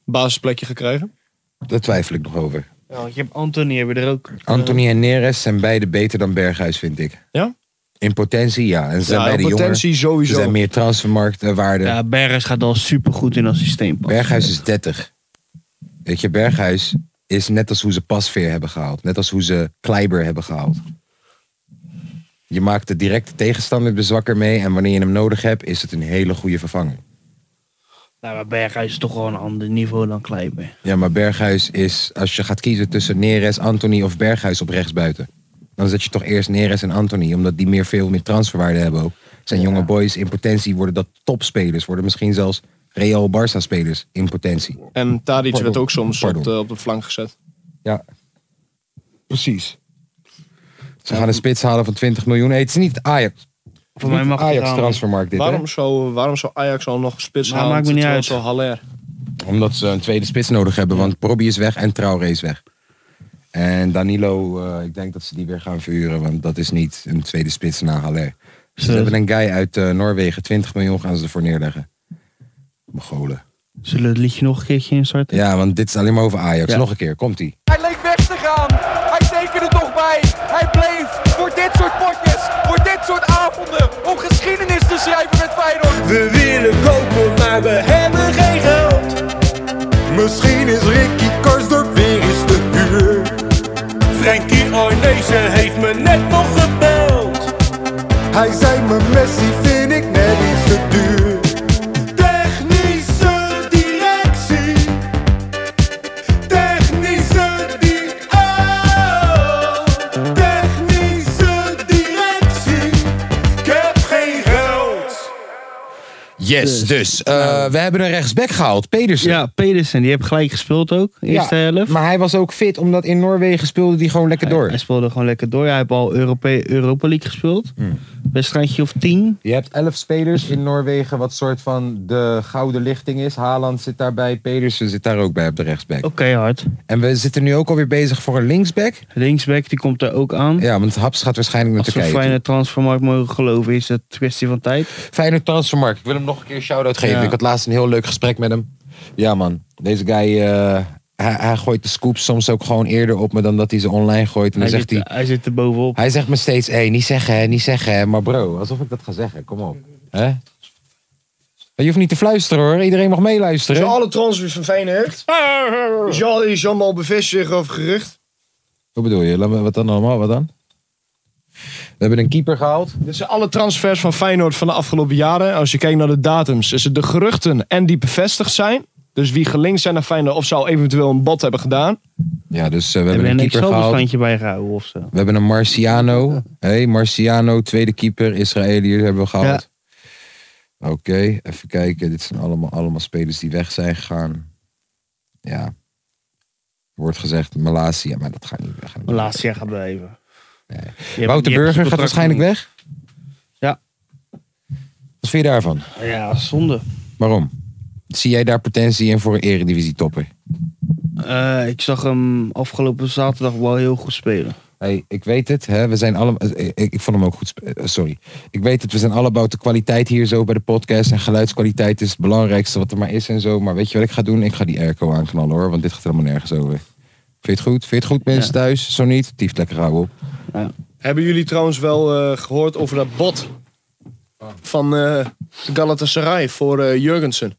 basisplekje gaat krijgen? Eh.
Daar twijfel ik nog over.
Ja, want je hebt Anthony, hebben we er ook.
Anthony en Neres zijn beide beter dan Berghuis, vind ik.
Ja?
In potentie, ja. En ze zijn
Ja,
beide jonger.
potentie
Ze
sowieso.
zijn meer eh, transfermarktwaarde.
Ja, Berghuis gaat al supergoed in dat systeem. passen.
Berghuis is 30. Weet je, Berghuis is net als hoe ze Pasveer hebben gehaald. Net als hoe ze Kleiber hebben gehaald. Je maakt de directe tegenstander er zwakker mee. En wanneer je hem nodig hebt, is het een hele goede vervanger.
Nou, maar Berghuis is toch gewoon een ander niveau dan Kleiber.
Ja, maar Berghuis is, als je gaat kiezen tussen Neres, Anthony of Berghuis op rechtsbuiten. Dan zet je toch eerst Neres en Anthony, omdat die meer veel meer transferwaarde hebben ook. Zijn jonge boys in potentie worden dat topspelers, worden misschien zelfs Real Barça spelers in potentie.
En Tadic
Pardon.
werd ook soms op
Pardon.
de, op de flank gezet.
Ja. Precies. Ze gaan een spits halen van 20 miljoen. Hey, het is niet het Ajax.
Voor mij mag het
Ajax
aan.
transfermarkt dit,
Waarom zou, waarom zou Ajax al nog een spits
Maar
halen?
maakt me niet uit.
Zo Haller.
hè? Omdat ze een tweede spits nodig hebben, want Probi is weg en Traoré is weg. En Danilo, eh, ik denk dat ze die weer gaan verhuren, want dat is niet een tweede spits na Haller. Ze
Zo.
hebben een guy uit eh, Noorwegen, 20 miljoen gaan ze ervoor neerleggen. Mogolen.
Zullen we het liedje nog een keertje instarten?
Ja, want dit is alleen maar over Ajax.
Ja.
Nog een keer, komt-ie.
Hij leek weg te gaan. Hij tekende toch bij. Hij bleef voor dit soort potjes, voor dit soort avonden, om geschiedenis te schrijven met Feyenoord.
We willen kopen, maar we hebben geen geld. Misschien is Ricky Karsdorp weer eens te huur. Frankie Arnezen heeft me net nog gebeld. Hij zei me Messi vind ik net iets te duur. Technische directie. Technische di- oh. Technische directie. Ik heb geen geld.
Yes, dus. eh, we hebben een rechtsback gehaald, Pedersen.
Nou. Ja, Pedersen, die heeft gelijk gespeeld ook. Eerste
Ja,
helft.
Maar hij was ook fit, omdat in Noorwegen speelde hij gewoon lekker door.
Hij speelde gewoon lekker door. Hij heeft al Europe Europa League gespeeld.
Hmm.
Wedstrijdje of tien.
Je hebt elf spelers in Noorwegen, wat soort van de gouden lichting is. Haaland zit daarbij, Pedersen zit daar ook bij op de rechtsback.
Oké, hard.
En we zitten nu ook alweer bezig voor een linksback.
Linksback, die komt er ook aan.
Ja, want Haps gaat waarschijnlijk naar
Als we
Turkije. toe.
fijne transfermarkt mogen geloven, is het kwestie van tijd.
Feyenoord transfermarkt. Ik wil hem nog een keer een shout-out geven.
Ja.
Ik had laatst een heel leuk gesprek met hem. Ja man, deze guy, eh, hij, hij gooit de scoops soms ook gewoon eerder op me dan dat hij ze online gooit. En dan
Hij
zegt
zit,
hij,
hij zit er bovenop.
Hij zegt me steeds, hé, niet zeggen, hè, niet zeggen. hè. Maar bro, alsof ik dat ga zeggen. Kom op. hè? Je hoeft niet te fluisteren hoor. Iedereen mag meeluisteren.
Zijn alle transfers van Feyenoord? Is Jan- Is Jamal bevestigd zich over gerucht?
Hoe bedoel je? Laat me- Wat dan allemaal? Wat dan? We hebben een keeper gehaald.
Dit zijn alle transfers van Feyenoord van de afgelopen jaren. Als je kijkt naar de datums, is het de geruchten en die bevestigd zijn. Dus wie gelinkt zijn naar Feyenoord of zou eventueel een bot hebben gedaan.
Ja, dus eh, we
Hebben
hebben een
we een
keeper gehaald.
Excel-bestandje bijgehouden of zo?
We hebben een Marciano. Hé, hey, Marciano, tweede keeper. Israëliër hebben we gehaald. Oké, even kijken. Dit zijn allemaal, allemaal spelers die weg zijn gegaan. Ja. Er Wordt gezegd Malasia, maar dat gaat niet weg.
Laatste jaar gaat blijven. Je hebt-
Wouter
je hebt
Burger
zijn
gaat waarschijnlijk
contract
weg.
Ja.
Wat vind je daarvan?
nog niet. Ja, zonde.
Waarom? Zie jij daar potentie in voor een eredivisie topper?
Eh, ik zag hem afgelopen zaterdag wel heel goed spelen.
Hey, ik weet het, hè, we zijn allemaal. Ik, ik vond hem ook goed. spe- eh, Sorry. Ik weet het, we zijn allemaal de kwaliteit hier zo bij de podcast. En geluidskwaliteit is het belangrijkste wat er maar is en zo. Maar weet je wat ik ga doen? Ik ga die airco aanknallen hoor, want dit gaat helemaal nergens over. Vind je het goed? Vind je het goed, mensen thuis? Zo niet, tief lekker houden op.
Hebben jullie trouwens wel eh, gehoord over dat bot van eh, Galatasaray voor eh, Jurgensen?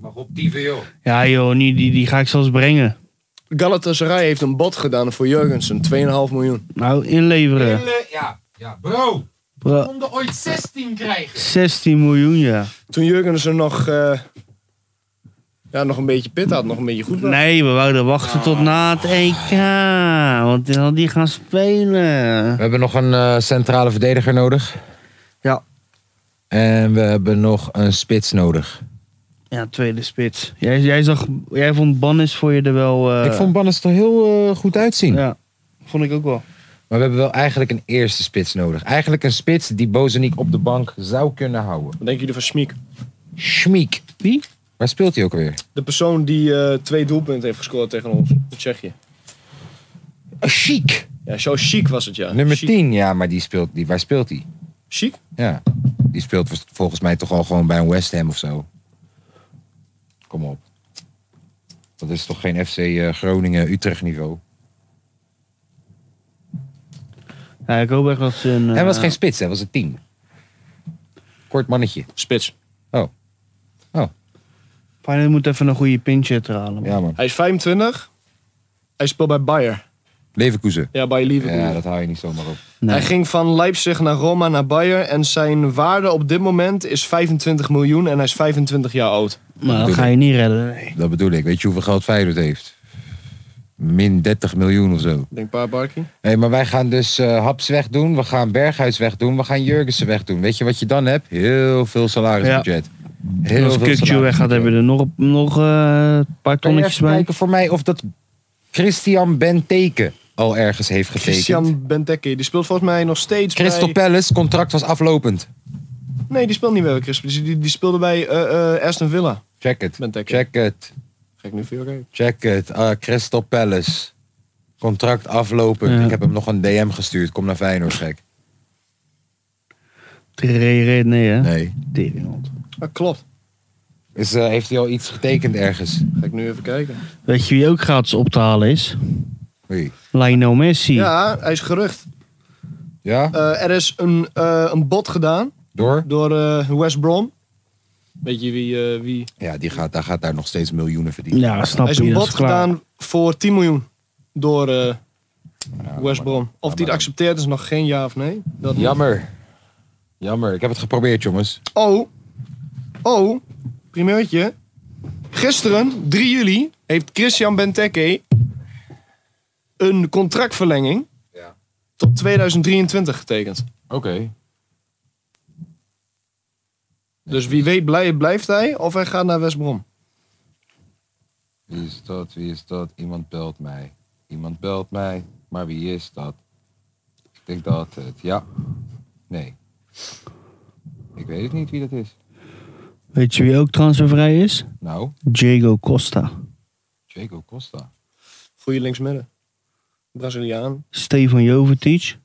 Mag op dieven, joh.
Ja joh, nu, die, die ga ik zelfs brengen.
Galatasaray heeft een bot gedaan voor Jurgensen, 2,5 miljoen.
Nou, inleveren.
Ja, ja, bro.
Bro,
Om er ooit 16 krijgen.
16 miljoen ja.
Toen Jurgensen nog, eh, ja, nog een beetje pit had, nog een beetje goed was.
Nee, we wouden wachten tot na het EK. Want dan had die gaan spelen.
We hebben nog een eh, centrale verdediger nodig.
Ja.
En we hebben nog een spits nodig.
Ja, tweede spits. Jij, jij, zag, jij vond Bannis voor je er wel... eh,
ik vond Bannes er heel eh, goed uitzien.
Ja, vond ik ook wel.
Maar we hebben wel eigenlijk een eerste spits nodig. Eigenlijk een spits die Bozeniek op de bank zou kunnen houden.
Wat denken jullie van Schmiek?
Schmiek.
Wie?
Waar speelt hij ook alweer?
De persoon die eh, twee doelpunten heeft gescoord tegen ons, in Tsjechië.
Eh, Chic.
Ja, zo chic was het, ja.
Nummer
Chic.
10, ja, maar die speelt, die, waar speelt hij?
Chic?
Ja. Die speelt vers- volgens mij toch al gewoon bij een West Ham of zo. Kom op. Dat is toch geen FC eh, Groningen-Utrecht niveau?
Ja, ik hoop echt dat ze een...
Hij was
eh,
geen spits, hij was een tien. Kort mannetje.
Spits.
Feyenoord moet even een goede pinch hitter halen. man.
Ja, man.
Hij is 25. Hij speelt bij Bayer.
Leverkusen.
Ja, bij Liverpool.
Ja, dat hou je niet zomaar op.
Nee.
Hij ging van Leipzig naar Roma naar Bayer. En zijn waarde op dit moment is 25 miljoen. En hij is 25 jaar oud.
Maar dat ga je niet redden. nee.
Dat bedoel ik. Weet je hoeveel geld Feyenoord heeft? Min 30 miljoen of zo.
Denk paar Barkie.
Hé, maar wij gaan dus eh, Haps wegdoen. We gaan Berghuis wegdoen. We gaan Jurgensen wegdoen. Weet je wat je dan hebt? Heel veel salarisbudget. Heel
Als Kukju
salarisbudget.
weggaat, hebben we er nog, nog eh, een paar
Kan je
tonnetjes
even
bij.
kijken voor mij of dat Christian Benteke al ergens heeft getekend?
Christian Benteke. Die speelt volgens mij nog steeds
Crystal
bij...
Palace, contract was aflopend.
Nee, die speelt niet meer bij Crystal Die, die- die speelde bij eh, eh, Aston Villa.
Check het.
Benteke.
Check het.
Ga ik nu veel kijken.
Check het. Ah, Crystal Palace. Contract aflopend.
Ja.
Ik heb hem nog een DM gestuurd. Kom naar Feyenoord, gek.
Tereré, nee hè?
Nee.
Teringhond.
Ah, klopt.
Is, eh, heeft hij al iets getekend ergens?
Ga ik nu even kijken.
Weet je wie ook gratis op te halen is?
Oei.
Lionel Messi.
Ja, hij is gerucht.
Ja?
Eh, er is een, eh een bod gedaan
Door?
door eh, West Brom. Weet je wie... eh, wie...
Ja, die gaat, daar gaat daar nog steeds miljoenen verdienen.
Ja, snap
Hij
je.
is een
dat
bod
is klaar.
gedaan voor 10 miljoen door eh,
Ja,
West
maar-
Brom. Of die het accepteert is nog geen ja of nee. Dat niet.
Jammer. Jammer. Ik heb het geprobeerd, jongens.
Oh, oh, primeurtje. Gisteren, 3 juli, heeft Christian Benteke een contractverlenging
Ja.
tot 2023 getekend.
Oké.
Dus wie weet blij- blijft hij of hij gaat naar West Brom.
Wie is dat? Wie is dat? Iemand belt mij. Iemand belt mij. Maar wie is dat? Ik denk dat het. Ja. Nee. Ik weet het niet wie dat is.
Weet je wie ook transfervrij is?
Nou,
Diego Costa.
Jaco Costa.
Goeie linksmidden. Braziliaan.
Stefan Jovetic.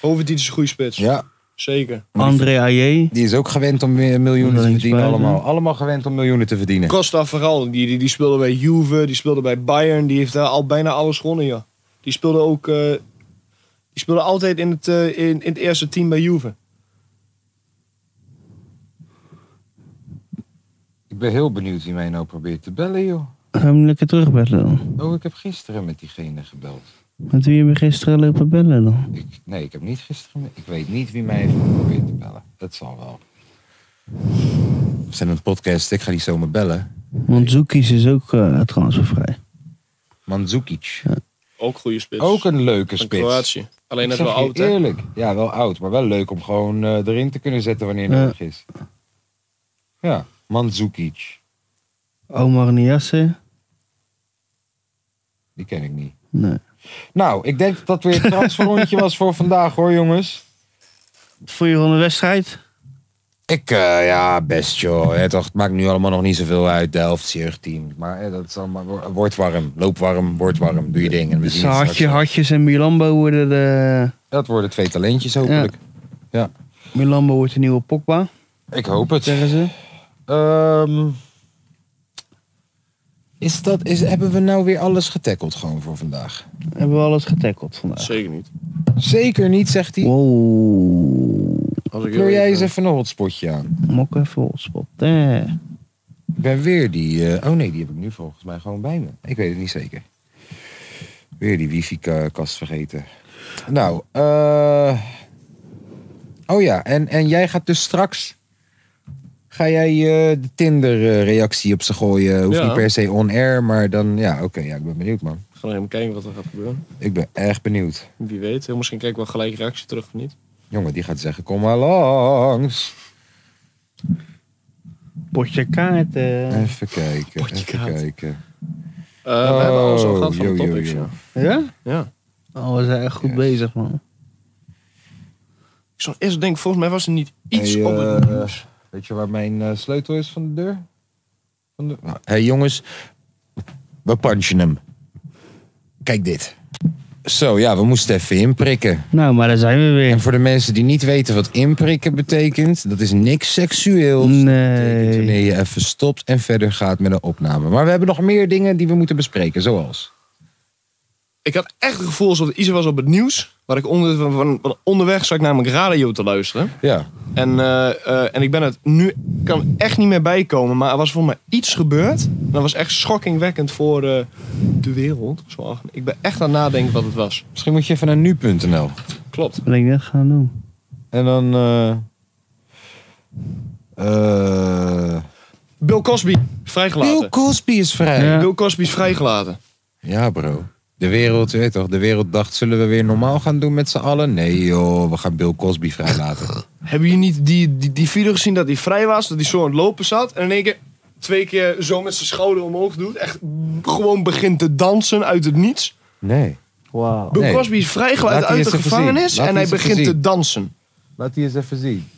Hovedit is een goede spits.
Ja,
Zeker.
André Ayew.
die is ook gewend om weer miljoenen te
Linksbuiten.
verdienen. Allemaal. allemaal gewend om miljoenen te verdienen.
Costa vooral. Die, die, die speelde bij Juve, die speelde bij Bayern. Die heeft daar al bijna alles gewonnen, ja. Die speelde ook... eh, die speelde altijd in het, eh, in, in het eerste team bij Juve.
Ik ben heel benieuwd wie mij nou probeert te bellen, joh.
Ga hem lekker terugbellen dan.
Oh, ik heb gisteren met diegene gebeld.
Met wie hebben we gisteren lopen bellen dan?
Ik, nee, ik heb niet gisteren. Ik weet niet wie mij heeft geprobeerd te bellen. Dat zal wel. We zijn een podcast, ik ga niet zomaar bellen.
Want Zoekies is ook eh, transfervrij.
Mandzukic.
Ook goede spits.
Ook een leuke
Van
spits.
Kroatië. Alleen
Ik
net
zeg
wel
je
oud, hè?
Eerlijk. Ja, wel oud, maar wel leuk om gewoon eh, erin te kunnen zetten wanneer
Ja.
nodig is. Ja, Mandzukic.
Omar Niasse?
Die ken ik niet.
Nee.
Nou, ik denk dat dat weer het transferrondje was voor vandaag hoor, jongens.
Wat vond je van de wedstrijd?
Ik, eh, ja, best joh. Ja, toch, het maakt nu allemaal nog niet zoveel uit. Delft, jeugdteam. Maar eh, dat is allemaal, wo- word warm. Loop warm, word warm. Doe je ding. En we
Dus
zien het
hartje,
straks.
hartjes en Milambo worden de...
Dat worden twee talentjes hopelijk.
Milambo wordt de nieuwe Pogba,
Ik hoop het.
zeggen ze.
Ehm, is dat, is, hebben we nou weer alles getackeld gewoon voor vandaag?
Hebben we alles getackled vandaag.
Zeker niet.
Zeker niet, zegt hij.
Wow.
Als ik
Kleur
heel
jij eens
even-
even een hotspotje aan.
Mok even hotspot. Eh.
Ik ben weer die... eh, oh nee, die heb ik nu volgens mij gewoon bij me. Ik weet het niet zeker. Weer die wifi-kast vergeten. Nou, eh... Oh ja, en, en jij gaat dus straks... Ga jij eh, de Tinder-reactie op ze gooien? Hoeft
Ja.
niet per se on-air, maar dan... Ja, oké, ja, ik ben benieuwd, man.
We gaan nog even kijken wat er gaat gebeuren.
Ik ben echt benieuwd.
Wie weet. Heel Misschien krijg ik wel gelijk reactie terug of niet.
Jongen, die gaat zeggen, kom maar langs.
Potje kaart. eh.
Even kijken, even
kaart.
kijken.
Eh, we hebben alles al gehad van
yo,
de
yo,
topics,
yo.
ja.
Ja?
Ja.
Oh, we zijn echt goed
Yes.
bezig, man.
Ik zou eerst denken, volgens mij was er niet iets
Hey,
op het
eh,
nieuws.
Weet je waar mijn eh, sleutel is van de deur? Van de... Hé hey, jongens, we punchen hem. Kijk dit. Zo ja, we moesten even inprikken.
Nou, maar daar zijn we
En
weer.
voor de mensen die niet weten wat inprikken betekent, dat is niks seksueels. Dat betekent
Nee.
wanneer je even stopt en verder gaat met een opname. Maar we hebben nog meer dingen die we moeten bespreken, zoals.
ik had echt het gevoel alsof er iets was op het nieuws. Waar ik onder, van, van- onderweg zat ik namelijk radio te luisteren.
Ja.
En, eh, eh, en ik ben het nu kan echt niet meer bijkomen. Maar er was voor mij iets gebeurd. En dat was echt schokkingwekkend voor eh, de wereld. Zo, ik ben echt aan het nadenken wat het was.
Misschien moet je even naar nu.nl.
Klopt.
Wat ik net gaan doen.
En dan... eh, eh,
Bill Cosby vrijgelaten.
Bill Cosby is vrij.
Ja.
Bill Cosby is vrijgelaten.
Ja, bro. De wereld, je weet toch, de wereld dacht, zullen we weer normaal gaan doen met z'n allen? Nee joh, we gaan Bill Cosby vrijlaten.
Hebben jullie niet die, die, die video gezien dat hij vrij was? Dat hij zo aan het lopen zat. En in één keer twee keer zo met zijn schouder omhoog doet. Echt b- gewoon begint te dansen uit het niets.
Nee.
Wauw.
Bill
Nee.
Cosby is vrijgelaten
Laat hij
uit de
eens even zien.
gevangenis.
Laat
En
hij
hij
eens even
begint te
zien.
dansen.
Laat die eens even zien.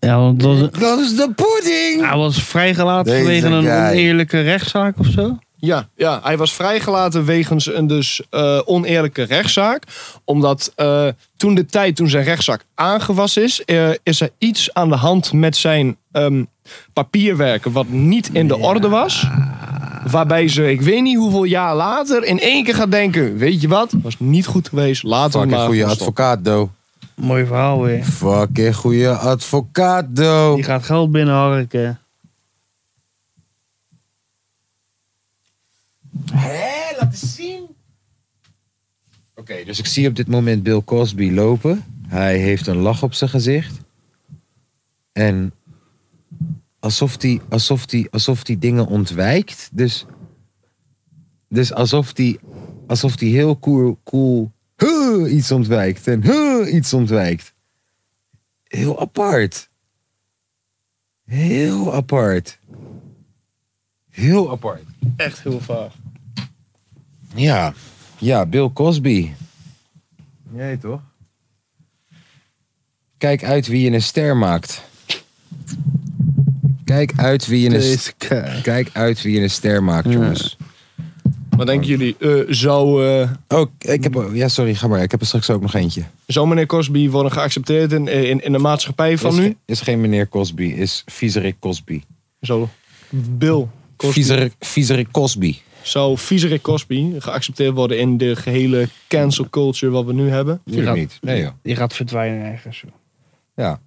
Ja, want dat was,
Dat is de pudding!
hij was vrijgelaten
Deze
vanwege een
guy.
oneerlijke rechtszaak of zo.
Ja, ja, hij was vrijgelaten wegens een dus eh, oneerlijke rechtszaak. Omdat eh, toen de tijd, toen zijn rechtszaak aangewast is, eh, is er iets aan de hand met zijn ehm, papierwerken wat niet in de orde was. Waarbij ze, ik weet niet hoeveel jaar later, in één keer gaat denken: weet je wat, was niet goed geweest, later
Fucking
maar.
goede
gewoon stoppen.
advocaat, do.
Mooi verhaal weer.
Fucking goede advocaat, do.
Die gaat geld binnenharken.
Oké, dus ik zie op dit moment Bill Cosby lopen. Hij heeft een lach op zijn gezicht. En alsof hij alsof die, alsof die dingen ontwijkt. Dus, dus alsof hij alsof die heel cool, cool huh, iets ontwijkt. En huh, iets ontwijkt. Heel apart. Heel apart. Heel apart.
Echt heel vaag.
Ja, ja, Bill Cosby. Nee, toch? Kijk uit wie je een ster maakt. Kijk uit wie je een,
Deze guy.
Kijk uit wie je een ster maakt, jongens.
Wat denken jullie, eh, zou, eh,
Oh, ik heb... Ja, sorry, ga maar. Ik heb er straks ook nog eentje.
zou meneer Cosby worden geaccepteerd in, in, in de maatschappij van
is,
nu?
ge- Is geen meneer Cosby, is viezerik Cosby.
Zo, Bill Cosby.
Viezerik, viezerik Cosby.
Zou Viezerik Cosby geaccepteerd worden in de gehele cancel culture wat we nu hebben?
Tuurlijk
gaat-
niet. Nee, joh.
Die gaat verdwijnen ergens. joh.
Ja.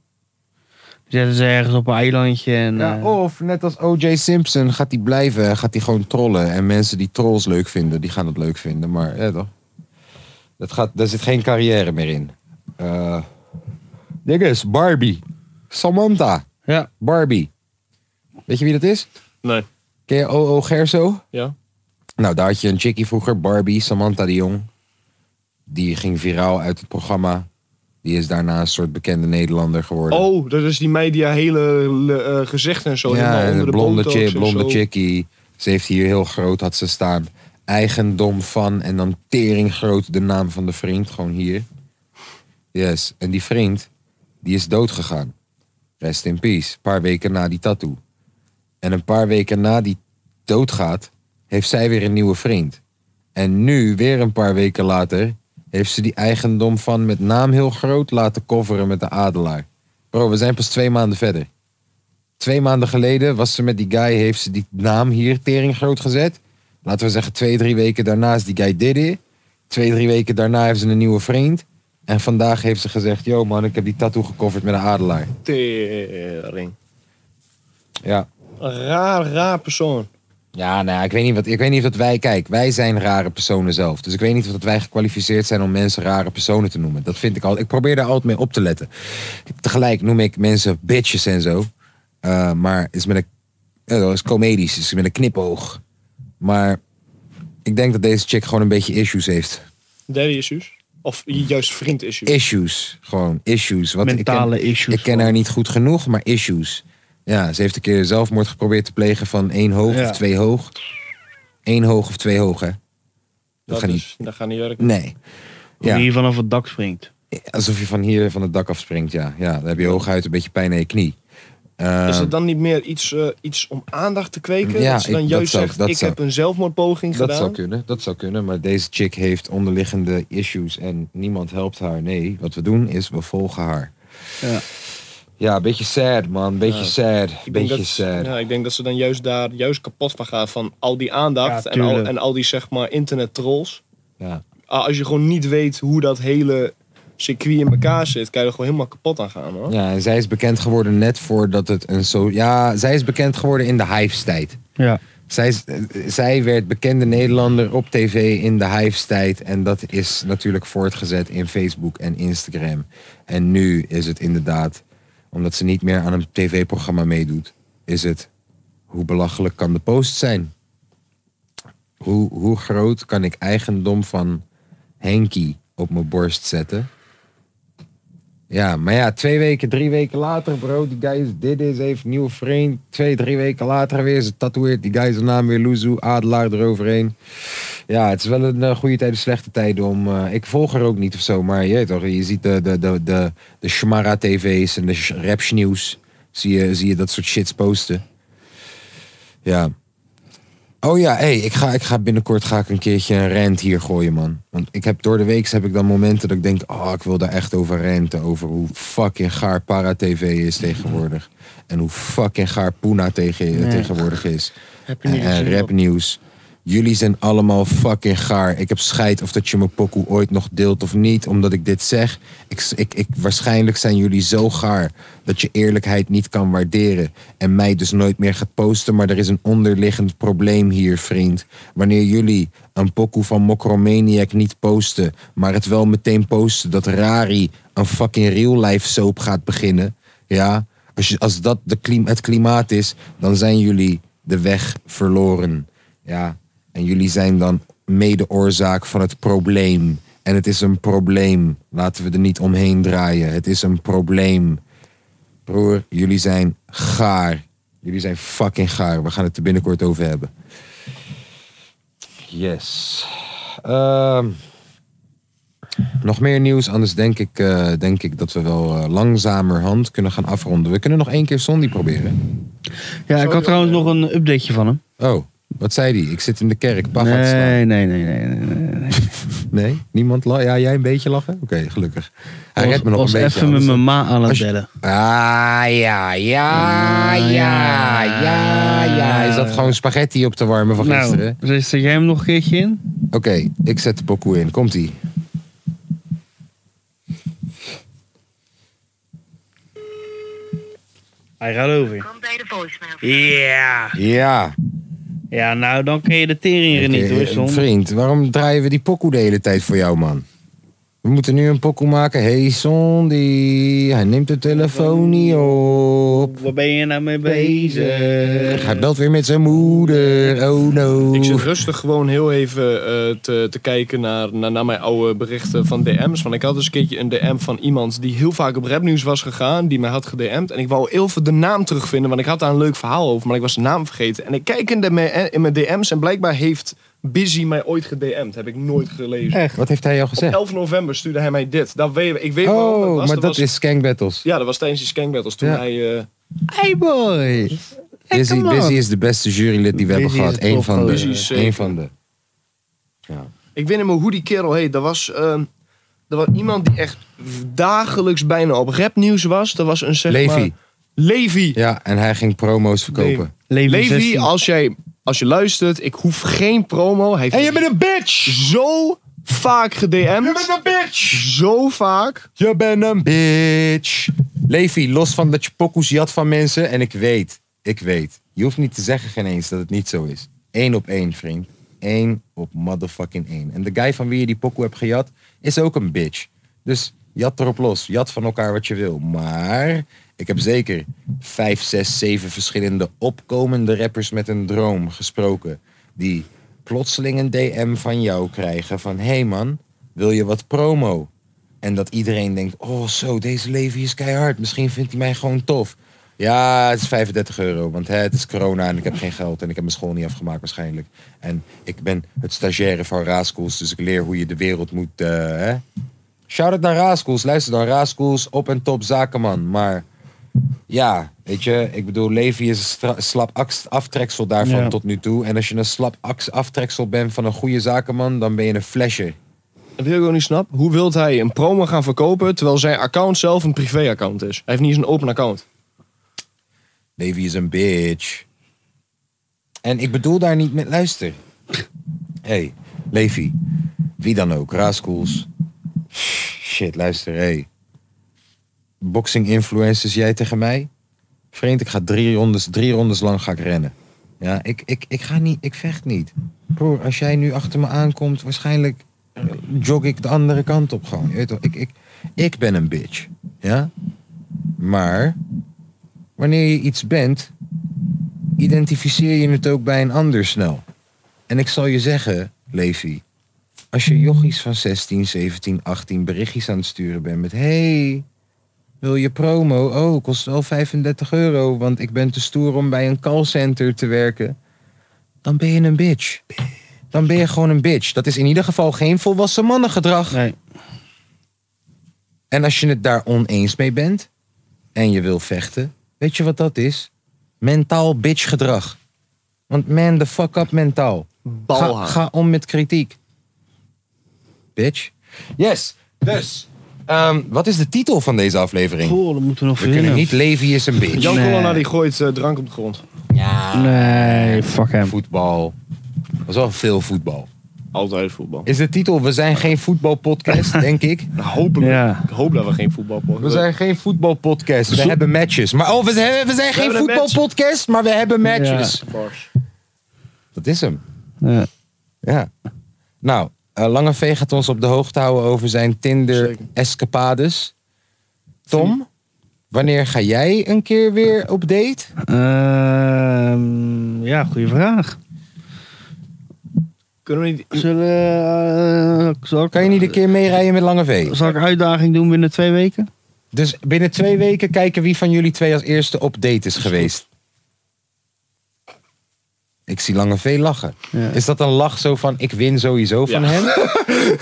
Zetten ze ergens op een eilandje en...
Ja, oh.
eh,
of net als O.J. Simpson gaat hij blijven, gaat hij gewoon trollen. En mensen die trolls leuk vinden, die gaan het leuk vinden. Maar ja, toch? Dat gaat, daar zit geen carrière meer in. Eh Dinges, Barbie. Samantha.
Ja.
Barbie. Weet je wie dat is?
Nee.
Ken je O.O. Gerso?
Ja.
Nou, daar had je een chickie vroeger, Barbie, Samantha de Jong. Die ging viraal uit het programma. Die is daarna een soort bekende Nederlander geworden.
Oh, dat is die media hele eh, gezichten en zo. helemaal
ja,
onder
een
de
blonde,
botox
chick,
en
blonde
zo.
chickie. Ze heeft hier heel groot, had ze staan. Eigendom van en dan tering groot de naam van de vriend, gewoon hier. Yes, en die vriend, die is dood gegaan. Rest in peace, een paar weken na die tattoo. En een paar weken na die doodgaat, heeft zij weer een nieuwe vriend. En nu, weer een paar weken later, heeft ze die eigendom van met naam heel groot laten coveren met de adelaar. Bro, we zijn pas twee maanden verder. Twee maanden geleden was ze met die guy, heeft ze die naam hier tering groot gezet. Laten we zeggen twee, drie weken daarna is die guy Diddy. Twee, drie weken daarna heeft ze een nieuwe vriend. En vandaag heeft ze gezegd, yo man, ik heb die tattoo gecoverd met een adelaar.
Tering.
Ja.
Een raar, raar persoon.
Ja, nou, ja, ik weet niet, wat, ik weet niet of dat wij, kijk, wij zijn rare personen zelf. Dus ik weet niet of dat wij gekwalificeerd zijn om mensen rare personen te noemen. Dat vind ik altijd. Ik probeer daar altijd mee op te letten. Tegelijk noem ik mensen bitches en zo. Eh, maar is met een. ja, dat is comedisch, is met een knipoog. Maar ik denk dat deze chick gewoon een beetje issues heeft.
Daddy issues. Of juist vriend issues.
Issues, gewoon issues. Wat
mentale
ik ken,
issues.
Ik ken haar niet goed genoeg, maar issues. Ja, ze heeft een keer zelfmoord geprobeerd te plegen van één hoog
Ja.
of twee hoog. Eén hoog of twee hoog, hè? Dat,
dat,
gaat niet.
is, dat gaat niet werken.
Nee.
Die
Ja.
hier vanaf het dak springt.
Alsof je van hier van het dak afspringt, ja. Ja, dan heb je hooguit een beetje pijn aan je knie. Eh,
Is dat dan niet meer iets, eh, iets om aandacht te kweken?
Ja,
dat ze dan
ik- dat
juist
zou-
zegt,
dat
ik
zou-
heb een zelfmoordpoging
dat zou
gedaan.
kunnen, dat zou kunnen. Maar deze chick heeft onderliggende issues en niemand helpt haar. Nee, wat we doen is we volgen haar.
Ja.
Ja, een beetje sad, man. Beetje sad.
Ik denk,
Beetje
dat,
sad.
ja, ik denk dat ze dan juist daar juist kapot van gaan van al die aandacht
Ja,
en, al,
tuurlijk.
en al die zeg maar internet trolls.
Ja.
Ah, Als je gewoon niet weet hoe dat hele circuit in elkaar zit, kan je er gewoon helemaal kapot aan gaan, hoor.
Ja, en zij is bekend geworden net voordat het een zo... Ja, zij is bekend geworden in de Hives-tijd.
Ja.
Zij, is- eh, zij werd bekende Nederlander op tv in de Hives-tijd. En dat is natuurlijk voortgezet in Facebook en Instagram. En nu is het inderdaad, omdat ze niet meer aan een tv-programma meedoet, is het hoe belachelijk kan de post zijn? Hoe, hoe groot kan ik eigendom van Henky op mijn borst zetten? Ja, maar ja, twee weken, drie weken later, bro, die guy is dit is, heeft een nieuwe vriend. Twee, drie weken later weer, ze tatoeëert die guy zijn naam weer Luzu, Adelaar eroverheen. Ja, het is wel een eh, goede tijd, een slechte tijd om. eh, ik volg er ook niet of zo, maar je, weet toch, je ziet de, de, de, de, de Shmara TV's en de sh- rapsnieuws. Zie je, zie je dat soort shits posten. Ja. Oh ja, hey, ik, ga, ik ga binnenkort ga ik een keertje een rant hier gooien, man. Want ik heb door de week heb ik dan momenten dat ik denk... oh, ik wil daar echt over renten. Over hoe fucking gaar para-tv is tegenwoordig. En hoe fucking gaar Puna tegen, tegenwoordig is.
Heb je
En,
niet gezien,
en
wat-
rapnieuws. Jullie zijn allemaal fucking gaar. Ik heb scheid of dat je mijn pokoe ooit nog deelt of niet, omdat ik dit zeg. Ik, ik, ik, waarschijnlijk zijn jullie zo gaar dat je eerlijkheid niet kan waarderen. En mij dus nooit meer gaat posten. Maar er is een onderliggend probleem hier, vriend. Wanneer jullie een pokoe van Mokromaniac niet posten, maar het wel meteen posten dat Rari een fucking real life soap gaat beginnen. Ja, als, je, als dat de klim, het klimaat is, dan zijn jullie de weg verloren. Ja, en jullie zijn dan mede oorzaak van het probleem. En het is een probleem. Laten we er niet omheen draaien. Het is een probleem. Broer, jullie zijn gaar. Jullie zijn fucking gaar. We gaan het er binnenkort over hebben. Yes. Ehm, nog meer nieuws, anders denk ik, eh, denk ik dat we wel eh, langzamerhand kunnen gaan afronden. We kunnen nog één keer Sondi proberen.
Ja, ik had
eh,
trouwens nog een updateje van hem.
Oh, wat zei die? Ik zit in de kerk. Pa gaat slaan.
Nee, nee, nee, nee, nee, nee. nee.
Nee, niemand lacht. Ja, jij een beetje lachen? Oké, gelukkig. Hij redt me nog
was
een beetje.
even met
anders.
mijn ma aan het
Als je-
bellen.
Ah, ja, ja, ja, ja, ja, Hij zat gewoon spaghetti op te warmen van
Nou,
gisteren.
dus zet jij hem nog een keertje in?
Oké, ik zet de pokoe in. Komt-ie.
Hij gaat over.
Kom bij de voicemail.
Ja.
Ja.
Ja, nou, dan kun je de tering er niet hoor,
Eh,
Son.
Vriend, waarom draaien we die pokoe de hele tijd voor jou, man? We moeten nu een pokoe maken. Hey, Sondi. Hij neemt de telefoon niet op.
Waar ben je nou mee bezig?
Hij belt weer met zijn moeder. Oh no.
Ik zit rustig gewoon heel even eh, te, te kijken naar, naar, naar mijn oude berichten van DM's. Want ik had eens een keertje een DM van iemand die heel vaak op rapnieuws was gegaan. Die mij had gedM'd. En ik wou heel veel de naam terugvinden, want ik had daar een leuk verhaal over. Maar ik was de naam vergeten. En ik kijk in, de, me- eh, in mijn DM's en blijkbaar heeft Busy mij ooit gedM'd. Heb ik nooit gelezen.
Echt? Wat heeft hij jou
Op
gezegd?
11 november stuurde hij mij dit. Dat weet, ik weet wel wat Oh, dat
Oh,
was.
maar dat
was-
is Skank Battles.
Ja, dat was tijdens die Skank Battles. Toen
Ja.
hij... eh,
Hey boy!
Busy,
come on.
Busy is de beste jurylid die we
Busy
hebben
is
gehad.
een
Eén van,
topgozer.
Busy is
de,
zeker.
één van de.
Ik weet niet meer hoe die kerel heet. Dat was, ehm, dat was iemand die echt dagelijks bijna op rapnieuws was. Dat was een zeg
Levi.
maar- Levi.
Ja, en hij ging promo's verkopen.
Levi,
16.
als jij, als je luistert, ik hoef geen promo. Hij heeft
En je bent een bitch!
zo vaak gedM'd.
Je bent een bitch!
Zo vaak.
Je bent een bitch! Levi, los van dat je pokoes jat van mensen. En ik weet, ik weet. Je hoeft niet te zeggen geen eens dat het niet zo is. Eén op één, vriend. Eén op motherfucking één. En de guy van wie je die pokoe hebt gejat, is ook een bitch. Dus jat erop los. Jat van elkaar wat je wil. Maar ik heb zeker vijf, zes, zeven verschillende opkomende rappers met een droom gesproken. Die plotseling een DM van jou krijgen van... Hé hey man, wil je wat promo? En dat iedereen denkt, oh zo, deze Levi is keihard. Misschien vindt hij mij gewoon tof. Ja, het is 35 euro, want hè, het is corona en ik heb geen geld en ik heb mijn school niet afgemaakt waarschijnlijk. En ik ben het stagiaire van Raaskools, dus ik leer hoe je de wereld moet... eh, hè? Shout-out naar Raaskools, luister dan, Raaskools, op en top zakenman. Maar ja, weet je, ik bedoel, Levi is een stra- slap ax- aftreksel daarvan
Ja.
tot nu toe. En als je een slap ax- aftreksel bent van een goede zakenman, dan ben je een flesje.
Dat wil ik ook niet snappen. Hoe wilt hij een promo gaan verkopen terwijl zijn account zelf een privéaccount is? Hij heeft niet eens een open account.
Levi is een bitch. En ik bedoel daar niet met luister. hey, Levi. Wie dan ook, Raaskoels. Shit, luister, hé. Hey. Boxing influencers, jij tegen mij? Vreemd, ik ga drie rondes, drie rondes lang ga ik rennen. Ja, ik, ik, ik ga niet, ik vecht niet. Broer, als jij nu achter me aankomt, waarschijnlijk eh, jog ik de andere kant op gewoon. Je weet toch, ik, ik, ik ben een bitch. Ja? Maar, wanneer je iets bent, identificeer je het ook bij een ander snel. En ik zal je zeggen, Levi, als je jochies van 16, 17, 18 berichtjes aan het sturen bent met... Hey, wil je promo? Oh, kost wel 35 euro, want ik ben te stoer om bij een callcenter te werken. Dan ben je een bitch. Dan ben je gewoon een bitch. Dat is in ieder geval geen volwassen mannengedrag.
Nee.
En als je het daar oneens mee bent en je wil vechten, weet je wat dat is? Mentaal bitch gedrag. Want man the fuck up mentaal. Ga,
Balhaar.
ga om met kritiek. Bitch. Yes, dus. ehm, wat is de titel van deze aflevering?
Goh, dat moeten we nog
We kunnen
verzinnen.
niet Levi is een bitch.
Jan
Nee.
Colonna die gooit eh, drank op de grond.
Nee, fuck hem.
Voetbal. Dat was wel veel voetbal.
Altijd voetbal.
Is de titel We zijn geen voetbalpodcast, denk ik.
Nou, hopelijk.
Ja.
Ik hoop dat we geen voetbal
We zijn geen voetbalpodcast. We
Zo-
hebben matches. Maar oh, we zijn, we zijn geen
hebben een
voetbalpodcast, maar we hebben matches.
Bars.
Dat is hem.
Ja.
Ja. Nou, eh, Lange V gaat ons op de hoogte houden over zijn
Zeker.
Tinder-escapades. Tom, wanneer ga jij een keer weer op date?
Ehm, ja, goede vraag.
Kunnen we niet...
Zullen, eh, zal, ik,
Kan je niet een keer meerijden met Lange V?
zal ik uitdaging doen binnen twee weken?
Dus binnen twee weken kijken wie van jullie twee als eerste op date is geweest. Ik zie Lange V lachen.
Ja.
Is dat een lach zo van ik win sowieso van
Ja.
hem?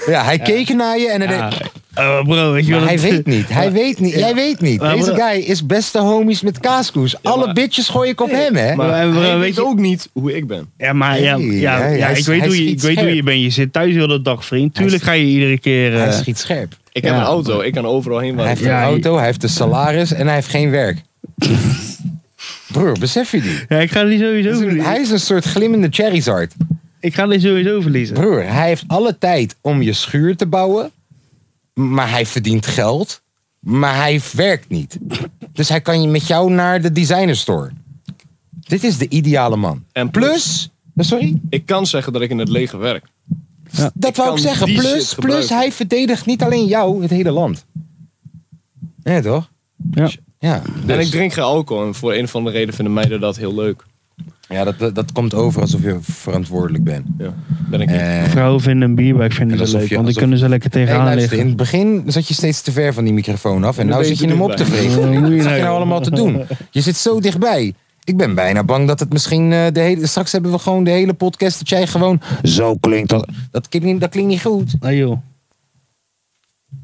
ja, hij keek naar je en hij
Ja.
deed-
Eh, bro, weet je
Maar
wat
hij
het-
weet niet. Hij weet niet. Jij weet niet.
Maar
Deze
bro-
guy is beste homies met kaaskoes. Alle bitches gooi ik op hem, hè?
Maar, eh,
Maar
bro,
hij
weet
weet
je,
ook niet hoe ik ben.
ja, maar ja,
Hey,
ja,
hij-
ja,
hij
ik
is-
weet
hij
hoe je, ik
schiet
weet hoe je
scherp.
bent. Je zit thuis heel de dag, vriend.
Hij
Tuurlijk ga je iedere keer.
Hij
eh,
schiet scherp.
Ik
Ja.
heb een auto, ik kan overal heen
Hij
waar ik
heeft
wil.
Ja,
een
hij-
auto, hij heeft een salaris en hij heeft geen werk. Broer, besef je die?
ja, ik ga die sowieso verliezen.
Hij is een soort glimmende Charizard.
Ik ga die sowieso verliezen.
Broer, hij heeft alle tijd om je schuur te bouwen. Maar hij verdient geld. Maar hij werkt niet. Dus hij kan je met jou naar de designerstore. Dit is de ideale man.
En
Plus, Eh, sorry,
Ik kan zeggen dat ik in het leger werk.
dat wou
kan
ik zeggen.
die shit
Plus, plus,
gebruiken.
hij verdedigt niet alleen jou, het hele land. Ja, toch?
Ja.
Ja,
En
dus-
ik drink geen alcohol en voor een of andere reden vinden meiden dat heel leuk.
ja dat, dat, dat komt over alsof je verantwoordelijk bent.
Ja, ben ik niet.
Eh,
Vrouwen vinden een bierbike vinden
En
ze
alsof
leuk,
je-
want dan
alsof-
kunnen ze lekker
hey,
tegenaan
luister, in
liggen.
het begin zat je steeds te ver van die microfoon af. En
Nu
nu
ben je
zit je
te
hem op te
dichtbij.
vreten.
Eh, hoe je
Wat zit
nou,
je nou
joh?
allemaal te doen? Je zit zo dichtbij. Ik ben bijna bang dat het misschien eh, de hele... Straks hebben we gewoon de hele podcast dat jij gewoon... Zo klinkt dat. Dat klinkt, niet- dat klinkt niet goed.
Nou joh,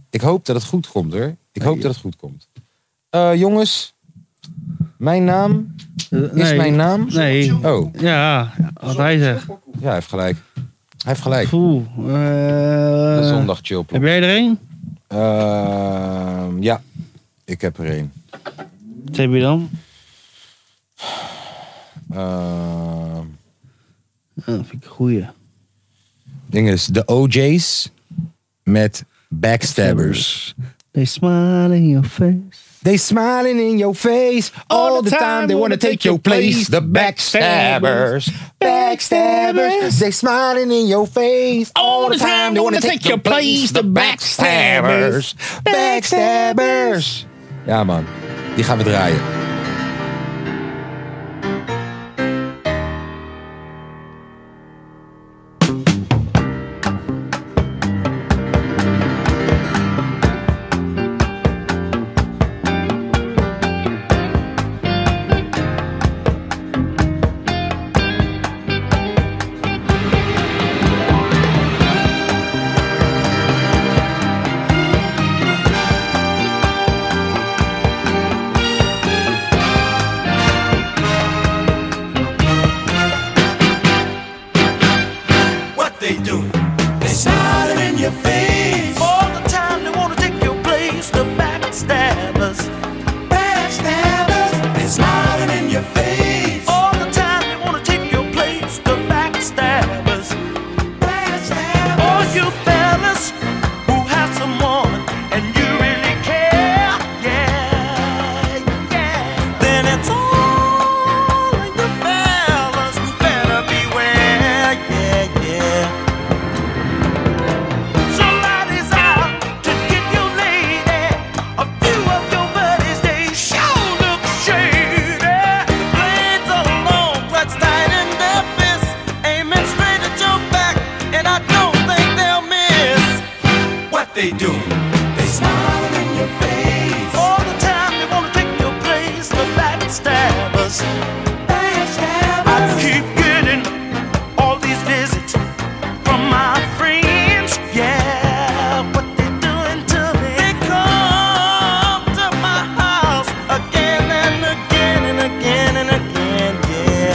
Ik hoop dat het goed komt hoor. Ik hoop dat het goed komt. Eh, jongens, mijn naam
Eh,
is
nee.
mijn naam.
Nee,
Oh,
ja, wat hij zegt.
ja, hij heeft gelijk. Hij heeft gelijk.
Poeh,
De
eh,
zondag chill.
Heb jij er een?
Ehm, ja, ik heb er een.
Wat heb je dan?
Ehm,
Ja, Ah, dat vind ik een goeie.
ding is, de OJ's met backstabbers.
They smile in your face.
They smiling in your face all the time. They wanna take your place. The backstabbers. Backstabbers. They smiling in your face all the time. They wanna take your place. The backstabbers. Backstabbers. Ja man, die gaan we draaien.
smiling in your face. All the time they wanna take your place, the backstabbers. Backstabbers. I keep getting all these visits from my friends. Yeah, what they doing to me? They come to my house again and again and again and again. Yeah.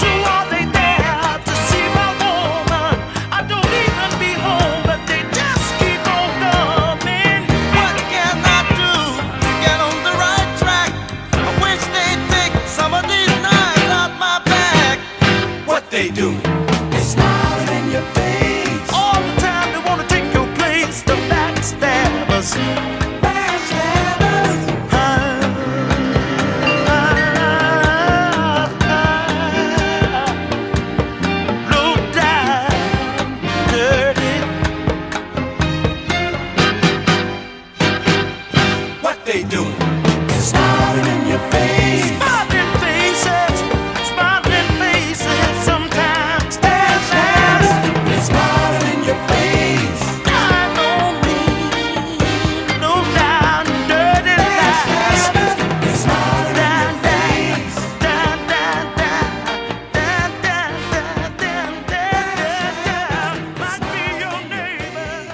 So are they there to see my woman? I don't even be home, but they just keep on coming. What can I do to get on the right track? I wish they'd take some of these knives out my back. What they do? They smiling in your face. All the time they wanna take your place, the backstabbers. Backstabbers. Low down, dirty. What they do? Smiling in your face. Smiling faces, smiling faces. Sometimes that's fast. Smiling in your face. Down on me, low down, dirty lies. Smiling in your face. Down, down, down, down, down, down, down, down, down. Might be your neighbor.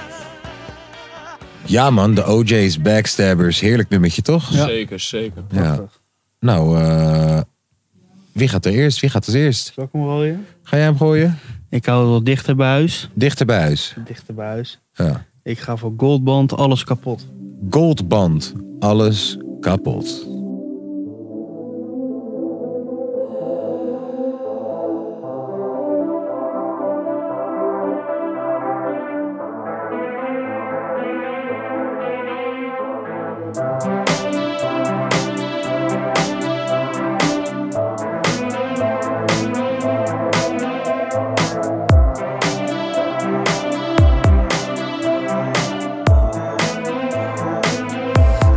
Ja man, de OJ's, Backstabbers. Heerlijk nummertje, toch?
Zeker, zeker.
Ja. Nou, eh, wie gaat er eerst? Wie gaat als eerst?
Zal ik hem gooien?
Ga jij hem gooien?
Ik hou het wel dichter bij huis.
Dichter bij huis.
Dichter bij huis.
Ja.
Ik ga voor Goldband, alles kapot.
Goldband. Alles kapot.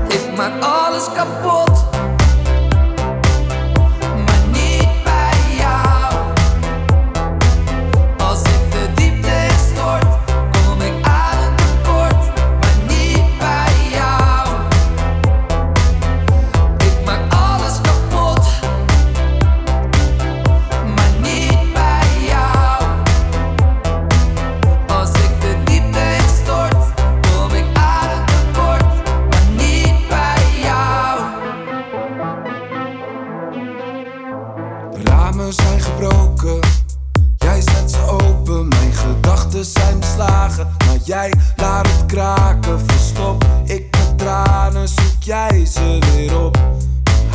Ik maak alles kapot, maar niet bij jou. Als ik de diepte stort, kom ik aan het tekort, maar niet bij jou. Ik maak alles kapot, maar niet bij jou. Als ik de diepte stort, kom ik aan het tekort. Maar niet bij jou.
De ramen zijn gebroken, jij zet ze open. Mijn gedachten zijn beslagen, maar jij laat het kraken. Verstop ik mijn tranen, zoek jij ze weer op.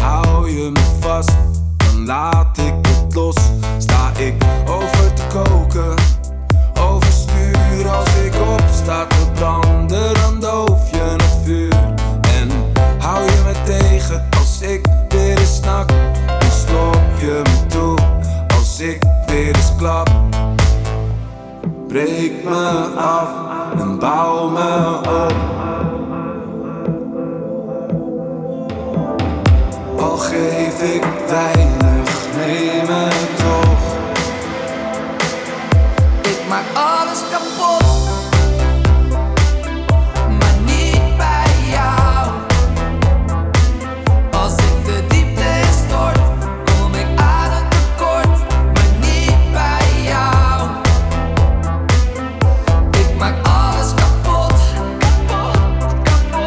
Hou je me vast, dan laat ik het los. Sta ik over te koken, overstuur als ik opsta te branden. Dan doof je het vuur en hou je me tegen als ik weer eens snak. Dan stop je me toe als ik weer eens klap. Breek me af en bouw me op. Al geef ik weinig, neem het toch.
Ik maak alles kapot, maar niet bij jou. Als ik de diepte stort, kom ik aan het tekort, maar niet bij jou. Ik maak alles kapot, kapot.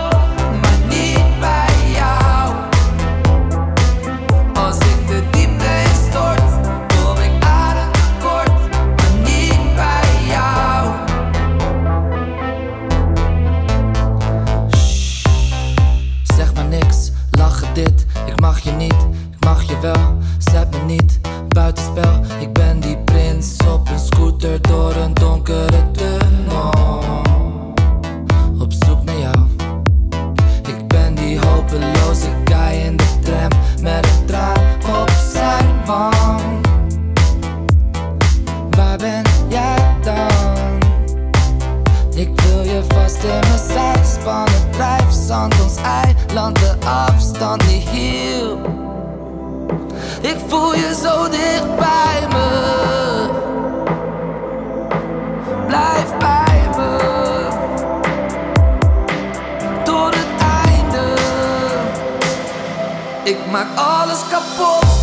Ik maak alles kapot.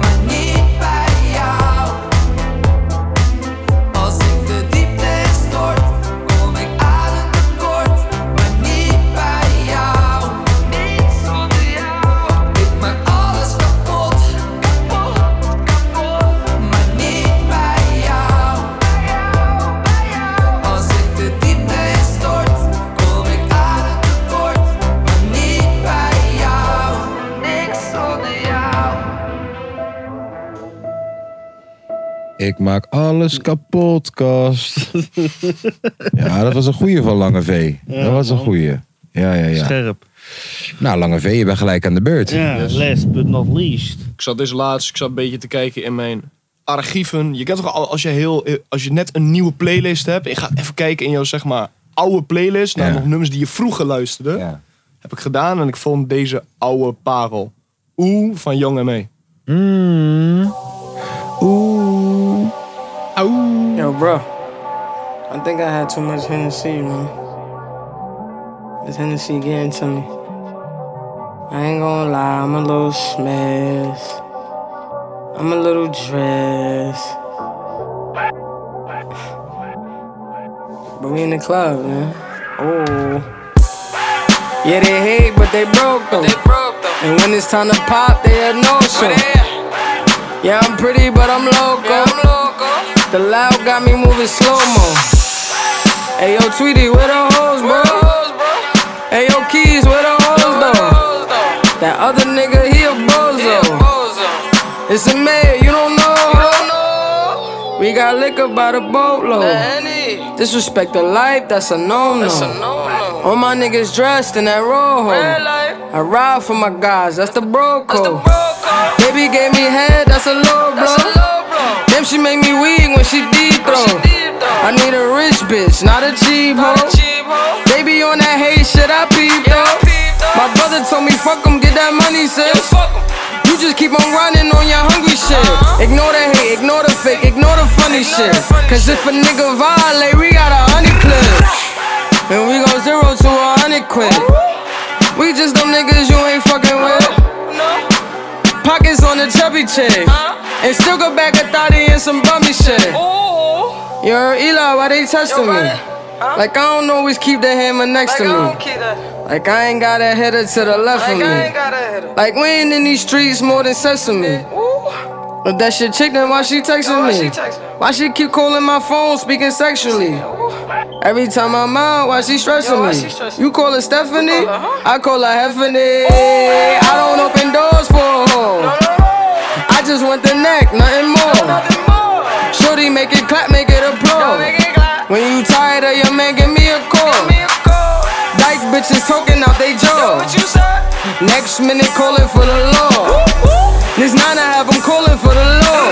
Maar niet bij jou. Als ik de diepte stort, kom ik adem tekort. Maar niet bij jou. Niet zonder jou. Ik maak alles kapot. Kapot, kapot. Maar niet bij jou. Als ik de diepte stort, kom ik adem tekort. Maar niet bij jou. Niks zonder jou.
Ik maak alles kapot, kast. ja, dat was een goeie van Lange V.
Ja,
dat was een
man.
goeie. Ja, ja, ja.
Scherp.
Nou, Lange V, je bent gelijk aan de beurt.
Ja, last but not least.
Ik zat dus laatst, ik zat een beetje te kijken in mijn archieven. Je kent toch al, als je, heel, als je net een nieuwe playlist hebt. En je gaat even kijken in jouw zeg maar oude playlist. Naar
Ja.
nog nummers die je vroeger luisterde. Heb ik gedaan en ik vond deze oude parel. Oeh van Jong E. en Mee.
Ooh. Ooh. Yo, bro. I think I had too much Hennessy, man. This Hennessy getting to me. I ain't gonna lie, I'm a little smashed. I'm a little dressed. But we in the club, man. Oh. Yeah, they hate, but they broke them. They broke them. And when it's time to pop, they had no show. Yeah, I'm pretty, but I'm loco. The loud got me moving slow mo. Hey yo, Tweety, where the hoes, bro? Hey yo, Keys, where the hoes, though? That other nigga, he a bozo. It's a mayor, you don't know. her? We got liquor by the boatload. Disrespect the life, that's a no no. All my niggas dressed in that rojo. I ride for my guys, that's the bro code. Baby gave me head, that's a low blow. Damn, she make me weak when she deep throw. I need a rich bitch, not a cheap hoe. Baby on that hate shit, I peep though. My brother told me fuck 'em, get that money, sis. You just keep on running on your hungry shit. Ignore the hate, ignore the fake, Uh-huh. ignore the funny shit. Cause if a nigga violate, we got a honey clip. And we go zero to a hundred quid. We just them niggas you ain't fucking with. Pockets on the chubby chick. And still go back a thotty and some bummy shit. Yo, Eli, why they testing me? Like I don't always keep the hammer next to me. Like I ain't got a header to the left of me. Like we ain't in these streets more than sesame. But that shit chick, then Oh, why she texting
why
me?
she text me?
Why she keep calling my phone, speaking sexually? Every time I'm out, why she stressing
Yo, why
me?
she stressing?
You call her Stephanie, I call her Heffany. I don't open doors for her. I just want the neck, nothing more. Shorty make it clap, make it applaud. When you tired of your man, give me a call. Dyke bitches talking out they jaw. Next minute calling for the law. This nine I have them calling for the law.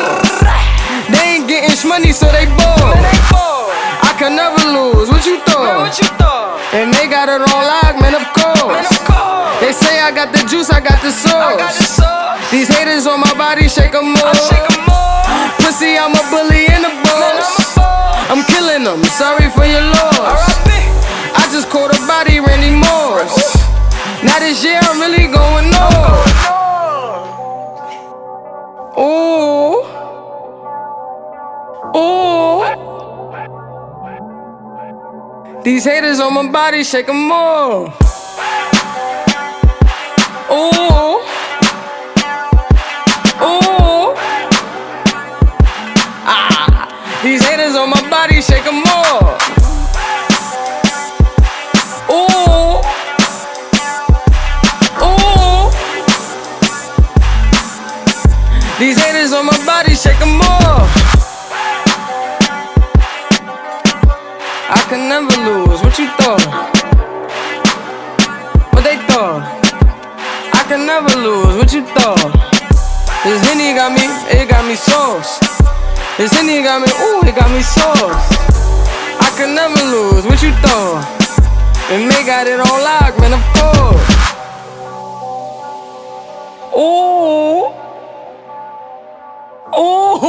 They ain't getting money, so they bored. I can never lose. What you thought? And they got it on lock, man. Of course. They say I got the juice, I got the sauce. These haters on my body, shake 'em off. Pussy, I'm a bully and a boss. I'm killing them. Sorry for your loss. I just called a body Randy Morris. Now this year I'm really going off. Ooh. Ooh. These haters on my body, shake them all. Ooh. Ooh. Ah. These haters on my body, shake them all. Ooh. Ooh. These haters on my body, shake them off. I can never lose. What you thought? What they thought? I can never lose. What you thought? This Henny got me, it got me sauce. This Henny got me, ooh, it got me sauce. I can never lose. What you thought? And they got it on lock, man, of course. Ooh. Ooh.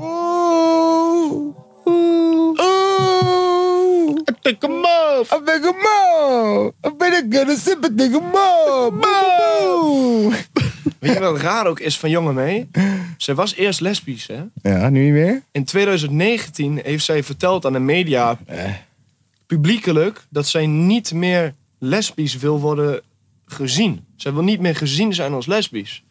Ooh. Ooh.
Take them off. I pick them off. I better get a sip and take them off.
Weet je wat raar ook is van jonge mee? Zij was eerst lesbisch, hè?
Ja, nu niet meer?
In 2019 heeft zij verteld aan de media
Eh.
publiekelijk dat zij niet meer lesbisch wil worden gezien. Zij wil niet meer gezien zijn als lesbisch.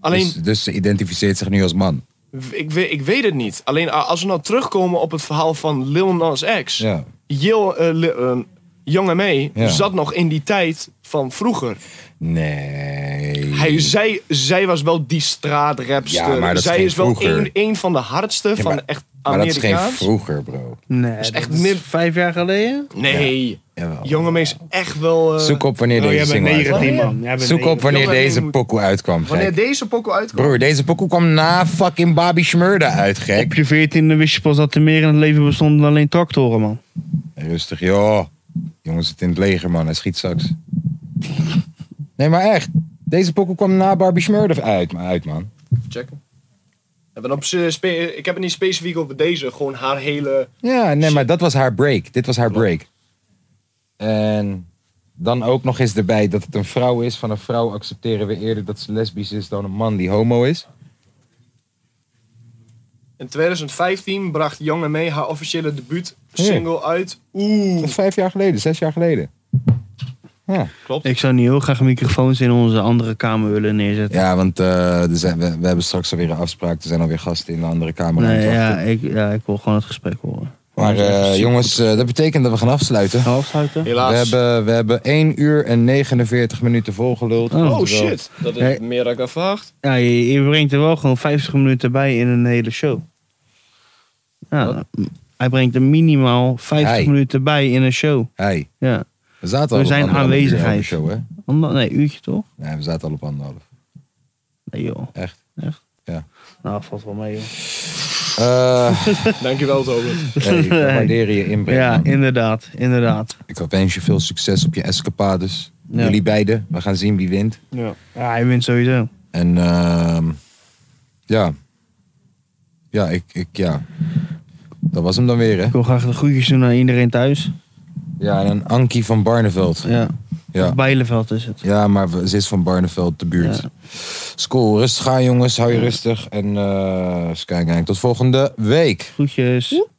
Alleen,
Dus, dus ze identificeert zich nu als man.
ik, weet, ik weet het niet. Alleen a- als we nou terugkomen op het verhaal van Lil Nas X.
Ja.
Jill, eh, Li- eh, Young M.A.
Ja.
zat nog in die tijd van vroeger.
Nee.
Hij, zij, zij was wel die straatrapster.
Ja, maar dat is
zij
geen
is wel
vroeger.
een, een van de hardste
Ja,
van
maar-
echt
Maar dat is geen
Amerikaans.
vroeger, bro.
Nee, dat is Dus echt Oh, meer vijf jaar geleden?
Nee. Jonge mees echt wel... eh,
Oh. Zoek op wanneer
Oh, jij
deze
bent
single
19,
uitkwam.
man. Jij bent
Zoek op
19.
wanneer
Jongen,
deze
moet-
pokoe uitkwam,
Wanneer
gek.
deze pokoe uitkomt.
Broer, deze pokoe kwam na fucking Bobby Shmurda uit, gek.
Op je veertiende wist je pas dat er meer in het leven bestond dan alleen tractoren, man.
Rustig, joh. Jongens, zit in het leger, man. Hij schiet straks. Nee, maar echt. Deze pokoe kwam na Bobby Shmurda uit, uit, man.
Checken. Hebben we dan op spe- ik heb het niet specifiek over deze, gewoon haar hele...
Ja, nee, maar dat was haar break. Dit was haar break. En dan ook nog eens erbij dat het een vrouw is. Van een vrouw accepteren we eerder dat ze lesbisch is dan een man die homo is.
In 2015 bracht Young M.A. haar officiële debuut single uit. Oeh.
Dat is vijf jaar geleden, zes jaar geleden.
Klopt.
Ik zou nu heel graag microfoons in onze andere kamer willen neerzetten.
Ja, want eh, er zijn, we, we hebben straks alweer een afspraak. Er zijn alweer gasten in de andere kamer. aan het
nee,
wachten.
ja, ik, ja, ik wil gewoon het gesprek horen.
Maar eh, jongens, eh, dat betekent dat we gaan afsluiten.
afsluiten?
Helaas.
We hebben, we hebben 1 uur en 49 minuten volgeluld.
Oh,
Oftewel-
shit, dat is
Hey.
meer dan ik had verwacht.
Ja, je, je brengt er wel gewoon 50 minuten bij in een hele show. Ja, hij brengt er minimaal 50
Hij.
minuten bij in een show.
Hey,
Ja.
we zaten al
Door
op
zijn
anderhalf uur over de
aanwezigheid.
show, hè?
Ander, nee, uurtje toch?
Nee, we zaten al op anderhalf.
Nee joh.
Echt.
Echt?
Ja.
Nou, valt wel mee joh.
Eh
Dankjewel, Tobi.
hey, we waarderen je inbreng.
Ja,
man.
inderdaad. Inderdaad.
Ik wens je veel succes op je escapades.
Ja.
Jullie beiden. We gaan zien wie wint.
Ja. ja, hij wint sowieso.
En ehm, ja. Ja, ik, ik, ja. Dat was hem dan weer, hè?
Ik wil graag de groetjes doen aan iedereen thuis.
Ja, en een Ankie van Barneveld.
Ja.
Ja.
Bijleveld is het.
Ja, maar we- ze is van Barneveld, de buurt.
Ja.
School, rustig aan jongens, hou je rustig. En eh eens kijken, tot volgende week.
Groetjes.